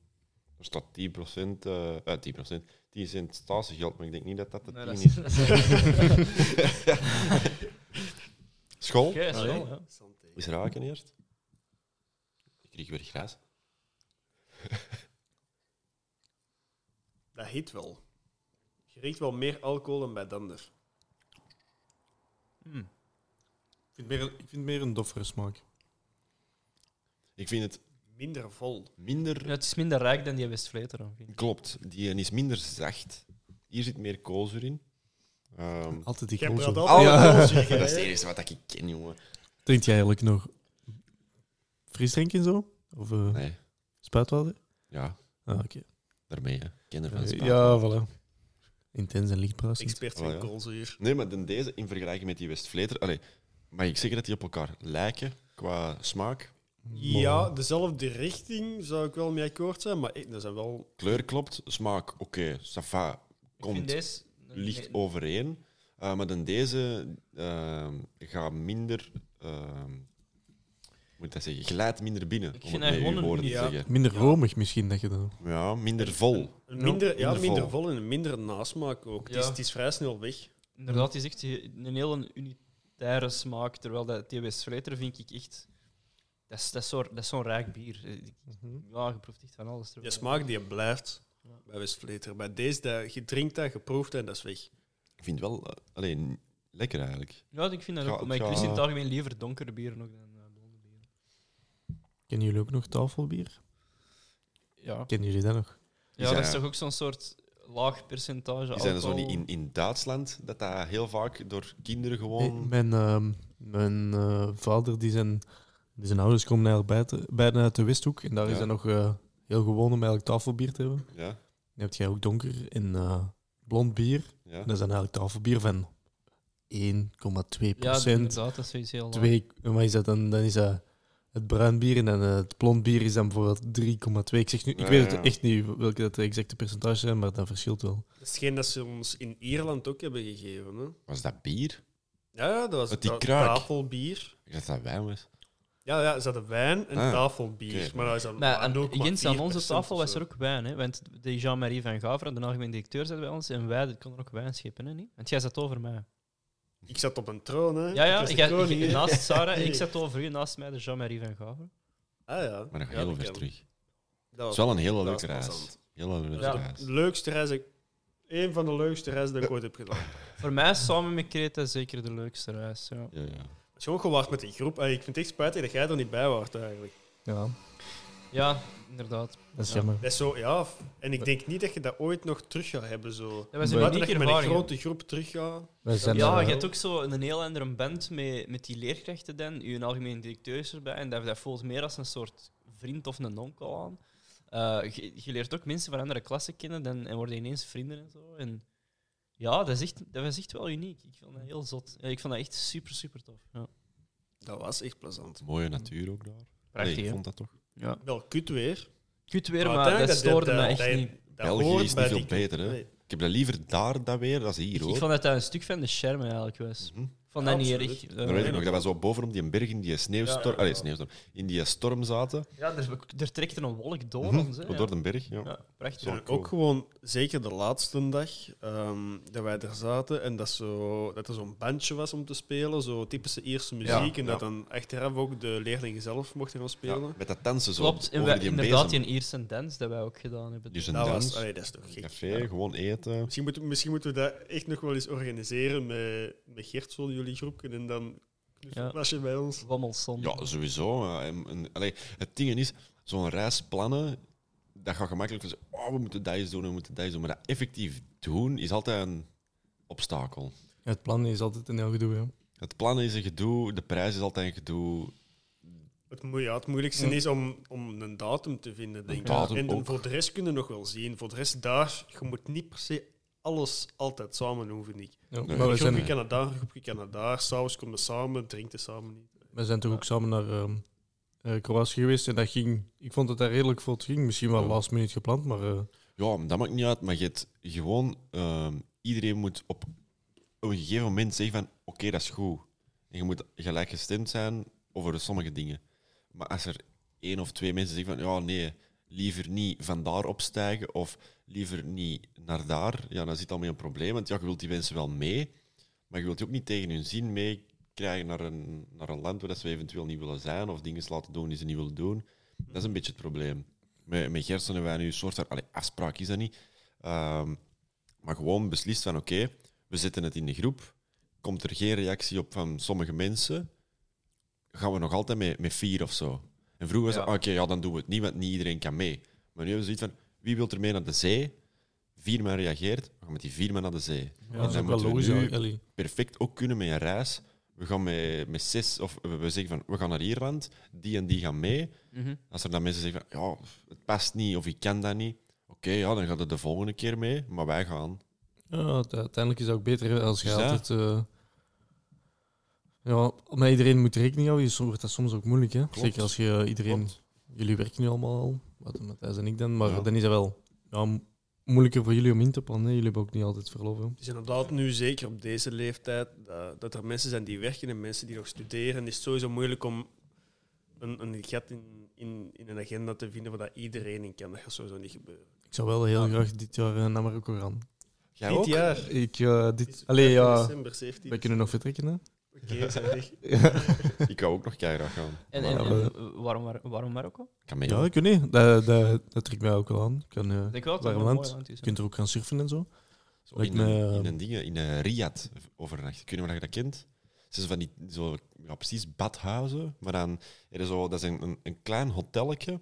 Er staat 10%, eh, eh, 10%, 10 cent statiegeld, maar ik denk niet dat dat de 10 Nee, dat is. is- dat is- School? Oké, dat is wel, ja. Is raken eerst? Ik kreeg weer gras. Dat heet wel. Je riekt wel meer alcohol dan bij Dander. Hmm. vind meer, ik vind meer een doffere smaak. Ik vind het Minder vol. minder... Ja, Het is minder rijk dan die Westvleter. dan, vind ik. Klopt, die is minder zacht. Hier zit meer koolzuur in. Ehm, Altijd Ik die heb dat koolzuur. altijd Ja. al dat is het gezien. enige wat ik ken, jongen. Drinkt jij eigenlijk nog frisdrank en zo? Of eh, Nee, spuitwater? ja, Ah, oké. daarmee, hè. Kenner van Eh, smaak. ja, voilà. Intens en lichtbruisend. Expert Oh, van ja. koolzuur. Nee, maar dan deze in vergelijking met die Westvleter... Allee, mag ik zeggen dat die op elkaar lijken qua smaak? Ja, dezelfde richting zou ik wel mee akkoord zijn, maar ik, dat zijn wel... Kleur klopt, smaak oké, safa Ik vind komt deze licht nee, overeen. Eh, maar dan deze eh, gaat minder... eh, hoe moet ik dat zeggen? Glijdt minder binnen, Ik om vind het dat met uw gewoon woorden te een- ja. zeggen. Minder romig misschien dat je dan. Ja, minder vol. Een minder, ja, Minder vol. minder vol en een minder nasmaak ook. Het, is, Ja. het is vrij snel weg. Inderdaad, die is echt een hele unitaire smaak. Terwijl dat die Westvleter vind ik echt. Dat is, dat is zo'n dat is zo'n rijk bier. Ik- Mhm. Ja, je proeft echt van alles. Je terwijl- smaak die blijft bij Westvleter. Bij deze, dat, je drinkt dat, je proeft dat en dat is weg. Ik vind het wel eh, alleen lekker eigenlijk. Ja, ik vind dat Ga- ook. Maar ik ga- lust in het algemeen liever donkere bieren nog dan eh, blonde bieren. Kennen jullie ook nog tafelbier? Ja, Kennen jullie dat nog? zijn ja dat is er- toch ook zo'n soort laag percentage. Die zijn er zo alcohol. niet in, in Duitsland, dat dat heel vaak door kinderen Nee, gewoon... mijn ehm, mijn eh, vader, die zijn, die zijn ouders komen eigenlijk buiten- bijna uit de Westhoek. En daar Ja. is dat nog eh, heel gewoon om eigenlijk tafelbier te hebben. Ja, Dan heb jij ook donker en eh, blond bier. ja. En dat is dan eigenlijk tafelbier van 1,2 Ja, procent. inderdaad, dat is zoiets heel laag. Twee, wat is dat dan? Dan is dat het bruin bier en dan eh, het blond bier is dan bijvoorbeeld 3,2. Ik, zeg nu, ik Ja, weet ja. het echt niet welke dat de exacte percentages zijn, maar dat verschilt wel. Dat is hetgeen dat ze ons in Ierland ook hebben gegeven. Hè. Was dat bier? Ja, ja, dat was Met die ta- kraak. tafelbier. Ik dacht dat dat wijn was. Ja, ja, ze hadden wijn en Ah, tafelbier. oké. Maar dat is dan Maar aan, 0,4% Jens, aan onze tafel of was zo. er ook wijn, hè? want de Jean-Marie van Gavra, de algemeen directeur, zat bij ons en wij konden ook wijn scheppen. Hè? niet? Want jij zat over mij. Ik zat op een troon, hè. Ja, ja, was de jij- koning, jij- hè. naast Sarah en ik zat over u, naast mij de Jean-Marie van Gavra. Ah, ja. Maar nog Ja, heel dat ver ken ik. terug. Dat Het is was wel een hele dat leuke is reis. plezant. Hele leuke Ja. reis. de leukste reis. ik- Een van de leukste reizen die ik ooit heb gedaan. Voor mij samen met Creta zeker de leukste reis. Ja. Ja, ja. Het is gewoon gewacht met die groep. Ey, Ik vind het echt spijtig dat jij er niet bij was eigenlijk. Ja, ja, inderdaad. dat is Ja. jammer. Dat is zo, ja. f- En ik denk niet dat je dat ooit nog terug gaat hebben. Zo. Dat was een Maar- Buiten dat unieke je met een ervaring. hè. grote groep terug gaat. Wij zijn, Ja, eh, je hebt ook zo een heel andere band met, met die leerkrachten dan. Je algemeen directeur is erbij en dat, dat voelt meer als een soort vriend of een onkel aan. Eh, je, je leert ook mensen van andere klassen kennen dan, en worden ineens vrienden en zo. En ja, dat is echt, dat was echt wel uniek. Ik vond dat heel zot. Ja, ik vond dat echt super, super tof. Ja. Dat was echt plezant. Mooie natuur ook daar. Nee, Prachtig, ik hè? vond dat toch. Ja. Wel kut weer. Kut weer, Maar maar dat uiteindelijk stoorde dat- me dat- echt dat- niet. Dat België hoort is bij niet veel die groep. beter, hè? Nee. Ik heb dat liever daar dan weer, dan hier Ik hoor. vond dat dat een stuk van de charme eigenlijk was. Mhm. Ik vond dat niet Absoluut. erg. Dat eh, weet ik nee, nog, dat was zo bovenop die berg in die sneeuwstorm, Ja, ja, ja. Allee, sneeuwstorm, in die storm zaten. ja, er, er trekte een wolk door Mhm. ons. Hè, Door ja. de berg, ja. Ja, prachtig. Zo. En cool. ook gewoon, zeker de laatste dag ehm, dat wij er zaten en dat, zo, dat er zo'n bandje was om te spelen, zo typische Ierse muziek. en dat ja. dan achteraf ook de leerlingen zelf mochten gaan Ja, spelen. met dat dansen zo. Klopt, en over wij, die inderdaad, bezem. die Ierse dance dat wij ook gedaan hebben. Dus een Dat was, dans, allee, dat is toch een gek. café, gewoon eten. Misschien moeten, misschien moeten we dat echt nog wel eens organiseren met, met Gert, zo, jullie groepje. En dan Ja. een klasje bij ons. Wammelson. Ja, sowieso. eh, en- en- allee, het ding is, zo'n reis plannen, dat gaat gemakkelijk van zeggen, oh, we moeten dat eens doen, we moeten dat eens doen. Maar dat effectief doen is altijd een obstakel. Het plan is altijd een heel gedoe. Ja. Het plannen is een gedoe, de prijs is altijd een gedoe. Het, moe- ja, het moeilijkste is om, om een datum te vinden, denk ik. datum en dan ook. voor de rest kunnen we nog wel zien. Voor de rest daar, je moet niet per se alles altijd samen doen, vind ik. Ja, Nee. maar Een we groepje zijn, Canada, een groepje Canada. S'avonds komen we samen, drinken samen niet. we zijn toch ook samen naar ehm, eh, Kroatië geweest en dat ging... Ik vond dat daar redelijk vlot ging. Misschien wel Ja. last minute gepland, maar... eh, Ja, maar dat maakt niet uit, maar je hebt gewoon, ehm, iedereen moet op een gegeven moment zeggen van, oké, dat is goed. En je moet gelijkgestemd zijn over sommige dingen. Maar als er één of twee mensen zeggen van ja, nee, liever niet van daar opstijgen of liever niet naar daar, ja, dan zit al mee een probleem. Want ja, je wilt die mensen wel mee, maar je wilt die ook niet tegen hun zin meekrijgen naar een, naar een land waar dat ze eventueel niet willen zijn of dingen laten doen die ze niet willen doen. Dat is een beetje het probleem. Met, met Gerson hebben wij nu een soort van allee, afspraak, is dat niet. Ehm, maar gewoon beslist van oké, we zetten het in de groep. Komt er geen reactie op van sommige mensen, gaan we nog altijd met, met vier of zo. En vroeger was Ja. dat, oké, ja, dan doen we het niet, want niet iedereen kan mee. Maar nu hebben we zoiets van, wie wil er mee naar de zee? Vier man reageert, we gaan met die vier man naar de zee. Ja, En dat is dan ook wel moeten we logisch. nu- eigenlijk, Ellie. perfect ook kunnen met een reis. We gaan met, met zes, of we we zeggen van, we gaan naar Ierland, die en die gaan mee. Mhm. Als er dan mensen zeggen van, ja, het past niet of ik kan dat niet. Oké, ja, dan gaat het de volgende keer mee, maar wij gaan. Ja, uite- uiteindelijk is het ook beter als je Dus ja. altijd... eh, ja, met iedereen moet rekening houden. Dus wordt dat soms ook moeilijk, hè? Zeker als je iedereen... Klopt. Jullie werken nu allemaal al, wat Matthijs en ik dan. Maar Ja. dan is het wel ja, mo- moeilijker voor jullie om in te plannen. hè. Jullie hebben ook niet altijd verlof, hè. Het is inderdaad nu zeker op deze leeftijd eh, dat er mensen zijn die werken en mensen die nog studeren. Het is sowieso moeilijk om een, een gat in, in, in een agenda te vinden waar dat iedereen in kan. Dat gaat sowieso niet gebeuren. Ik zou wel heel graag dit jaar eh, naar Marokko gaan. Jij Dit ook? jaar. Ik, eh, is dit, allee, ja, december 17. wij kunnen nog vertrekken, hè? Oké, we zijn weg. Ik wou ook nog keihard gaan. En, Maar en, Maar, en waarom, Mar- waarom Marokko? ik kan mee. Ja, ik weet niet. Dat, dat, dat trekt mij ook wel aan. Ik kan, eh, Ik denk wel dat het Warm een mooi land. land is. je kunt er ook gaan surfen en zo. Zo lijkt in, een, me- in een ding, in een riad overnachten. Ik weet niet of je dat kent. Ze zijn van die, zo, ja, precies badhuizen, maar dan er is zo, dat is een, een, een klein hotelletje.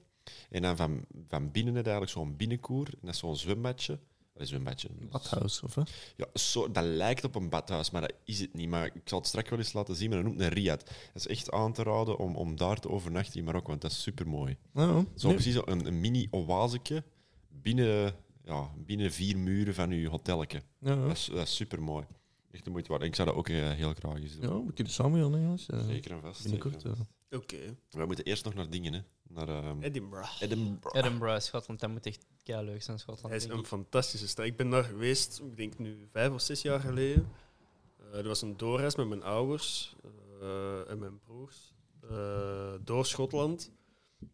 En dan van, van binnen heb je eigenlijk zo'n binnenkoer. En dat is zo'n zwembadje. Dat is zwembadje. dat is- Badhuis, of hè? Ja, zo, dat lijkt op een badhuis, maar dat is het niet. Maar ik zal het straks wel eens laten zien, maar dat noemt een riad. Dat is echt aan te raden om, om daar te overnachten in Marokko, want dat is super mooi. Ja, Zo nee. precies zo een, een mini oaseke binnen, ja, binnen vier muren van je hotelletje. Ja, ja. Dat is, super mooi. Echt de moeite waard. En ik zou dat ook eh, heel graag eens doen. Ja, we kunnen samen gaan, hè, jongens. Eh, Zeker en vast. Binnenkort, eh. zeker en vast. Oké, We moeten eerst nog naar dingen, hè. Naar ehm, Edinburgh. Edinburgh. Edinburgh, Schotland, dat moet echt kei leuk zijn, Dat Schotland. is denk een ik. fantastische stad. Ik ben daar geweest, ik denk nu vijf of zes jaar geleden. Eh dat was een doorreis met mijn ouders eh, en mijn broers eh, door Schotland.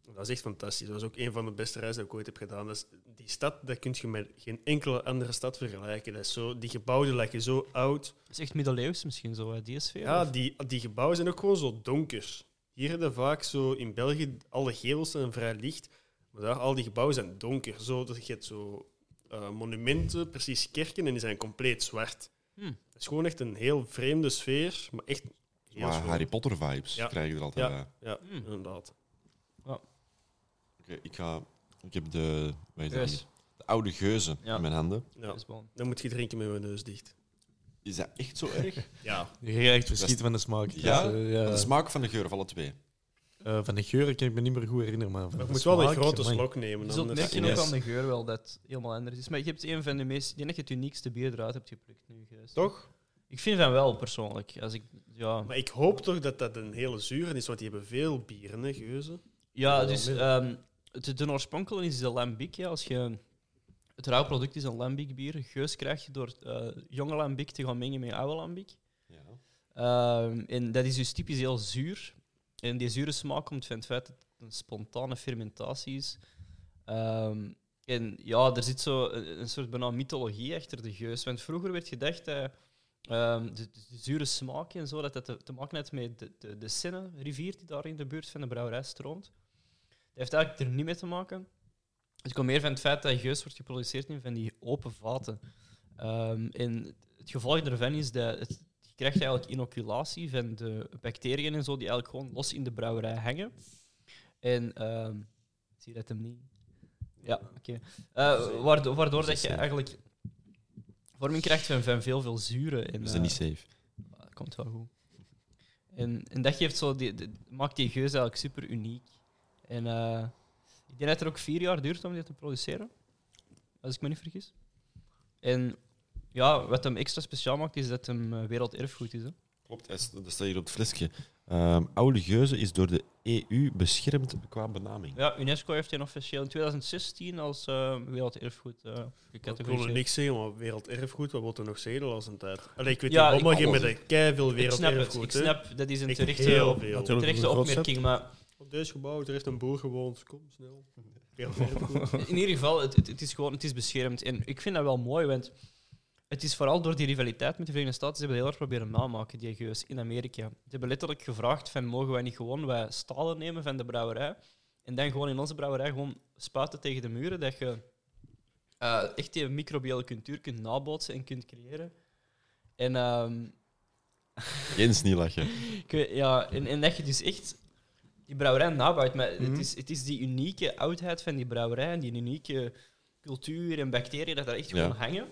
Dat was echt fantastisch. Dat was ook een van de beste reizen die ik ooit heb gedaan. Dat is, die stad, dat kun je met geen enkele andere stad vergelijken. Dat is zo, die gebouwen lijken zo oud. Het is echt middeleeuws misschien, zo, hè, die sfeer. Ja, of- die, die gebouwen zijn ook gewoon zo donker. Hier hebben vaak zo in België, alle gevels zijn vrij licht, maar daar al die gebouwen zijn donker. Zo, dat je hebt zo eh, monumenten, precies kerken, en die zijn compleet zwart. Hm. Het is gewoon echt een heel vreemde sfeer, maar echt heel Maar schoon. Harry Potter vibes Ja. krijg je er altijd eh. bij. Ja, Hm. inderdaad. Oké, ik ga... Ik heb de... Wat is dat Geus. hier? De oude geuzen Ja. in mijn handen. Ja. Lisbon. Dan moet je drinken met mijn neus dicht. Is dat echt zo erg? Ja, Je krijgt verschiet van de smaak. Ja? Dat is, eh, ja. De smaak van de geur, van alle twee. Eh, van de geur kan ik me niet meer goed herinneren. Maar van maar je de moet wel een smaak, grote amai. slok nemen. Je zult anders- merken Ja, ook yes. aan de geur wel dat het helemaal anders is. Maar je hebt een van de meest... Ik denk dat je het uniekste bier eruit hebt geplukt nu, Gijs. Toch? Ik vind van wel, persoonlijk. Als ik, ja. Maar ik hoop toch dat dat een hele zure is, want die hebben veel bieren, hè, geuzen. ja, dus ehm de, de oorspronkelijke is de lambic. Ja. Als je, het rauwproduct is een lambic bier. Geus krijg je door eh, jonge lambic te gaan mengen met oude lambic. Ja. Ehm, en dat is dus typisch heel zuur. En die zure smaak komt van het feit dat het een spontane fermentatie is. Ehm, en ja, er zit zo een, een soort bijna mythologie achter de geus. Want vroeger werd gedacht dat ehm, de, de- de zure smaak en zo, dat dat te, te maken had met de, de, de Senne-rivier die daar in de buurt van de brouwerij stroomt. Dat heeft eigenlijk er niet mee te maken. Het komt meer van het feit dat geus wordt geproduceerd in van die open vaten. Ehm, en het gevolg daarvan is dat het, je krijgt eigenlijk inoculatie van de bacteriën en zo, die eigenlijk gewoon los in de brouwerij hangen. En ehm, zie je dat hem niet? Ja, oké. Eh, waardo- waardoor dat je eigenlijk vorming krijgt van, van veel, veel zuren. En, Is eh, Dus dat niet safe? ah, dat komt wel goed. En, en dat geeft zo die, die- maakt die geus eigenlijk super uniek. En eh, ik denk dat het er ook vier jaar duurt om dit te produceren. Als ik me niet vergis. En ja, wat hem extra speciaal maakt, is dat hem eh, werelderfgoed is. Hè. Klopt, hij st- dat staat hier op het flesje. Ehm, oude geuzen is door de EU beschermd qua benaming. Ja, UNESCO heeft hem officieel in 2016 als eh, werelderfgoed eh Ik wil er gecategoriseerd. niks zeggen, maar werelderfgoed, wat wordt er nog zeggen als een tijd? Allee, ik weet Ja, niet, allemaal ik- geen met een keiveel Ik snap het, werelderfgoed. ik hè. snap, dat is een Ik terechte heel veel. Natuurlijk terechte een groot opmerking, maar op deze gebouw, er heeft een boer gewoond, kom snel. Heel erg goed. In ieder geval, het, het, het is gewoon het is beschermd. En ik vind dat wel mooi, want het is vooral door die rivaliteit met de Verenigde Staten. Ze hebben dat heel erg proberen namaken, die geus in Amerika. Ze hebben letterlijk gevraagd: van, mogen wij niet gewoon wij stalen nemen van de brouwerij? En dan gewoon in onze brouwerij gewoon spuiten tegen de muren. Dat je eh, echt die microbiële cultuur kunt nabootsen en kunt creëren. En ehm, Jens niet lachen. ik weet- ja, en, en dat je dus echt die brouwerij nabouwt. Maar Mhm. het, is, het is die unieke oudheid van die brouwerij en die unieke cultuur en bacteriën dat daar echt Ja. gewoon hangen.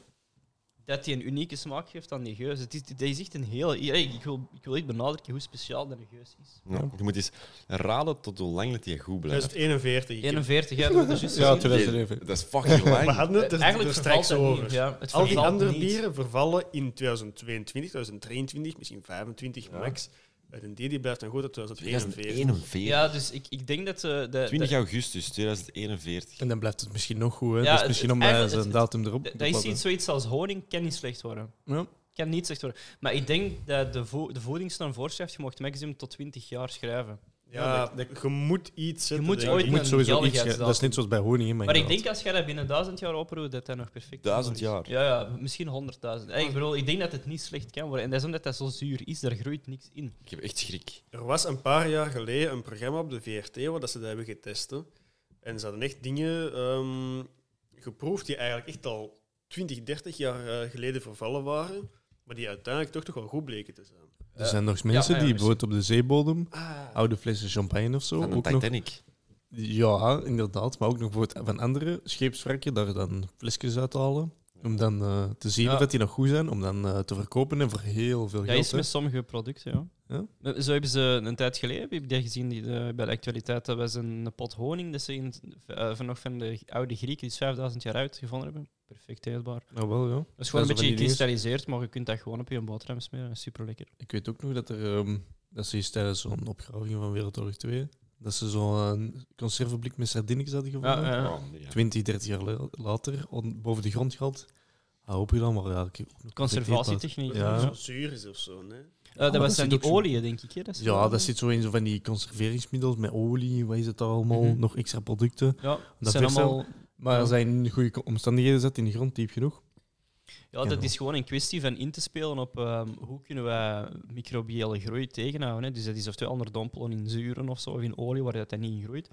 Dat die een unieke smaak geeft aan die geus. Het is, dat is echt een heel... ja, Ik wil, ik wil echt benadrukken hoe speciaal dat een geus is. Ja. Je moet eens raden tot hoe lang dat die goed blijft. 2041. ik heb- 41, ja, dat is juist Ja, gezien. 2011. Dat is fucking lang. We hadden het er, Eigenlijk er vervalt straks het over. niet. Ja, het Al die vervalt andere niet. bieren vervallen in 2022, 2023, misschien 25 max. En een die blijft dan goed tot 2041. 2041. Ja, dus ik, ik denk dat... eh, dat- dat- 20 augustus 2041. En dan blijft het misschien nog goed. Hè? Ja, dus het- misschien het- om wij eigenlijk- zijn het- datum erop Dat, te dat is plakken. iets, zoiets als honing, kan niet slecht worden. Ja. Kan niet slecht worden. Maar ik denk dat de, vo de voedingsnorm voorschrijft, je mag maximum tot 20 jaar schrijven. Ja, je moet iets zetten. moet denk ooit ik. Je moet een sowieso iets... geldigheidsdatum. Dat is net zoals bij honing. hè, Maar ik ja, denk als jij dat binnen duizend jaar oproept, dat dat nog perfect is. Duizend jaar. Ja, ja misschien honderdduizend. Ik bedoel, ik denk dat het niet slecht kan worden. En dat is omdat dat zo zuur is, daar groeit niks in. Ik heb echt schrik. Er was een paar jaar geleden een programma op de VRT waar dat ze dat hebben getest. hè. En ze hadden echt dingen ehm, geproefd die eigenlijk echt al 20, 30 jaar eh, geleden vervallen waren. Maar die uiteindelijk toch, toch wel goed bleken te zijn. Er zijn nog eens mensen Eh, ja, die ja, bijvoorbeeld op de zeebodem Ah, oude flessen champagne of zo. Van de Ook nog, Titanic. ja, inderdaad. Maar ook nog bijvoorbeeld van andere scheepswerken daar dan flesjes uithalen. Om dan eh, te zien Ja. of dat die nog goed zijn. Om dan eh, te verkopen en voor heel veel Dat geld. is hè. met sommige producten, ja. Ja. Maar Zo hebben ze een tijd geleden, heb je dat gezien die, eh, bij de actualiteit, dat was een pot honing dat ze in, het- eh, van nog van de oude Grieken, die is 5000 jaar oud, gevonden hebben. Perfect eetbaar. Nou wel, ja. Dat is gewoon Ja, een zo beetje van die dingen. gekristalliseerd, maar je kunt dat gewoon op je boterham smeren. Dat is super lekker. Ik weet ook nog dat er... ehm, dat ze eens tijdens zo'n opgraving van Wereldoorlog 2... Dat ze zo'n eh, conserveblik met sardinnetjes hadden gevonden. Oh, nee, ja. 20, 30 jaar la- later on- boven de grond gehad. Hou op je dan, maar ja, ik- Conservatietechniek. Ja. Eh, dat het zo zuur is of zo. Nee? Eh, dat maar was dat zijn zit die ook zo- oliën, denk ik. Hè? Dat is Ja, dat zit zo in zo van die conserveringsmiddels met olie, wat is het daar allemaal, Mhm. nog extra producten. Ja, dat Dat zijn verstel- allemaal... Maar Ja. er zijn goede co- omstandigheden zat in de grond, diep genoeg. Ja, dat is gewoon een kwestie van in te spelen op ehm, hoe kunnen wij microbiële groei tegenhouden. Hè? Dus dat is oftewel onderdompelen in zuren of zo, of in olie waar dat dan niet in groeit.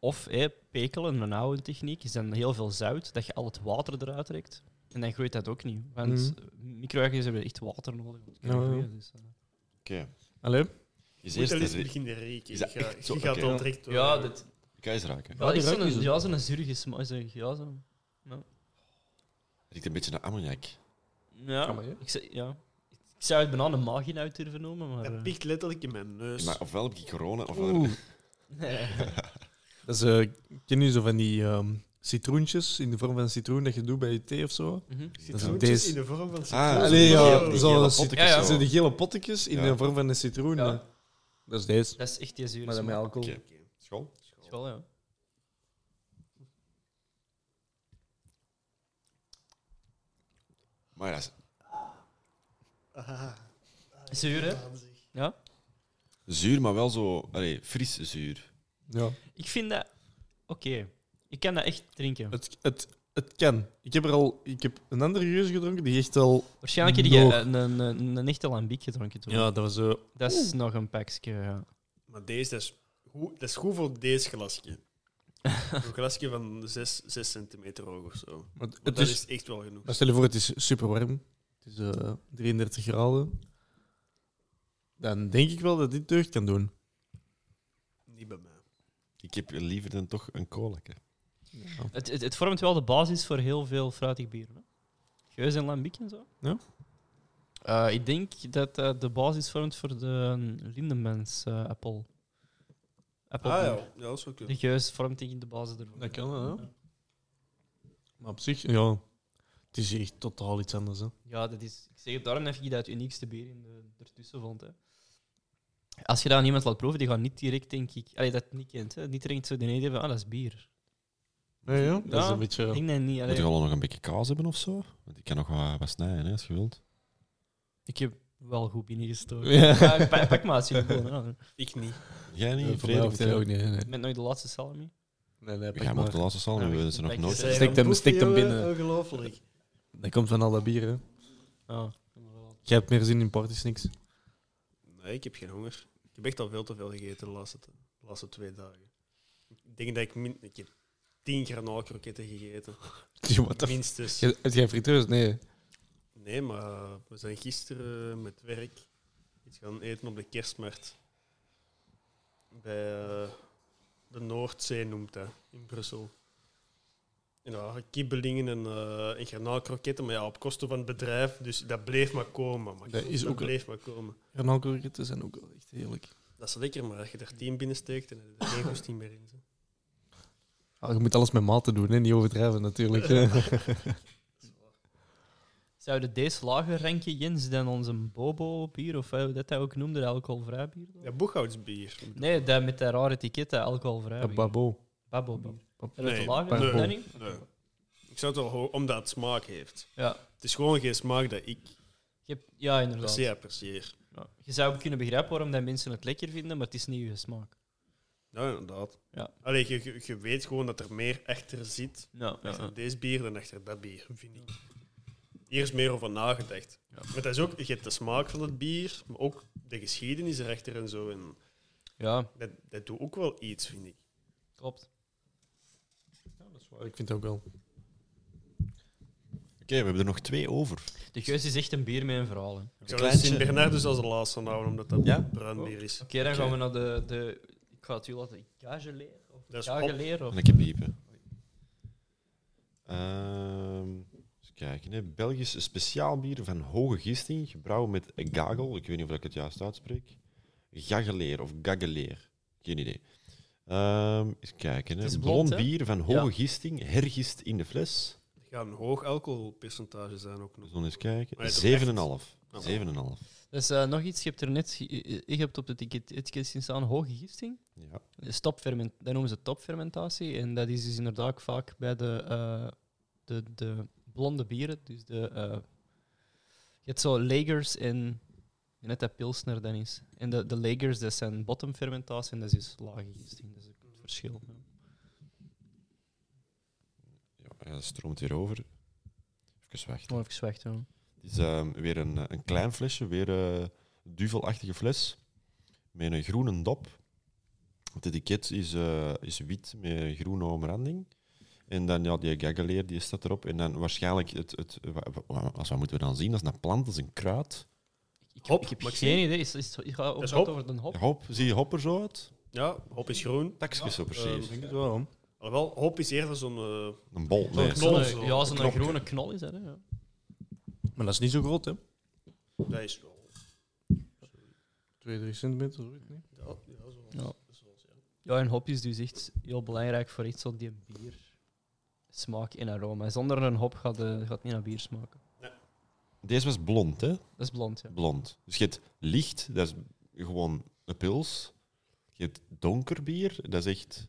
Of hè, pekelen, een oude techniek, is dan heel veel zout, dat je al het water eruit trekt. En dan groeit dat ook niet. Want micro-organismen hebben echt water nodig. om te kunnen Mhm. Ja, ja. groeien, dus, eh. Oké. Allee, Is Moet eerst al eens eens... beginnen rekenen. is Je dat gaat- echt zo? je gaat Oké. al direct... door. ja, dat, Kan je eens raken? ja, echt die ruikt zo'n niet ja, zo'n zurige smaak. zo- Ja, zo. Riekt een beetje naar ammoniak. ja, ik, zou- ja. ik zou het bijna een maag in uit durven noemen, maar... Dat eh, pikt letterlijk in mijn neus. Ja, maar ofwel heb ik corona, ofwel... Oeh. nee. Dat is, eh, ken je zo van die ehm, citroentjes in de vorm van citroen dat je doet bij je thee of zo? Mhm. Citroentjes deze. in de vorm van citroen. Ah, Allee, ja, die gele zo- pottekens Ja, ja. zo. Zo die gele pottekjes in Ja. de vorm van een citroen. Ja. eh. Dat is deze. Dat is echt die zure Maar dan met smaak. alcohol. Oké. School? Is wel, ja. Maar dat is Ah, Zuur, hè? waanzinnig. zuur, maar wel zo... Allee, fris zuur. Ja. Ik vind dat... Oké. Ik kan dat echt drinken. Het, het, het kan. Ik heb er al ik heb een andere geus gedronken die echt al. Waarschijnlijk heb je nog. eh, een, een, een, een echte lambiek gedronken toen. Ja, dat was zo. Dat is nog een pakje, ja. Maar deze, dat is goed, dat is goed voor deze glasje. een glasje van 6, 6 centimeter hoog of zo. Want Het, dat is, is echt wel genoeg. maar Nou, stel je voor, het is super warm. Het is eh, 33 graden. Dan denk ik wel dat dit deugd kan doen. Niet bij mij. Ik heb liever dan toch een kolakje. Het, het, het vormt wel de basis voor heel veel fruitig bier. Hè? Geus en lambiek en zo. Ja. Eh, ik denk dat dat de basis vormt voor de eh, Lindemans eh appel. Appel. Ah ja, ja dat is wel De kunnen. geus vormt denk ik de basis ervan. Dat kan, hè? Maar op zich, ja. Het is echt totaal iets anders. Hè. Ja, dat is, ik zeg het daarom dat ik dat het uniekste bier in de, ertussen vond. Hè. Als je dat aan iemand laat proeven, die gaat niet direct, denk ik... Allee, dat niet kent. Hè. Die drinkt zo de idee van, ah, dat is bier. Nee, ja. Dat is Ja. een beetje. Ik denk dat niet. Moet Allee, je al nog een beetje kaas hebben of zo? Want ik kan nog wat, wat snijden, hè, als je wilt. ik heb wel goed binnengestoken. Ja. Ja. pak, pak maar als jullie willen. ja. Ik niet. Jij Ja, niet, voor mij Frederik? hoeft hij ook niet. hè, Nee, Met nooit de laatste salami. nee, nee pak Jij mag maar. de laatste sal nu, Ja, dat is er nog ik- nooit. ik- Steekt hem- steekt hem binnen. Ongelooflijk. Dat komt van al dat bier, hè. Ja. Jij hebt meer zin in partysnicks. Nee, ik heb geen honger. Ik heb echt al veel te veel gegeten de laatste, de laatste twee dagen. Ik denk dat ik, min, ik heb tien granaalkroketten gegeten. Ja, what the f- Minstens. Jij- Heb jij friteus? Nee. Nee, maar we zijn gisteren met werk iets gaan eten op de kerstmarkt. Bij eh, de Noordzee noemt dat, in Brussel. En daar waren kibbelingen en, eh en granaalkroketten, maar ja, op kosten van het bedrijf. Dus dat bleef maar komen. Maar Dat is dat ook... bleef maar komen. Granaalkroketten zijn ook wel echt heerlijk. Dat is lekker, maar als je er tien binnensteekt, dan heb je er geen goesting meer in. zo. Ah, je moet alles met mate doen, hè. Niet overdrijven, natuurlijk. hè. Zouden deze lager ranken, Jens, dan onze Bobo-bier, of eh, hoe dat hij ook noemde, dat alcoholvrij bier? dan? Ja, boekhoudsbier. Nee, dat met dat rare etiket, dat alcoholvrij Ja, bier. babo. Babbo-bier. Bab- Dat is Nee, het lager, nee. dat niet? Nee. Ik zou het wel horen, omdat het smaak heeft. Ja. Het is gewoon geen smaak dat ik Je hebt- ja, inderdaad. zeer apprecieer. Ja. Je zou kunnen begrijpen waarom dat mensen het lekker vinden, maar het is niet je smaak. Ja, inderdaad. Ja. Allee, je, je, je weet gewoon dat er meer achter zit Ja, achter deze bier dan achter dat bier, vind ik. Hier is meer over nagedacht. Ja. Maar dat is ook, je hebt de smaak van het bier, maar ook de geschiedenis erachter en zo. En dat, dat doet ook wel iets, vind ik. klopt. Ik vind het ook wel. Oké, we hebben er nog twee over. De geus is echt een bier met een verhaal. hè. Oké, Ik zou kleintje. Sint-Bernard dus als de laatste houden, omdat dat Ja? bruin bier is. dan gaan we naar de... de ik ga het u laten... Gageleer? Of Dat is Gageleer? Of... En ik heb piepen. Ehm eens kijken. Hè. Belgisch speciaal bier van hoge gisting, gebrouwen met gagel. Ik weet niet of ik het juist uitspreek. Gageleer of gageleer. Geen idee. Ehm eens kijken. Hè. Het is Blond, blond, hè? bier van hoge Ja. gisting, hergist in de fles. Er gaat een hoog alcoholpercentage zijn ook nog. Zullen we eens kijken. Maar het is 7,5. echt. 7,5. Dus eh, nog iets, je hebt er net... ge- eh, Je je hebt op het etiket etiket zien staan hoge gisting. Ja. Dat is topferment- Dat noemen ze topfermentatie. En dat is dus inderdaad ook vaak bij de, eh, de, de blonde bieren. Dus de... eh, je hebt zo lagers en... Net dat pilsner dan is. En de, de lagers, dat zijn bottomfermentatie en dat is dus lage gisting. Dat is ook het verschil. ja. Ja, hij stroomt weer over. Even wachten. Gewoon even wachten. hoor. Het is ehm, weer een, eh, een klein flesje, weer eh, duvelachtige fles. Met een groene dop. Het etiket is, eh, is wit met een groene omranding. En dan ja, die gaggeleer die staat erop. En dan waarschijnlijk, het, het, wa- wa- wa- als wat moeten we dan zien? Dat is een plant, dat is een kruid. Ik, Hop, ik heb Maxime. geen idee. Is, is, is, gaat ook is wat hop. over de hop? Hop, zie je hop er zo uit? Ja, hop is groen. Takjes zo ehm, precies. Ik denk het wel, hoor. Alhoewel, hop is eerder zo'n... eh, Een bol, zo'n nee. knol. Zo'n- zo. ja, zo'n Knop. groene knol is dat. Hè? ja. Maar dat is niet zo groot, hè. dat is wel... 2, 3 centimeter, hoor ik niet. Ja, ja, zo. Ja. Zo, ja. Ja, en hop is dus echt heel belangrijk voor echt zo die bier. Smaak en aroma. Zonder een hop gaat, de, gaat niet naar bier smaken. Deze was blond, hè? Dat is blond, ja. Blond. Dus je hebt licht, dat is gewoon een pils. Je hebt donker bier, dat is echt...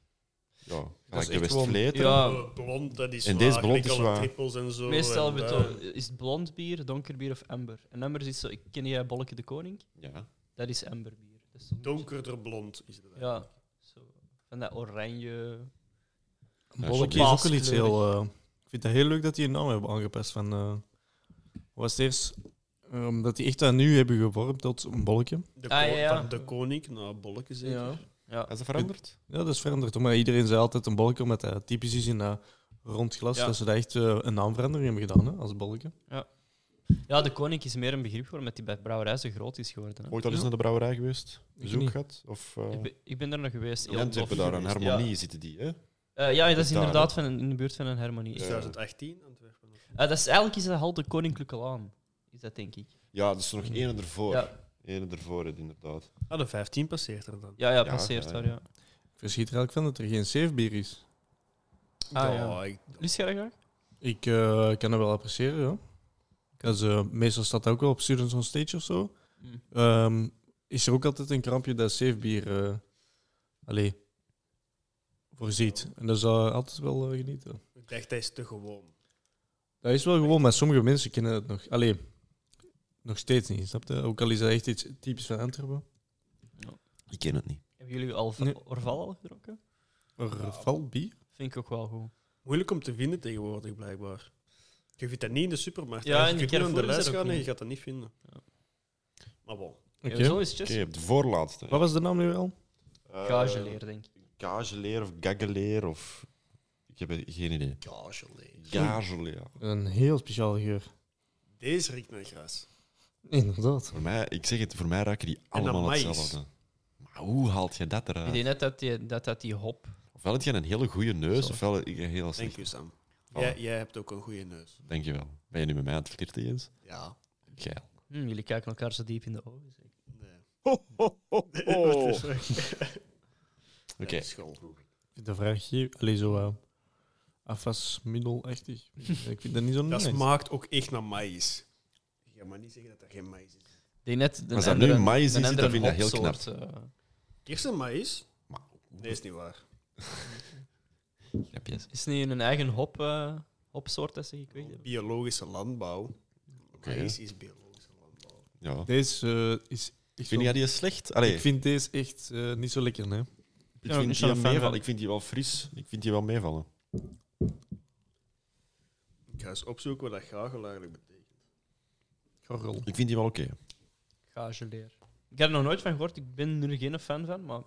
Ja, gelijk de echt gewoon- Westvleteren. ja Eh, blond, dat is En waar, deze blond gelijk is alle waar. trippels en zo. Ah. meestal en, hebben we eh, het over- is het blond bier, donker bier of amber. En amber is zo... ik- Ken jij Bolleke de Koning? Ja. Dat is amber bier. Dat is zo'n Donkerder blond is het. beetje- Ja. Zo. Van dat oranje... Een Ja, bolletje chocolade. is ook wel iets heel... eh, ik vind het heel leuk dat die een naam hebben aangepast. Van, eh, wat was het eerst? Ehm, dat die echt aan nu hebben gevormd tot een bolletje. De, Ah, ko- ja, ja. Van de koning naar bolleke zeker. Ja. Is dat veranderd? Ja, dat is veranderd. hoor. Maar iedereen zei altijd een bolletje, omdat dat typisch is in dat rond glas. Ja. Dat ze daar echt eh, een naamverandering hebben gedaan, hè, als bolletje. ja, de Koning is meer een begrip geworden, omdat die bij het brouwerij zo groot is geworden. hè. Ooit al eens Ja. naar de brouwerij geweest? Bezoek niet. gehad? Of eh, Ik ben, ik ben er nog geweest. in Antwerpen tof. daar aan harmonie zitten die, hè? Eh, ja, dat is Daar, inderdaad van, een- in de buurt van een harmonie. Ja. 2018 Antwerpen. Eh, dat is, eigenlijk is dat al de Koninklijke Laan. Is dat, denk ik. Ja, dus nog één ervoor. Ja, Ene ervoor, het, inderdaad. Ah, de 15 passeert er dan. ja, ja, Ja, passeert ja, daar, ja. ja. Ik verschiet er eigenlijk van dat er geen safe bier is. Ah, ja. ik- Lust jij dat graag? Ik eh, kan dat wel appreciëren, ja. Dus, eh, meestal staat dat ook wel op Students on Stage of zo. Mm. Ehm, is er ook altijd een krampje dat safe bier eh, allee, voorziet. En dat is eh, altijd wel eh, genieten. ik dacht, hij is te gewoon. Dat is wel gewoon, maar sommige mensen kennen het nog. Allee, Nog steeds niet, snap je? Ook al is dat echt iets typisch van Antwerpen. Ik ken het niet. Hebben jullie al Nee. Orval al gedronken? Orval bier? Vind ik ook wel goed. Moeilijk om te vinden tegenwoordig, blijkbaar. Je vindt dat niet in de supermarkt. Ja, en je die kunt aan de Carrefour is lijst dat ook gaan en je niet. gaat dat niet vinden. Maar bon. Oké. Ja, zo is het. Oké, just. de voorlaatste. Wat was de naam nu weer al? Eh, Gageleer, denk ik. Gageleer of gaggeleer of... Ik heb geen idee. Hm. Gageleer. Een heel speciaal geur. Deze riekt naar gras. Inderdaad. Voor mij, ik zeg het, voor mij raken die allemaal maïs. hetzelfde. Maar hoe haalt je dat Ik denk eruit? net dat die, dat, dat die hop... Ofwel heb je een hele goede neus, Sorry. ofwel heb je een heel Dank slecht. u, Sam. Voilà. Jij, jij hebt ook een goede neus. Dankjewel. Ben je nu met mij aan het flirten, Jens? Ja. Geil. Hm, jullie kijken elkaar zo diep in de ogen. zeg. Nee. Ho, ho, ho, ho. Dat is Oh. Oké. school. Ik vind de vraag hier... Allee, zo... eh, afwasmiddelachtig. ik vind dat niet zo Dat nice. smaakt ook echt naar maïs. Je gaat maar niet zeggen dat er geen maïs is. Ik denk net... de Als dat andere- nu maïs de is, andere dan vind ik dat heel knap. hopsoort, eh, Kersenmaïs? Maar- Nee, is niet waar. Grapjes. is het niet een eigen hop, eh, hopsoort dat ze gekweekt hebben? Biologische landbouw. Maïs is biologische landbouw. Ja. Deze eh, is... Ik Vind jij die slecht? Allee, Ik vind deze echt eh, niet zo lekker, nee. ik Ja, ik vind ben die een fan meevallen. van. Ik vind die wel fris. Ik vind die wel meevallen. Ik ga eens opzoeken wat dat gagel eigenlijk betekent. Garrel. Ik vind die wel oké. Gageleer. Ik heb er nog nooit van gehoord. Ik ben er geen fan van, maar...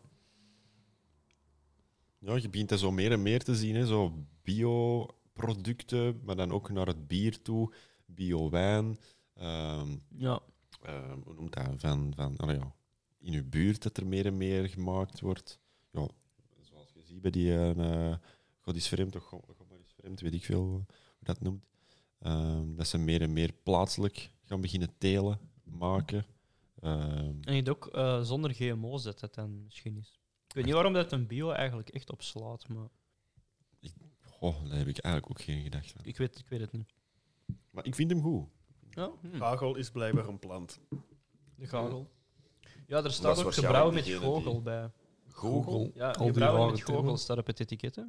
Ja, je begint dat zo meer en meer te zien. Hè. Zo bioproducten, maar dan ook naar het bier toe. Bio-wijn. ehm, Ja. eh, hoe noemt dat? Van, van, allee, ja, in uw buurt dat er meer en meer gemaakt wordt. Ja, zoals je ziet bij die... eh eh, God is vreemd, of God, God maar is vreemd, weet ik veel hoe dat noemt. Ehm, dat ze meer en meer plaatselijk gaan beginnen telen, maken. Ehm, En ik denk ook eh, zonder GMO's dat dat dan misschien is. Ik weet niet waarom dat een bio eigenlijk echt op slaat, maar Goh, daar heb ik eigenlijk ook geen gedachte aan. ik weet, ik weet het niet. Maar ik vind hem goed. Ja, hm. Gagel is blijkbaar een plant. De gogel. Ja, er Dat staat is ook waarschijnlijk gebrouwen met degene die- gogel bij. Google. Ja, die gebrouwen rare met termen. gogel staat op het etiket, hè?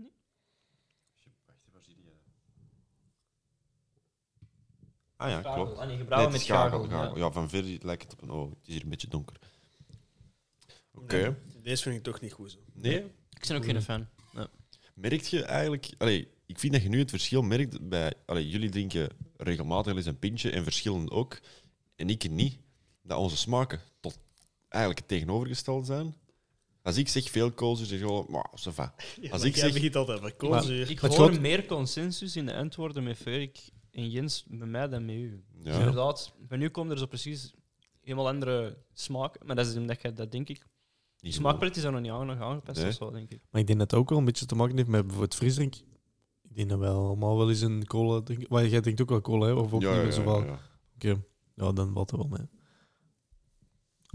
Ah ja, klopt. Ah, nee, Nee, gebrouwen het is met gogel. gagel, gagel. ja. Ja, van ver lijkt het op een oog. Het is hier een beetje donker. Oké. Nee, deze vind ik toch niet goed. Zo. Nee, Ik ben ook geen fan. Merkt je eigenlijk... Allee, ik vind dat je nu het verschil merkt bij... Allee, jullie drinken regelmatig eens een pintje en verschillen ook. En ik niet. Dat onze smaken tot eigenlijk tegenovergesteld zijn. Als ik zeg veel koolzuur, zeg je gewoon... "Maar, ça va." Als maar ik jij zeg- begint altijd met koolzuur. Ik Het hoor gaat- meer consensus in de antwoorden met Ferrik en Jens bij mij dan met u. Dus Ja. inderdaad, bij nu komt er zo precies helemaal andere smaak. Maar dat is omdat je dat, denk ik... Die Smaakpalet is er nog niet aan, nog aangepast Nee. of zo, denk ik. Maar ik denk dat het ook wel een beetje te maken heeft met bijvoorbeeld frisdrink. Ik denk dat wij allemaal wel eens een cola drinken. Maar jij drinkt ook wel cola, hè? Of ook niet meer zoveel? ja. Oké, ja, dan valt er wel mee.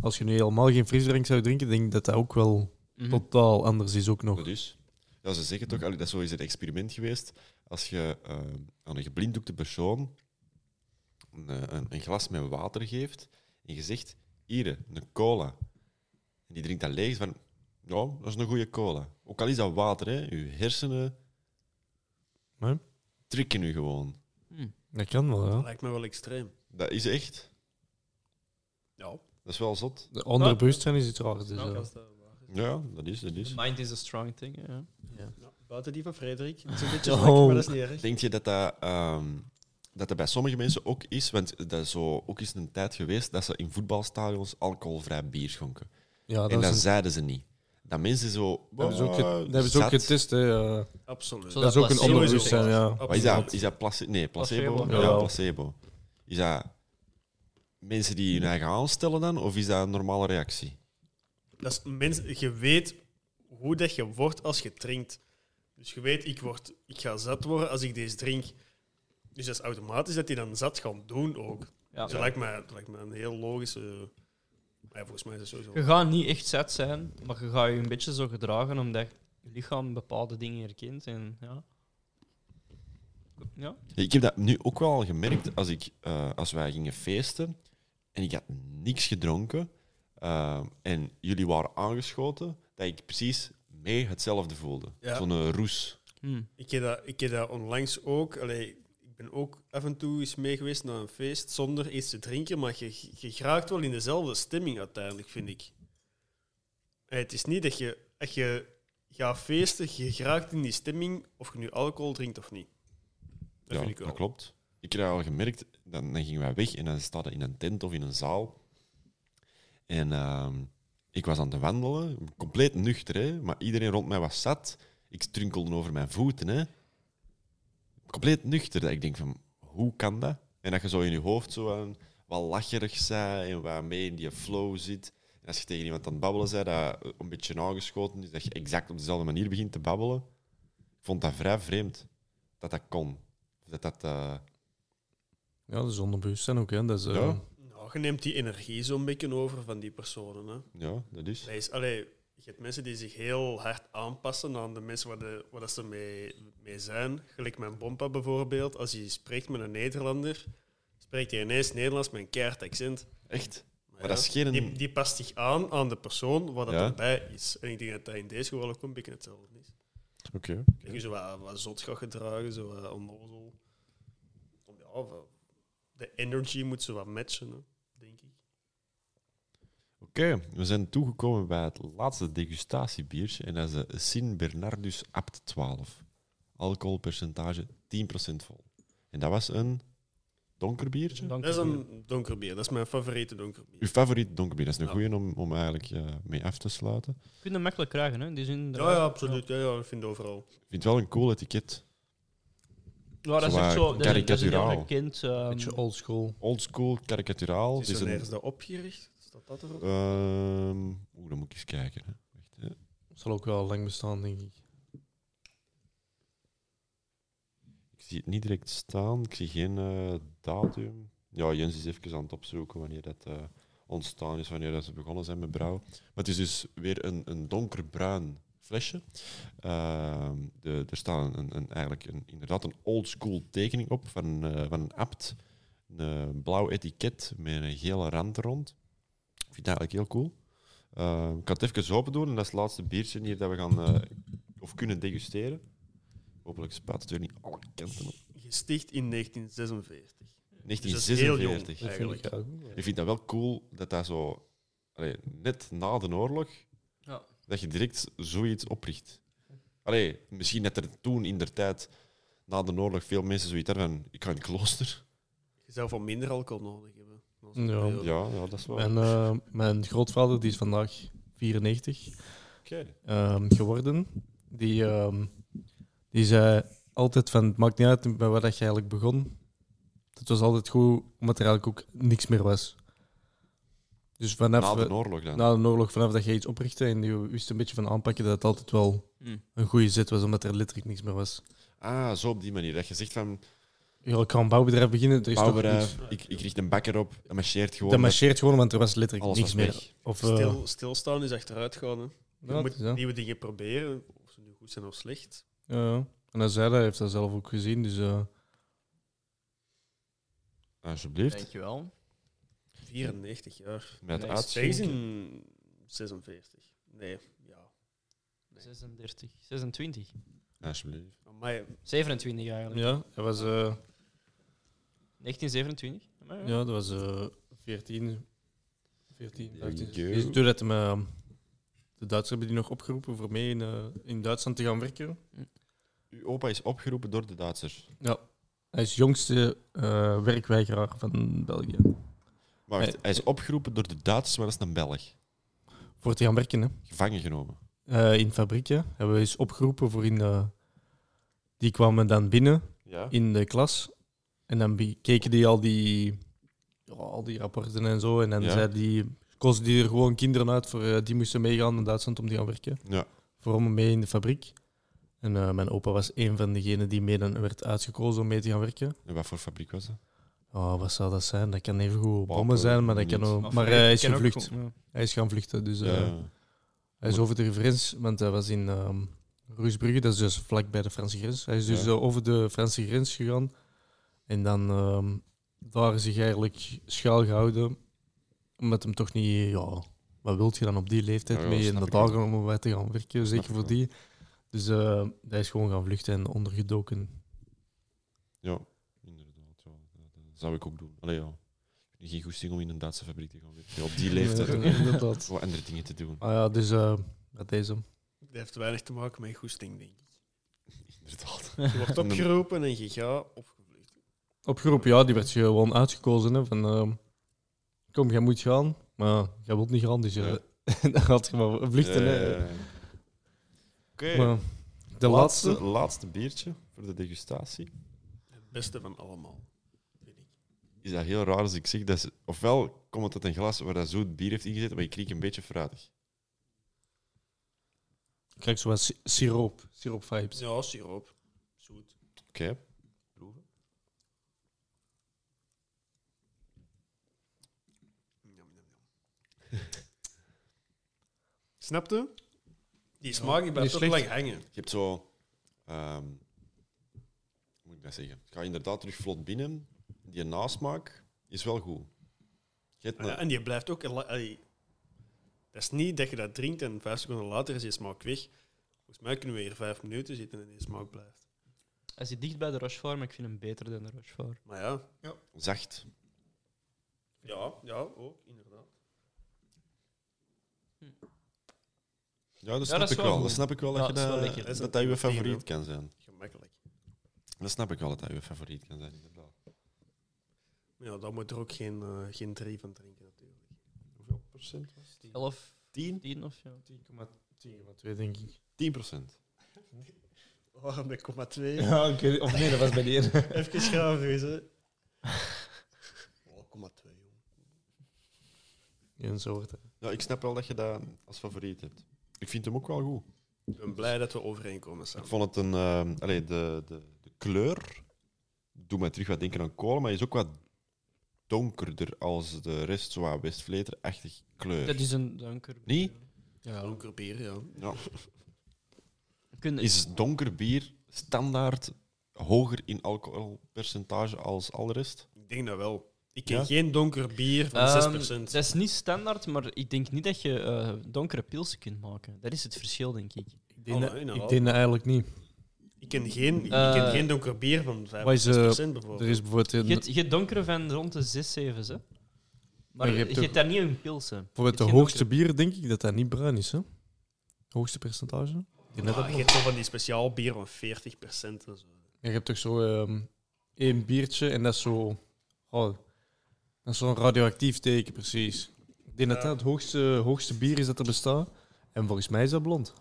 Als je nu helemaal geen frisdrank zou drinken, denk ik dat dat ook wel Mhm. totaal anders is ook nog. Dat is. dus, Ja, ze zeggen toch, allee, dat is zo eens een experiment geweest. Als je eh, aan een geblinddoekte persoon een, eh, een, een glas met water geeft en je zegt, hier, een cola. En die drinkt dat leeg, is van, ja, dat is een goede cola. Ook al is dat water, hè, je hersenen Nee. trikken je gewoon. Mhm. Dat kan wel, Dat ja. lijkt me wel extreem. Dat is echt. Ja. Dat is wel zot. De andere bewustzijn is iets raars. Dus, ja. Ja, dat is, dat is. The mind is a strong thing, ja. buiten die van Frederik. Het is een beetje Oh. slecht, maar dat is niet erg. Denk je dat dat, ehm, dat dat bij sommige mensen ook is? Want dat is zo, ook is een tijd geweest dat ze in voetbalstadions alcoholvrij bier schonken. ja, dat en dat is een- zeiden ze niet. Dat mensen zo... dat hebben ze ook, ge- dat hebben ze ook zat. getest, hè. ja. Absoluut. Zo Dat is ook een placebo ander is ook bewustzijn, ja. Wat is dat? Is dat place- nee, placebo? Placebo. Ja, Ja. placebo. Is dat mensen die hun eigen aanstellen dan? Of is dat een normale reactie? Dat is mens, je weet hoe dat je wordt als je drinkt. Dus je weet, ik, word, ik ga zat worden als ik deze drink. Dus dat is automatisch dat die dan zat gaan doen ook. Ja. Dus dat lijkt, me, dat lijkt me een heel logische... Maar ja, volgens mij is dat sowieso... Je gaat niet echt zet zijn, maar je gaat je een beetje zo gedragen omdat je lichaam bepaalde dingen herkent. En, ja. Ja. Ik heb dat nu ook wel gemerkt als, ik, eh, als wij gingen feesten en ik had niks gedronken eh, en jullie waren aangeschoten, dat ik precies mee hetzelfde voelde. Ja. Zo'n eh, roes. Hm. Ik heb dat, ik heb dat onlangs ook. Allee, ik ben ook af en toe eens mee geweest naar een feest zonder iets te drinken, maar je, je geraakt wel in dezelfde stemming uiteindelijk, vind ik. En het is niet dat je, dat je gaat feesten, je geraakt in die stemming of je nu alcohol drinkt of niet. Dat ja, vind ik wel. dat klopt. Ik heb dat al gemerkt, dan, dan gingen wij weg en dan staat in een tent of in een zaal. En ehm, ik was aan het wandelen, compleet nuchter, hè, maar iedereen rond mij was zat. Ik strunkelde over mijn voeten. Hè. Compleet nuchter. Dat ik denk van, hoe kan dat? En dat je zo in je hoofd zo aan, wat lacherig bent en wat mee in die flow zit. En als je tegen iemand aan het babbelen bent, dat een beetje nageschoten is, dat je exact op dezelfde manier begint te babbelen. Ik vond dat vrij vreemd dat dat kon. Dat dat, eh, Ja, dat is onderbewustzijn ook. Hè. Dat is, eh, Ja. Nou, je neemt die energie zo'n beetje over van die personen. Hè. ja, dat is. Dat is- allee, je hebt mensen die zich heel hard aanpassen aan de mensen waar, de, waar dat ze mee, mee zijn. Gelijk mijn Bompa bijvoorbeeld, als hij spreekt met een Nederlander, spreekt hij ineens Nederlands met een keihard accent. Echt. Maar dat is geen- die, die past zich aan aan de persoon waar dat Ja. erbij is. En ik denk dat dat in deze geval ook een beetje hetzelfde is. Oké. Dat je zo wat, wat zot gaat gedragen, zo wat onnozel. Ja, wat- de energy moet ze wat matchen, hè, denk ik. Oké, we zijn toegekomen bij het laatste degustatiebiertje. En dat is de Sint Bernardus Abt 12. Alcoholpercentage 10% vol. En dat was een donker biertje? Dank Dat is u. een donker bier. Dat is mijn favoriete donker bier. Uw favoriet donker bier. Dat is een Ja. goeie om, om eigenlijk eh, mee af te sluiten. Je kunt hem makkelijk krijgen, hè? in Die zin, Ja, ja, absoluut. Ja, ja, ik vind het overal. Ik vind het wel een cool etiket. Ja, dat is Zwaar echt zo. Dat is, dat is een karikaturaal. heel bekend. ehm, beetje oldschool. Oldschool, karikaturaal. Is Het is er een, ergens dat opgericht? Staat dat erop? ehm, Oeh, dan moet ik eens kijken. Hè. Wacht, hè. Zal ook wel lang bestaan, denk ik. Ik zie het niet direct staan. Ik zie geen eh, datum. Ja, Jens is even aan het opzoeken wanneer dat eh, ontstaan is, wanneer dat ze begonnen zijn met brouwen. Maar het is dus weer een, een donkerbruin flesje. Ehm, de, er staat een, een, een- eigenlijk een, inderdaad een oldschool tekening op van, eh, van een abt. Een eh, blauw etiket met een gele rand rond. Ik vind dat eigenlijk heel cool. Ehm, ik ga het even open doen en dat is het laatste biertje hier dat we gaan eh, of kunnen degusteren. Hopelijk spuit het weer niet alle kanten op. Gesticht in 1946. Dus dat is heel jong. 1946. Dat vind ik Eigenlijk. ook wel. ik vind dat wel cool dat dat zo... Allee, net na de oorlog, Ja. dat je direct zoiets opricht. Allee, misschien dat er toen in de tijd, na de oorlog, veel mensen zoiets hadden van... Ik ga in het klooster. Je zou voor minder alcohol nodig hebben. Dat is Ja. Ja, wel- ja dat is wel... Mijn, eh, mijn grootvader die is vandaag 94 Oké. ehm, geworden. Die, ehm, die zei altijd van, het maakt niet uit bij wat je eigenlijk begon. Het was altijd goed, omdat er eigenlijk ook niks meer was. Dus vanaf... Na de oorlog dan. na de oorlog, vanaf dat je iets oprichtte en je wist een beetje van aanpakken, dat het altijd wel hm. een goede zet was, omdat er letterlijk niks meer was. Ah, zo op die manier. Dat je zegt van... Ja, ik ga een bouwbedrijf beginnen, er is toch Bouwbedrijf, niks. ik, ik richt een bakker op, dat marcheert gewoon. Dat met- marcheert gewoon, want er was letterlijk Alles niks was meer. weg. Of, eh, Stil, stilstaan is achteruit gaan. Hè. Je ja, het moet is dat. nieuwe dingen proberen, of ze nu goed zijn of slecht. Ja, ja. En hij zei dat, hij heeft dat zelf ook gezien, dus... eh, Alsjeblieft. Dankjewel. 94 jaar. Met Nee, Dat is uitschenken. in 46. Nee, ja. 36, 26, Alsjeblieft. Amai, 27 eigenlijk. Ja, dat was, eh, 1927. Maar, ja, dat was eh 14, 14, There 15. you go. Dus doordat hem, eh, de Duitsers hebben die nog opgeroepen voor mee in, eh, in Duitsland te gaan werken. Uw opa is opgeroepen door de Duitsers. Hij is jongste eh, werkweigeraar van België. Maar wacht, Nee. hij is opgeroepen door de Duitsers, maar dat is een Belg. Voor te gaan werken, hè. Gevangen genomen. Eh, in fabrieken hebben we eens opgeroepen voor in de... Die kwamen dan binnen Ja. in de klas. En dan bekeken die al die, ja, al die rapporten en zo. En dan Ja. zei die, kozen die er gewoon kinderen uit voor eh, die moesten meegaan naar Duitsland om te gaan werken. Ja. Voor om mee in de fabriek. En eh, mijn opa was een van degenen die mee dan werd uitgekozen om mee te gaan werken. En wat voor fabriek was dat? Oh, wat zou dat zijn? Dat kan even goed Papen, bommen zijn, maar, dat kan niet. ook, Of- maar ik hij is ken ook gevlucht. gewoon- Hij is gaan vluchten, dus eh, Ja. hij is over de grens, want hij was in ehm Roesbrugge, dat is dus vlak bij de Franse grens. Hij is dus Ja. eh, over de Franse grens gegaan en dan ehm, daar zich eigenlijk schuil gehouden, omdat hem toch niet, ja, wat wilt je dan op die leeftijd Ja, ja, mee in snap de ik wel. dagen om bij te gaan werken, Snap zeker ik voor wel. die. Dus eh, hij is gewoon gaan vluchten en ondergedoken. ja. In zou ik ook doen. Allee, ja. Ik heb Geen goesting om in een Duitse fabriek te gaan werken. Op die leeftijd. Nee, inderdaad. Wat andere dingen te doen. Ah ja, dus eh met deze. Dat heeft weinig te maken met goesting, denk ik. Inderdaad. Je wordt opgeroepen en je gaat opgevlucht. Opgeroepen, ja, die werd gewoon uitgekozen. Hè, van, ehm, kom, jij moet gaan. Maar jij wilt niet gaan, dus eh, dan had je maar vluchten. hè. Eh, Oké. Maar de laatste. Eh, laatste, laatste biertje voor de degustatie. Het beste van allemaal. Vind ik. is dat heel raar als ik zeg dat ze, ofwel komt het uit een glas waar dat zoet bier heeft ingezet, maar je kriek een beetje fruitig. Ik krijg zo wat si- siroop. Siroop vibes. Ja, siroop. Zoet. Oké. Snapte? Snap je? Die smaak die blijft Niet toch slecht. lang hangen. Je hebt zo, ehm, hoe moet ik dat zeggen? Ik ga inderdaad terug vlot binnen. Die nasmaak is wel goed. Je Ah, hebt Ja, een- en die blijft ook... la- allee, Dat is niet dat je dat drinkt en vijf seconden later is die smaak weg. Volgens mij kunnen we hier vijf minuten zitten en die smaak blijft. Hij zit dicht bij de Rochefort, maar ik vind hem beter dan de Rochefort. Maar ja... zacht. Ja, ja, ook, inderdaad. Ja, dat snap dat ik is wel wel. goed. Dat snap ik wel dat Ja, je dat is wel dat, lekker. dat, dat je favoriet kan zijn. Gemakkelijk. Dat snap ik wel dat dat je favoriet kan zijn, inderdaad. Maar ja, daar moet er ook geen, eh, geen drie van drinken, natuurlijk. Hoeveel procent was het? 11, Tien? 10 of zo. 10,2 denk ik. Tien procent. Oh, met komma Ja, ik weet- of nee, dat was bij die ene. Even graven, hè. Oh, komma twee, joh. Ja, en zo wordt het. Ja, ik snap wel dat je dat als favoriet hebt. Ik vind hem ook wel goed. Ik ben blij dat we overeenkomen Ik samen. vond het een. ehm allee, de, de, de kleur doet mij terug wat denken aan kolen, maar is ook wat donkerder als de rest, zo wat Westvleter-achtig kleur. Dat is een donker. Niet? Oh, Ja, een bier, ja. Ja. Kun, Is donker bier standaard hoger in alcoholpercentage als al de rest? Ik denk dat wel. Ik ken Ja? geen donker bier van Ehm, 6%. Dat is niet standaard, maar ik denk niet dat je eh, donkere pilsen kunt maken. Dat is het verschil, denk ik. Ik denk, Oh, dat- inderdaad. ik denk dat eigenlijk niet. Ik ken geen, ik Eh, ken geen donker bier van 5 wat is, eh, 6% Er bijvoorbeeld. is bijvoorbeeld, Je een, hebt- je hebt donkere van rond de 6, 7, hè? Maar je je hebt hebt, ook- daar niet een pilsen. bijvoorbeeld de hoogste bier, denk ik, dat dat niet bruin is. Hè? Hoogste percentage. Ik denk dat dat- Ah, je hebt zo van die speciaal bier van 40% en zo. Ja, je hebt toch zo ehm één biertje en dat is zo... Oh, dat is zo'n radioactief teken, precies. Ik denk dat dat het hoogste, hoogste bier is dat er bestaat. En volgens mij is dat blond.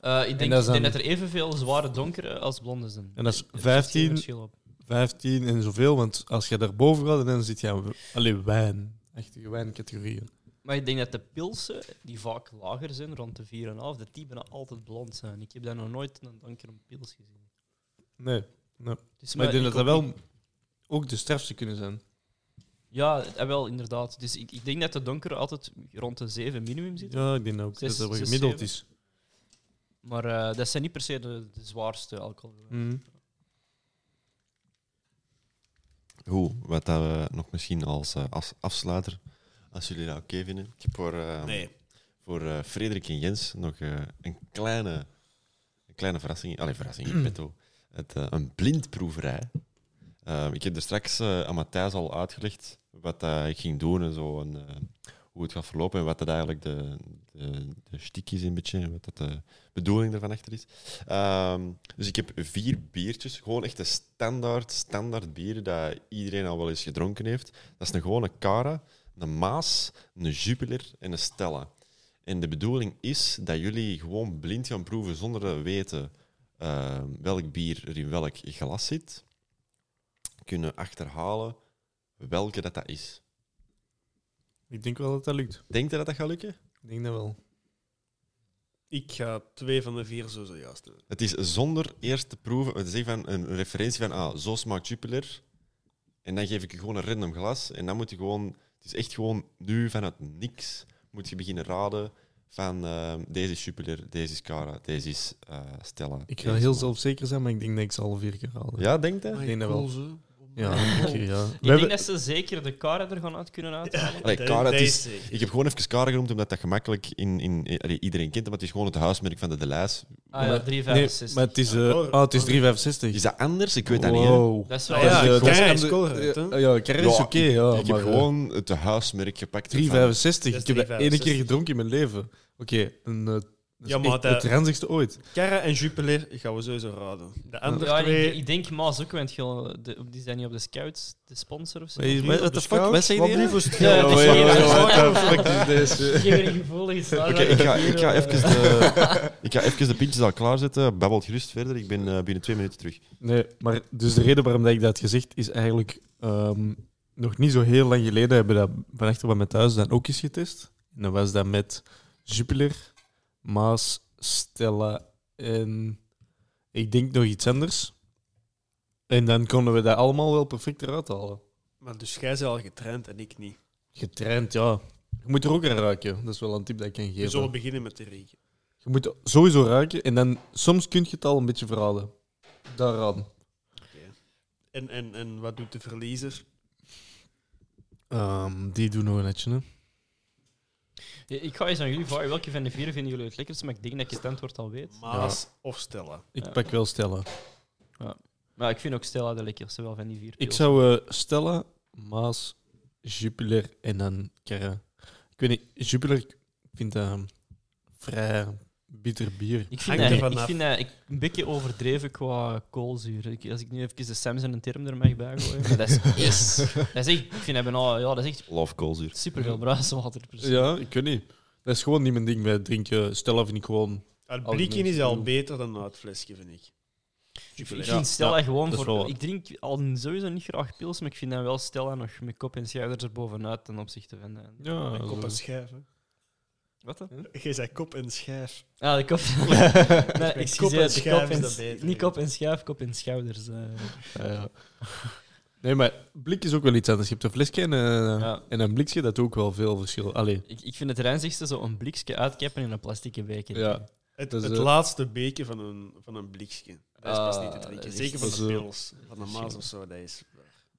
Eh, ik denk, dat dat, is denk dan- dat er evenveel zware donkere als blonde zijn. En dat is Er geen 15. verschil op. 15 en zoveel, want als je daarboven gaat, dan zit je aan w- alleen wijn. Echte wijncategorieën. Maar ik denk dat de pilsen, die vaak lager zijn, rond de 4,5, dat die bijna altijd blond zijn. Ik heb daar nog nooit een donkere pils gezien. Nee, Dus, maar ik denk dat dat hoop wel niet- ook de strafste kunnen zijn. Ja, eh, wel, inderdaad. Dus ik, ik denk dat de donkere altijd rond de 7 minimum zit. Ja, ik denk ook Zes- dat dat wel zes, gemiddeld zeven. is. Maar eh, dat zijn niet per se de, de zwaarste alcohol. Mhm. Goed, wat dat we nog misschien als eh, als afsluiter, als jullie dat oké vinden. Ik heb voor, eh, Nee. voor eh, Frederik en Jens nog eh, een, kleine, een kleine verrassing. Allee, verrassing in petto. Het, eh, een blindproeverij. Ehm, ik heb er straks eh, aan Matthijs al uitgelegd wat dat ik ging doen en zo. En, eh, hoe het gaat verlopen en wat dat eigenlijk de, de, de shtick is een beetje. en Wat dat de bedoeling ervan achter is. Ehm, dus ik heb vier biertjes. Gewoon echt de standaard, standaard bieren dat iedereen al wel eens gedronken heeft. Dat is een gewone Cara, een Maas, een Jupiler en een Stella. En de bedoeling is dat jullie gewoon blind gaan proeven zonder te weten eh, welk bier er in welk glas zit. Kunnen achterhalen welke dat, dat is. Ik denk wel dat dat lukt. Denkt je dat dat gaat lukken? Ik denk dat wel. Ik ga twee van de vier zo zojuist doen. Het is zonder eerst te proeven, het is van een referentie van, ah, zo smaakt Jupiler. En dan geef ik je gewoon een random glas. En dan moet je gewoon, het is echt gewoon nu vanuit niks, moet je beginnen raden van ehm, deze is Jupiler, deze is Cara, deze is eh, Stella. Ik ga deze heel is- zelfzeker zijn, maar ik denk dat ik ze alle vier keer haalde. Ja, denkt hij? Ik denk dat wel. Cool, zo. Ja, oké, ja. We Ik denk hebben- dat ze zeker de Kara er gaan uit kunnen uithalen. Allee, Dat- Kara, dat het is- zeker. Ik heb gewoon even Kara genoemd, omdat dat gemakkelijk in... in allee, iedereen kent, maar het is gewoon het huismerk van de De Lijs. Ah ja, Maar- 365. maar het is, eh, Ja, ah, het is 365. Is dat anders? Ik weet dat niet. hè. Wow. Dat is wel... Ah, ja, Dat is, eh, Kerry dat is Colruyt, hè? Ja, ja, Kerry is Ja, oké. ja, ik heb maar, eh, gewoon het huismerk gepakt. ervan. 365. Dat is Ik heb dat ene 3,65. keer gedronken in mijn leven. Oké, een, eh, dat is Ja, maar echt dat- het ranzigste ooit. Kara en Jupiler gaan we sowieso raden. De andere Ja, twee... ik, ik denk Maas ook, want Gil, de- die zijn niet op de scouts, de sponsor of zo. Wat is- die wat- op what de the fuck? Wat zei Wat die? blieft is het Ja, geld? dat is Oh, geen- ja, ja, ja, geen- what the fuck is deze? Geen gevoelige slag. Oké, ik, ga, ik, ga even de, ik ga even de pintjes al klaarzetten. Babbelt gerust verder. Ik ben eh, binnen twee minuten terug. Nee, maar dus de reden waarom dat ik dat had gezegd is eigenlijk ehm, nog niet zo heel lang geleden hebben we dat van achter bij mijn thuis dan ook eens getest. En dan was dat met Jupiler, Maas, Stella en ik denk nog iets anders. En dan konden we dat allemaal wel perfect eruit halen. Maar dus jij bent al getraind en ik niet. Getraind, ja. Je moet er ook aan raken. Dat is wel een tip dat ik kan We geven. zullen beginnen met de regen. Je moet sowieso raken en dan soms kun je het al een beetje verraden. Daaraan. En, en, en wat doet de verliezer? Ehm, die doen nog een netje, hè. Ik ga eens aan jullie vragen, welke van de vier vinden jullie het lekkerste? Maar ik denk dat je het antwoord al weet. Maas of Stella? Ik Ja. pak wel Stella. Maar ik vind ook Stella de lekkerste, wel van die vier. Ik zou eh, Stella, Maas, Jupiler en dan Kerra. Ik weet niet, Jupiler, ik vind dat een vrij bitter bier. Ik vind, Hangt ervan dat, ik af. vind dat ik een beetje overdreven qua koolzuur. Ik, als ik nu even de Samson en term er mag bij gooien. maar dat is, yes. dat is echt, ik vind dat, bijna, ja, dat is echt Love koolzuur. superveel bruiswater. per se. Ja, ik weet niet. Dat is gewoon niet mijn ding bij drinken. Stella vind ik gewoon... Het Als blikje mensen is al doen. beter dan uit flesje, vind ik. Ik Jupiler. vind Ja, Stella ja, gewoon dat is wel voor... waar. Ik drink al sowieso niet graag pils, maar ik vind dan wel Stella nog met kop en schouders erbovenuit ten opzichte van... eh, de- Ja, Kop en schijf, hè. Wat dan? Jij zei kop en schijf. Ah, de kop. nee, en excuseer, de schuif kop is en- dat beter. Niet kop en schuif, kop en schouders. eh. Ja, ja. Nee, maar blik is ook wel iets anders. Je hebt een flesje en, eh, Ja. en een blikje, dat ook wel veel verschil. Allee, Ik, ik vind het reinzigste zo een blikje uitkappen in een plastieke beker. ja. Het, Dat is, het eh, laatste beeken van een, van een blikje. Dat is pas Ah, niet te drinken. dat is Zeker van echt- de dat is, eh, pils, van de maas of zo. Dat is...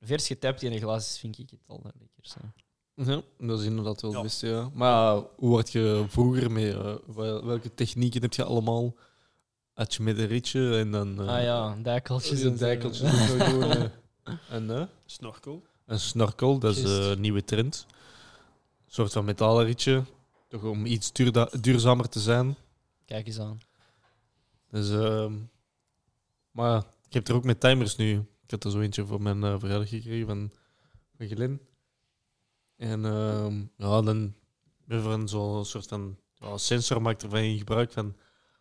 Vers getapt in een glas is, vind ik het al lekker. Ja, dat is inderdaad wel Ja. het beste, ja. Maar eh, hoe had je vroeger mee? eh, wel- welke technieken heb je allemaal? Had je met een ritje en dan... eh, ah ja, dijkeltjes. Is en een zo. dijkeltje doen we gewoon, eh, en, eh, Snorkel. een snorkel, dat is eh, Juist. een nieuwe trend. Een soort van metalen ritje. Toch om iets duurda- duurzamer te zijn. Kijk eens aan. Dus, ehm, maar ja, ik heb er ook met timers nu. Ik had er zo eentje voor mijn eh verjaardag gekregen van, van Gelin. En ehm, ja, dan ben we van zo'n soort van ja, sensor maakt ervan in gebruik van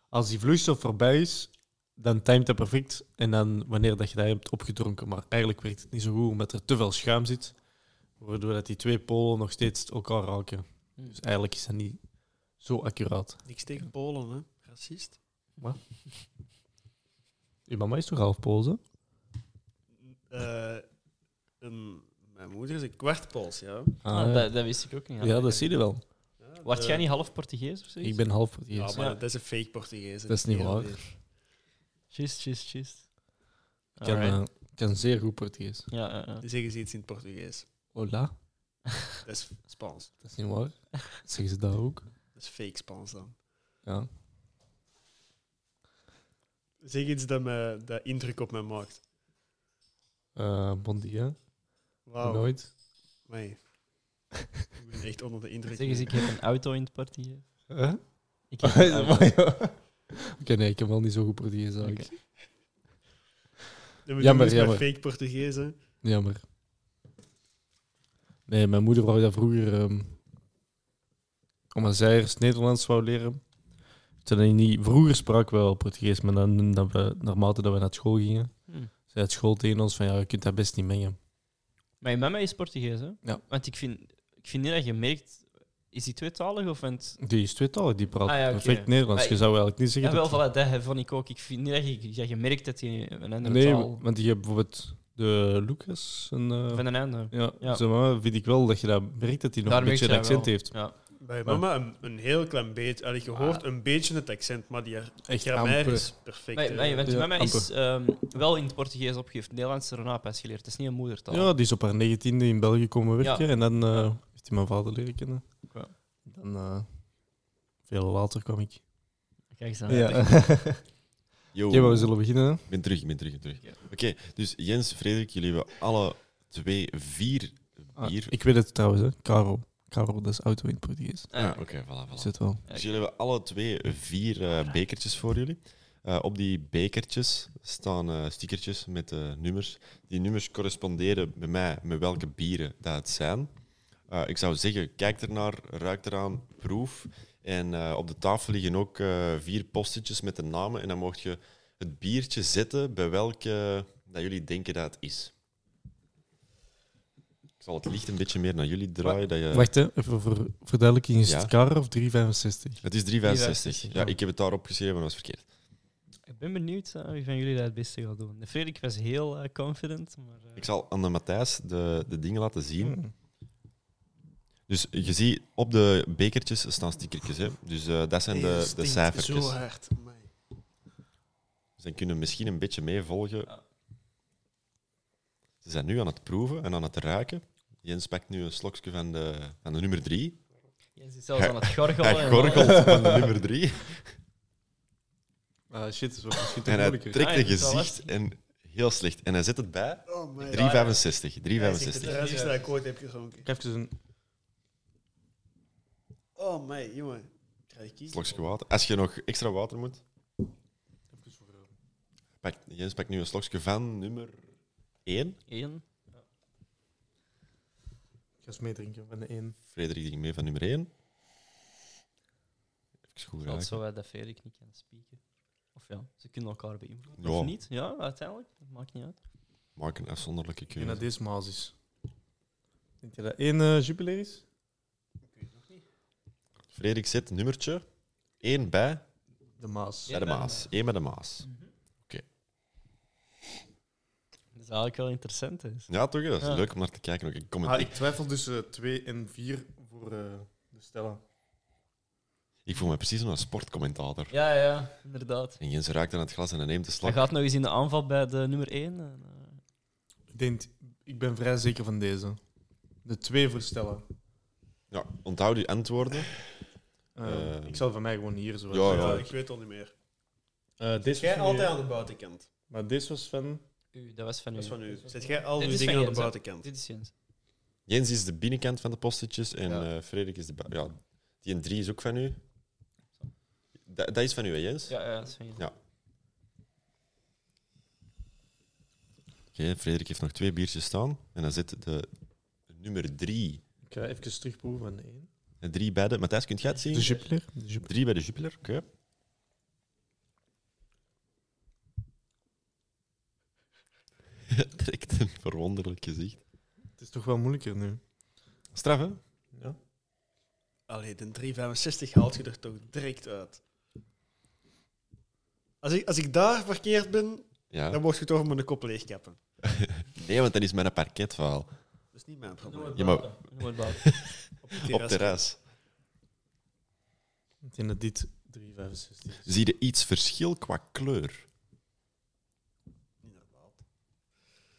als die vloeistof voorbij is, dan timt dat perfect. En dan wanneer dat je dat hebt opgedronken. Maar eigenlijk werkt het niet zo goed omdat er te veel schuim zit. Waardoor dat die twee polen nog steeds elkaar raken. Dus eigenlijk is dat niet zo accuraat. Niks tegen Polen, hè. Racist. Uw mama is toch half Pools, hè? Eh, een- mijn moeder is een kwart Pools, ja. Ah, dat, dat wist ik ook niet. Ja, dat zie je wel. ja Word de- jij niet half Portugees of zoiets? Ik ben half Eh, Ja, Portugees. maar dat is een fake Portugees. hè. Dat is niet waar. Just, just, just. Ik kan, Alright. eh, ik kan zeer goed Portugees. Ja, ja, ja. Die zeggen ze iets in het Portugees. Hola, Dat is Spaans. dat is niet waar. Zeggen ze dat ook? Dat is fake Spaans dan. Ja. Zeg iets dat, me, dat indruk op mij maakt. Eh bon dia. Wauw. Nooit. Nee. Ik ben echt onder de indruk. Zeg eens, ik heb een auto in het Portugees. Huh? Ik heb een auto. Oké, nee, ik heb wel niet zo goed Portugees eigenlijk. Dat moet Jammer, jammer, jammer. jammer. fake Portugees, hè. Jammer. Nee, mijn moeder wou dat vroeger... ehm, omdat zij eerst Nederlands wou leren. Toen in die, vroeger spraken we wel Portugees, maar dan, dat we, naarmate dat we naar school gingen, Hm. zei het school tegen ons van ja, je kunt dat best niet mengen. Mijn mama is Portugees, hè? Ja. Want ik vind, ik vind niet dat je merkt... Is die tweetalig of... Want, Die is tweetalig, die praat Ah, ja, oké. perfect Nederlands. Maar je ik- zou eigenlijk niet ja, zeggen wel, dat- voilà, dat hè, vond ik ook. Ik vind niet dat je, dat je merkt dat je een andere Nee, taal... want je hebt bijvoorbeeld de Lucas. En, eh, Van een ander. ja, ja. Zeg maar, vind ik wel dat je dat merkt dat hij nog Daar een merk beetje je een dat accent wel. heeft. Ja. Ik Bij mama een, een heel klein beetje. Allee, Ah. je hoort een beetje het accent, maar die grammair amper. is perfect. Nee, hè. nee, want Ja, mama is ehm, wel in het Portugees opgegeven. Nederlands er daarna pas geleerd. Het is niet een moedertaal. Ja, die is op haar negentiende in België komen werken en dan eh, Ja. heeft hij mijn vader leren kennen. Ja. Dan, eh, veel later kwam ik. Kijk eens aan. Ja. Yo, Oké, maar we zullen beginnen. hè. ik ben terug, ik ben terug, ik ben terug. Oké, dus Jens, Frederik, jullie hebben alle twee vier Ah, bier. ik weet het trouwens, hè. Caro. Caro, dat is auto in het Portugees. Ah, Ah, Oké, voilà, voilà. Is het wel. Dus jullie hebben alle twee vier eh, bekertjes voor jullie. Eh, op die bekertjes staan eh stickertjes met eh, nummers. Die nummers corresponderen bij mij met welke bieren dat het zijn. Eh, ik zou zeggen, kijk ernaar, ruik eraan, proef. En eh, op de tafel liggen ook eh, vier postertjes met de namen. En dan mocht je het biertje zetten bij welke dat jullie denken dat het is. Ik zal het licht een beetje meer naar jullie draaien. Dat je... Wacht, hè. even voor verduidelijking. Is Eh. Ja. het Caro of 365? Het is 3,65. Ja, ik heb het daarop geschreven, maar dat is verkeerd. Ik ben benieuwd eh, wie van jullie dat het beste gaat doen. De Frederik was heel eh, confident, maar... eh, Ik zal aan de Matthijs de, de dingen laten zien. Hmm. Dus je ziet, op de bekertjes staan stickertjes. Hè. Dus eh, dat zijn Deze de, de stinkt cijfertjes. Zo hard. Amai. Dus dan kunnen we misschien een beetje meevolgen. Ze zijn nu aan het proeven en aan het ruiken. Jens pakt nu een slokje van de, van de nummer drie. Jens is zelfs aan het gorgelen. Hij en- gorgelt van de nummer drie. Ah, shit, dat is wel misschien En hij Ah, trekt ja, een dat is wel gezicht en heel slecht. En hij zet het bij Oh my. 3,65. 3,65. Het ruistigste dat ik ooit heb gezonken. Even een... Oh my, jongen. Krijg ik kiezen? Slokje water. Als je nog extra water moet. Pak, Jens pakt nu een slokje van nummer 1. Eén. Ik ga eens meedrinken van de één. Frederik ging mee van nummer 1. Even goed Dat is raken. zo eh, dat Frederik niet kan spieken. Of ja, ze kunnen elkaar beïnvloeden. Ja. Of niet, ja, uiteindelijk. Dat maakt niet uit. Maak een afzonderlijke Ik denk dat keuze. deze Maas is. Denk je dat één eh jubileer is? Frederik zet nummertje 1 bij, De Maas. Ja. bij de bij de Maas. 1 bij de Maas. Mhm. Dat is eigenlijk wel interessant. Is. Ja, toch? hè? Dat is Ja. leuk om naar te kijken. Ook. Ik kom Ah, ik, ik twijfel tussen 2 en 4 voor eh, de Stella. ik voel me precies als een sportcommentator. Ja, ja, inderdaad. En Jens raakt aan het glas en hij neemt de Hij slag. gaat nog eens in de aanval bij de nummer eh, 1. Ik, denk, ik ben vrij zeker van deze. De 2 voor Stella. Ja, onthoud die antwoorden. Eh, Eh. ik zal van mij gewoon hier zo. Ja, Ja, ja. ik weet al niet meer. Eh, deze was Jij van altijd u, aan de buitenkant. Maar deze was van. u, dat was van u. Dat is van u. Zet jij al Dit die is van dingen aan de Jens, hè? buitenkant? Dit is Jens. Jens is de binnenkant van de postetjes en Ja. eh, Frederik is de. bu- Ja, die en drie is ook van u. Dat, dat is van u, hè, Jens? Ja, ja, dat is van Jens. Ja. Oké, Frederik heeft nog twee biertjes staan. En dan zit de nummer drie. Ik ga even terugproeven van de 1. En drie bij de. Matthijs, kunt jij het zien? De jubileer? De jubileer. Drie bij de Jupiler, oké. Trekt een verwonderlijk gezicht. Het is toch wel moeilijker nu. Straf, hè? Ja. Allee, de 365 haalt je er toch direct uit. Als ik, als ik daar verkeerd ben, Ja. dan word je toch met een kop leegkappen. Nou, Nee, want dat is mijn parketvaal. Dat is niet mijn probleem. Ja, maar Noem het wel. Op het op terras. Ik denk dat dit 365 is. Zie je iets verschil qua kleur?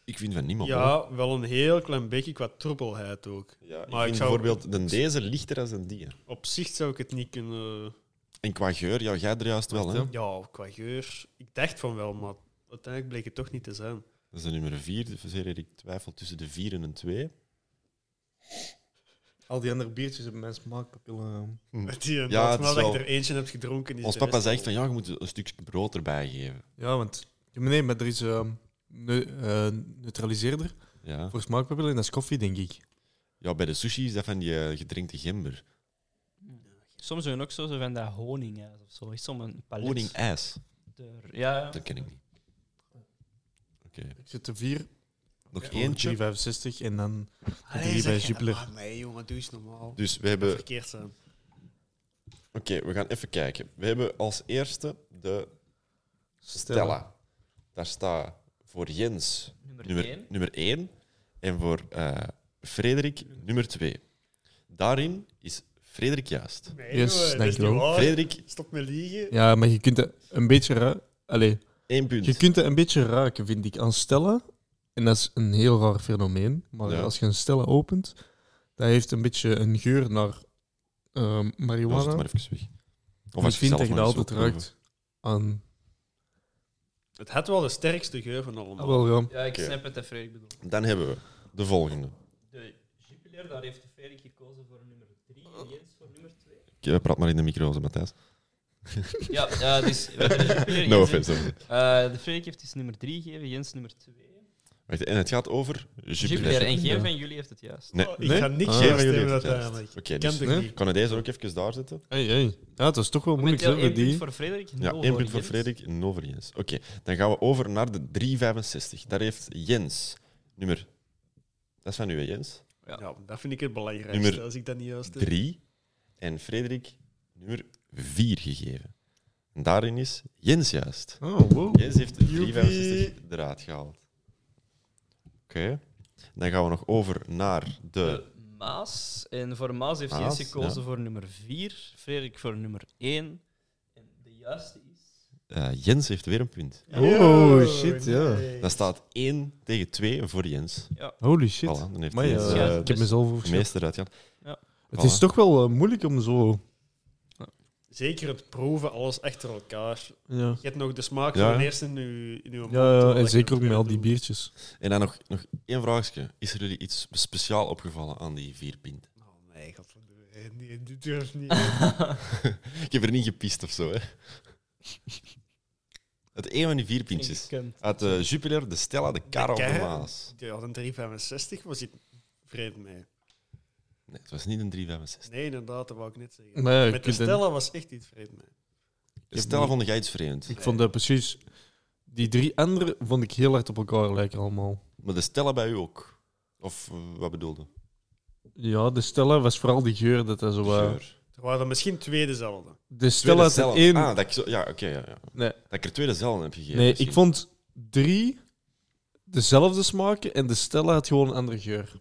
Ik vind van niemand. hoor. Ja, wel een heel klein beetje qua troebelheid ook. Ja, ik Maar ik vind zou- bijvoorbeeld de deze lichter als een die. Op zich zou ik het niet kunnen... En qua geur, ja, jij er juist wel, hè? Wacht, Ja, qua geur. Ik dacht van wel, maar uiteindelijk bleek het toch niet te zijn. Dat is de nummer 4. Ik twijfel tussen de 4 en een 2. Al die andere biertjes hebben mijn smaakpapillen. eh, Die, Ja, ja, het is dat ik wel- er eentje heb gedronken... is Ons de papa rest zegt al- van ja, je moet een stukje brood erbij geven. Ja, want. Ja, maar Nee, maar er is eh, neu- eh, neutraliseerder Ja. voor smaakpapillen en dat is koffie, denk ik. ja, bij de sushi is dat van die eh, gedrinkte gember. Soms doen we ook zo, zo van dat honingijs of zo. Is soms een palet. Honing ijs. er- Ja, ja. Dat ken ik niet. Oké. Ik zit er 4 Nog voor eentje. 365 en dan Allee, drie zeg bij je- Jupiler. Ah, nee, jongen, doe eens normaal. Dus we hebben. Oké, Verkeerd zijn. we gaan even kijken. We hebben als eerste de Stella. Daar staat voor Jens Nummer nummer, 1. nummer 1 en voor eh, Frederik nummer 2. Daarin is Frederik juist. Nee, Yes, jongen, dat is dankjewel. niet waar. Frederik, Stop met liegen. Ja, maar je kunt het een beetje raar... Allee, één punt. je kunt het een beetje raken, vind ik, aan stellen. En dat is een heel raar fenomeen. Maar Ja. als je een stella opent, dat heeft een beetje een geur naar ehm Dan was het marihuana. maar even weg. Of zelf ik vind dat je maar dat eens altijd wilt proeven. ruikt aan... Het had wel de sterkste geur van allemaal. Ah, wel, ja. Ja, ik Oké. snap het, dat Frederik bedoelt. Dan hebben we de volgende. De Jupiler, daar heeft Frederik gekozen voor nummer 3 en Jens voor nummer 2. Ik, eh, praat maar in de micro, zo, Matthijs. Ja, eh, dus we hebben de Jupiler. No Jens- offense. hoor. Eh, de Frederik heeft dus nummer 3 gegeven, Jens nummer 2. Wacht, en het gaat over Jupiler. Jupiler. En geen Ja. van jullie heeft het juist. Nee, Oh, Ik Nee? ga niks Ah. geven Jullie stemmen hebben het uiteindelijk. oké. Ken dus toch nee. niet? kan ik deze ook even daar zetten? Hey, hey. Ja, dat is toch wel moeilijk, Momenteel hè, één met punt die. voor Frederik, Ja, nul één voor punt voor Jens. Frederik, nul voor Jens. Oké, dan gaan we over naar de 365. Daar heeft Jens nummer... Dat is van u, hè, Jens. Ja, dat vind ik het belangrijkste, Nummer als ik dat niet juist heb. 3. En Frederik nummer 4 gegeven. En daarin is Jens juist. Oh, wow. Jens heeft de 365 draad gehaald. Oké. Dan gaan we nog over naar de... De Maas. En voor Maas heeft eh. Maas, Jens gekozen ja. voor nummer 4, Frederik voor nummer 1. En de juiste is... eh, Jens heeft weer een punt. Oh, shit, ja. nee. Dan staat 1 tegen 2 voor Jens. Holy Voilà, shit. dan heeft Maar ja, Jens ja, eh, ik heb mezelf de overgeschat. meeste eruit gehad. Het is Voilà. toch wel eh, moeilijk om zo... Zeker het proeven, alles achter elkaar. Ja, Je hebt nog de smaak Ja. van de eerste in je, in uw mond, ja, terwijl en je zeker het ook met al die doet. biertjes. En dan nog, nog één vraagje. Is er jullie iets speciaal opgevallen aan die vier pint? Oh, nee, godverdomme. Nee, dit durft niet. Ik heb er niet gepiest of zo, hè? Het een van die vier pintjes. Uit de Jupiler, de Stella, de Caro of de Caro? Maas. Je had een 365, was ik vreemd mee. Nee, het was niet een 365. Nee, inderdaad, dat wou ik net zeggen. Maar ja, je Met de kunt een- Stella was echt iets vreemd mee. De Dus Stella vond jij iets vreemd. Ik vond dat precies... Die drie andere vond ik heel hard op elkaar lijken allemaal. Maar de Stella bij u ook? Of eh, wat bedoelde? Ja, de Stella was vooral die geur dat hij zo... eh, Geur. Er waren er misschien twee dezelfde. De Tweede Stella had Stella. er één... Ah, dat ik zo, ja, oké. ja, ja. Nee. Dat ik er twee dezelfde heb gegeven. nee, ik misschien. vond drie dezelfde smaken en de Stella had gewoon een andere geur.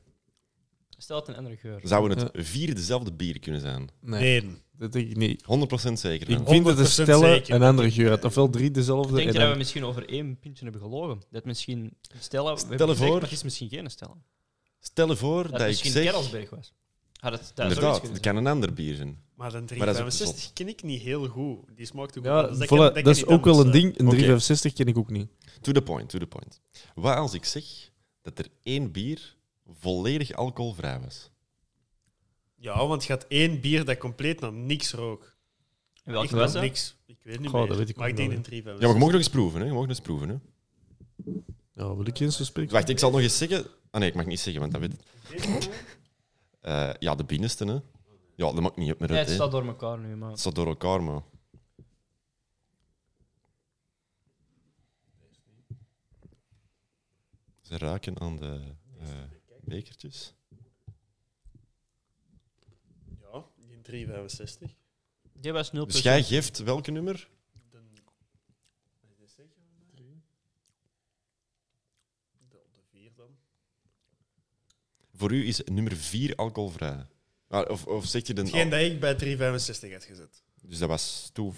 Stel het een andere geur. Zouden het vier dezelfde bieren kunnen zijn? Nee, Nee. dat denk ik niet. 100% zeker. Ik van. vind dat de 100% Stella zeker. een andere geur had. Ofwel drie dezelfde Ik denk en dat we dan- misschien over één puntje hebben gelogen. Dat misschien Stella... we hebben Stel gezegd, voor- maar het is misschien geen Stella. Stel je voor dat, Dat het ik misschien zeg... Kerelsberg was. Had het thuis ook iets Inderdaad, kunnen het kan een ander bier zijn. Maar een Maar dat is ook 365 ken ik niet heel goed. Die smaakt ook Ja, goed. Dus voilà, kan- dat, kan is niet ook wel een anders zijn. ding. Een Oké. 365 ken ik ook niet. To the point, to the point. Wat als ik zeg dat er één bier volledig alcoholvrij was? Ja, want je had één bier dat compleet naar niks rook. zijn. En welke Echt was dat? naar niks. Ik weet niet Goh, meer. dat weet ik maar ook ik denk wel, een Ja, maar je mag 365. nog eens proeven, hè? Je mag nog eens proeven, hè? Ja, wil ik eens spreken? Wacht, ik zal nog eens zeggen... Ah nee, ik mag niet zeggen, want dat weet het. Eh, ja, de binnenste, hè? Ja, dat maakt niet op met Nee, het, het hè. staat door elkaar nu, maar... Het staat door elkaar, maar... Ze raken aan de eh, bekertjes. Ja, die 365. Die was 0 Dus jij geeft welke nummer? Dan... wat is dit zeggen? De- Op de vier dan. Voor u is nummer 4 alcoholvrij. Maar Of, of zeg je dan... Hetgeen dat ik bij 365 had gezet. Dus dat was toe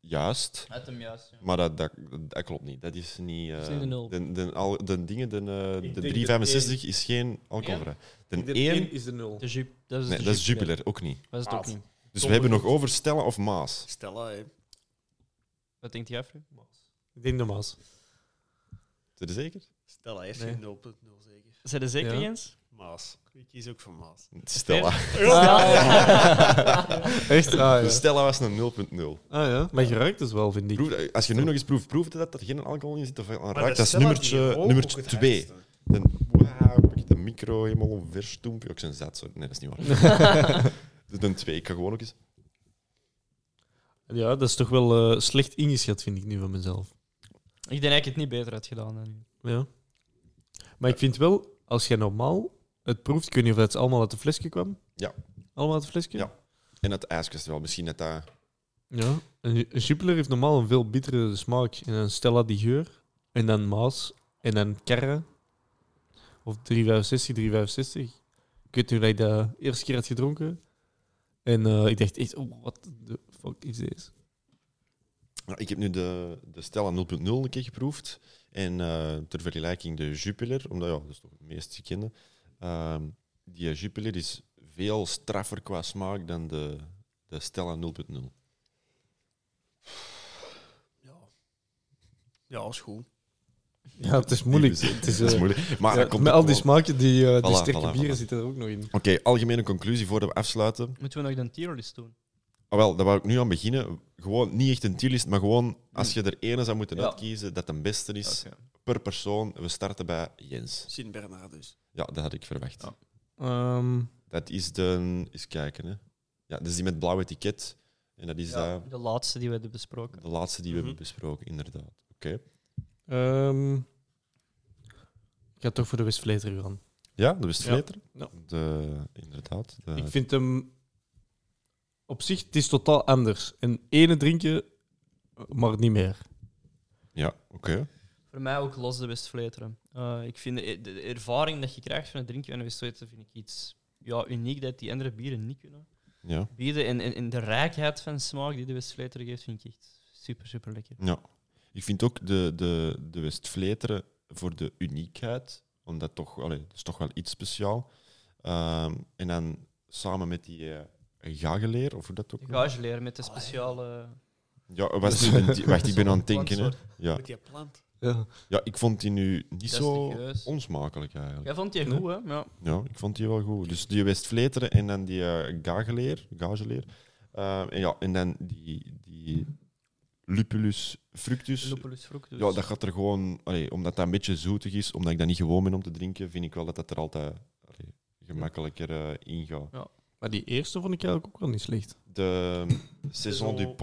juist. Uit hem juist, ja. Maar dat, dat, dat klopt niet. Dat is niet. eh, Dat is niet de nul. De, de, al- de dingen, de, eh, denk de dat 365 is geen alcoholvrij. De 1, is de nul. De Jup, dat is, nee, de dat is Jupiler. Jupiler, ook niet. Was het ook niet. Dus we hebben nog over Stella of Maas. Stella, hè. Wat denkt jij, Fred? Ik denk normaal. Zit je zeker? Stella heeft Nee. geen 0.0 zeker. Zijn er zeker, Ja. Jens? Maas. Ik kies ook voor Maas. Stella. Echt? Ah ja. Dus Stella was een 0.0. Ah, ja. Maar je ruikt dus wel, vind ik. Proef- Als je nu nog eens proeft, proef je dat er geen alcohol in zit of aan Maar raakt. de Dat is Stella die nummertje, rook nummertje ook het 2. hardste. Dan wauw, pak ik de micro helemaal verstoemp. Ja, Ik zijn zat, sorry. Nee, dat is niet waar. dus dan 2. Ik ga gewoon ook eens... Ja, dat is toch wel eh, slecht ingeschat, vind ik nu van mezelf. Ik denk dat ik het niet beter had gedaan dan u. Ja. Maar ik vind wel, als jij normaal het proeft, ik weet niet of dat het allemaal uit de flesje kwam. Ja. Allemaal uit de flesje? Ja. En dat ijskast wel. Misschien dat dat... ja. Een, een Jupiler heeft normaal een veel bittere smaak. En dan Stella die geur. En dan Maas. En dan Kerre. Of 365, 365. Ik weet nu dat ik dat eerste keer had gedronken. En eh, ik dacht echt, oh, what the fuck is this? Ja, ik heb nu de, de Stella 0.0 een keer geproefd. En eh, ter vergelijking de Jupiler, omdat ja, dat is toch het meest gekende. Ehm, die Jupiler is veel straffer qua smaak dan de, de Stella 0.0. Ja, is goed. Ja, het is moeilijk. Die Het is, dat is eh, moeilijk. Maar ja, dat komt met ook al die wel- smaken, die, eh, die Voilà, sterke voilà, bieren voilà. zitten er ook nog in. Oké, algemene conclusie voordat we afsluiten. Moeten we nog een tierlist doen? Ah, wel, daar wou ik nu aan beginnen. Gewoon niet echt een tierlist, maar gewoon als je er ene zou moeten Ja. uitkiezen dat de beste is Oké. per persoon. We starten bij Jens. Sint dus. Bernardus. Ja, dat had ik verwacht. Ja. Ehm, Dat is de. Eens kijken, hè. Ja, dat is die met blauw etiket. En dat is Ja, dat- de laatste die we hebben besproken. de laatste die we Mhm. hebben besproken, inderdaad. ehm, ik ga toch voor de Westvleter gaan. Ja, de Westfleter. Ja. De, inderdaad. de- Ik vind hem op zich, het is totaal anders. En ene drinken, maar niet meer. Ja, oké. Voor mij ook los de Westvleteren. Eh, ik vind de, de ervaring dat je krijgt van het drinken van de Westvleteren vind ik iets ja, uniek dat die andere bieren niet kunnen Ja. bieden. En, en, en de rijkheid van smaak die de Westvleteren geeft, vind ik echt super, super lekker. ja. Ik vind ook de, de, de Westfleteren voor de uniekheid, omdat toch, allee, dat is toch wel iets speciaal. Ehm, en dan samen met die eh gageleer, of hoe dat ook. Gage leren met de speciale. Ah, Ja, was die, die- wacht, ik ben aan het denken. Hè. plantsoort. Ja. Met die plant. Ja. ja, ik vond die nu niet Dat is eh, zo de geus. onsmakelijk eigenlijk. Jij vond die Nee. goed, hè? Ja. Ja, ik vond die wel goed. Dus die Westvleteren en dan die eh, gageleer. gageleer. Eh, en, ja, en dan die, die lupulus fructus. Lupulus fructus. Dus, Ja, dat gaat er gewoon... allee, omdat dat een beetje zoetig is, omdat ik dat niet gewoon ben om te drinken, vind ik wel dat dat er altijd allee, gemakkelijker eh, in gaat. Maar die eerste vond ik eigenlijk ook wel niet slecht. De ehm, Saison du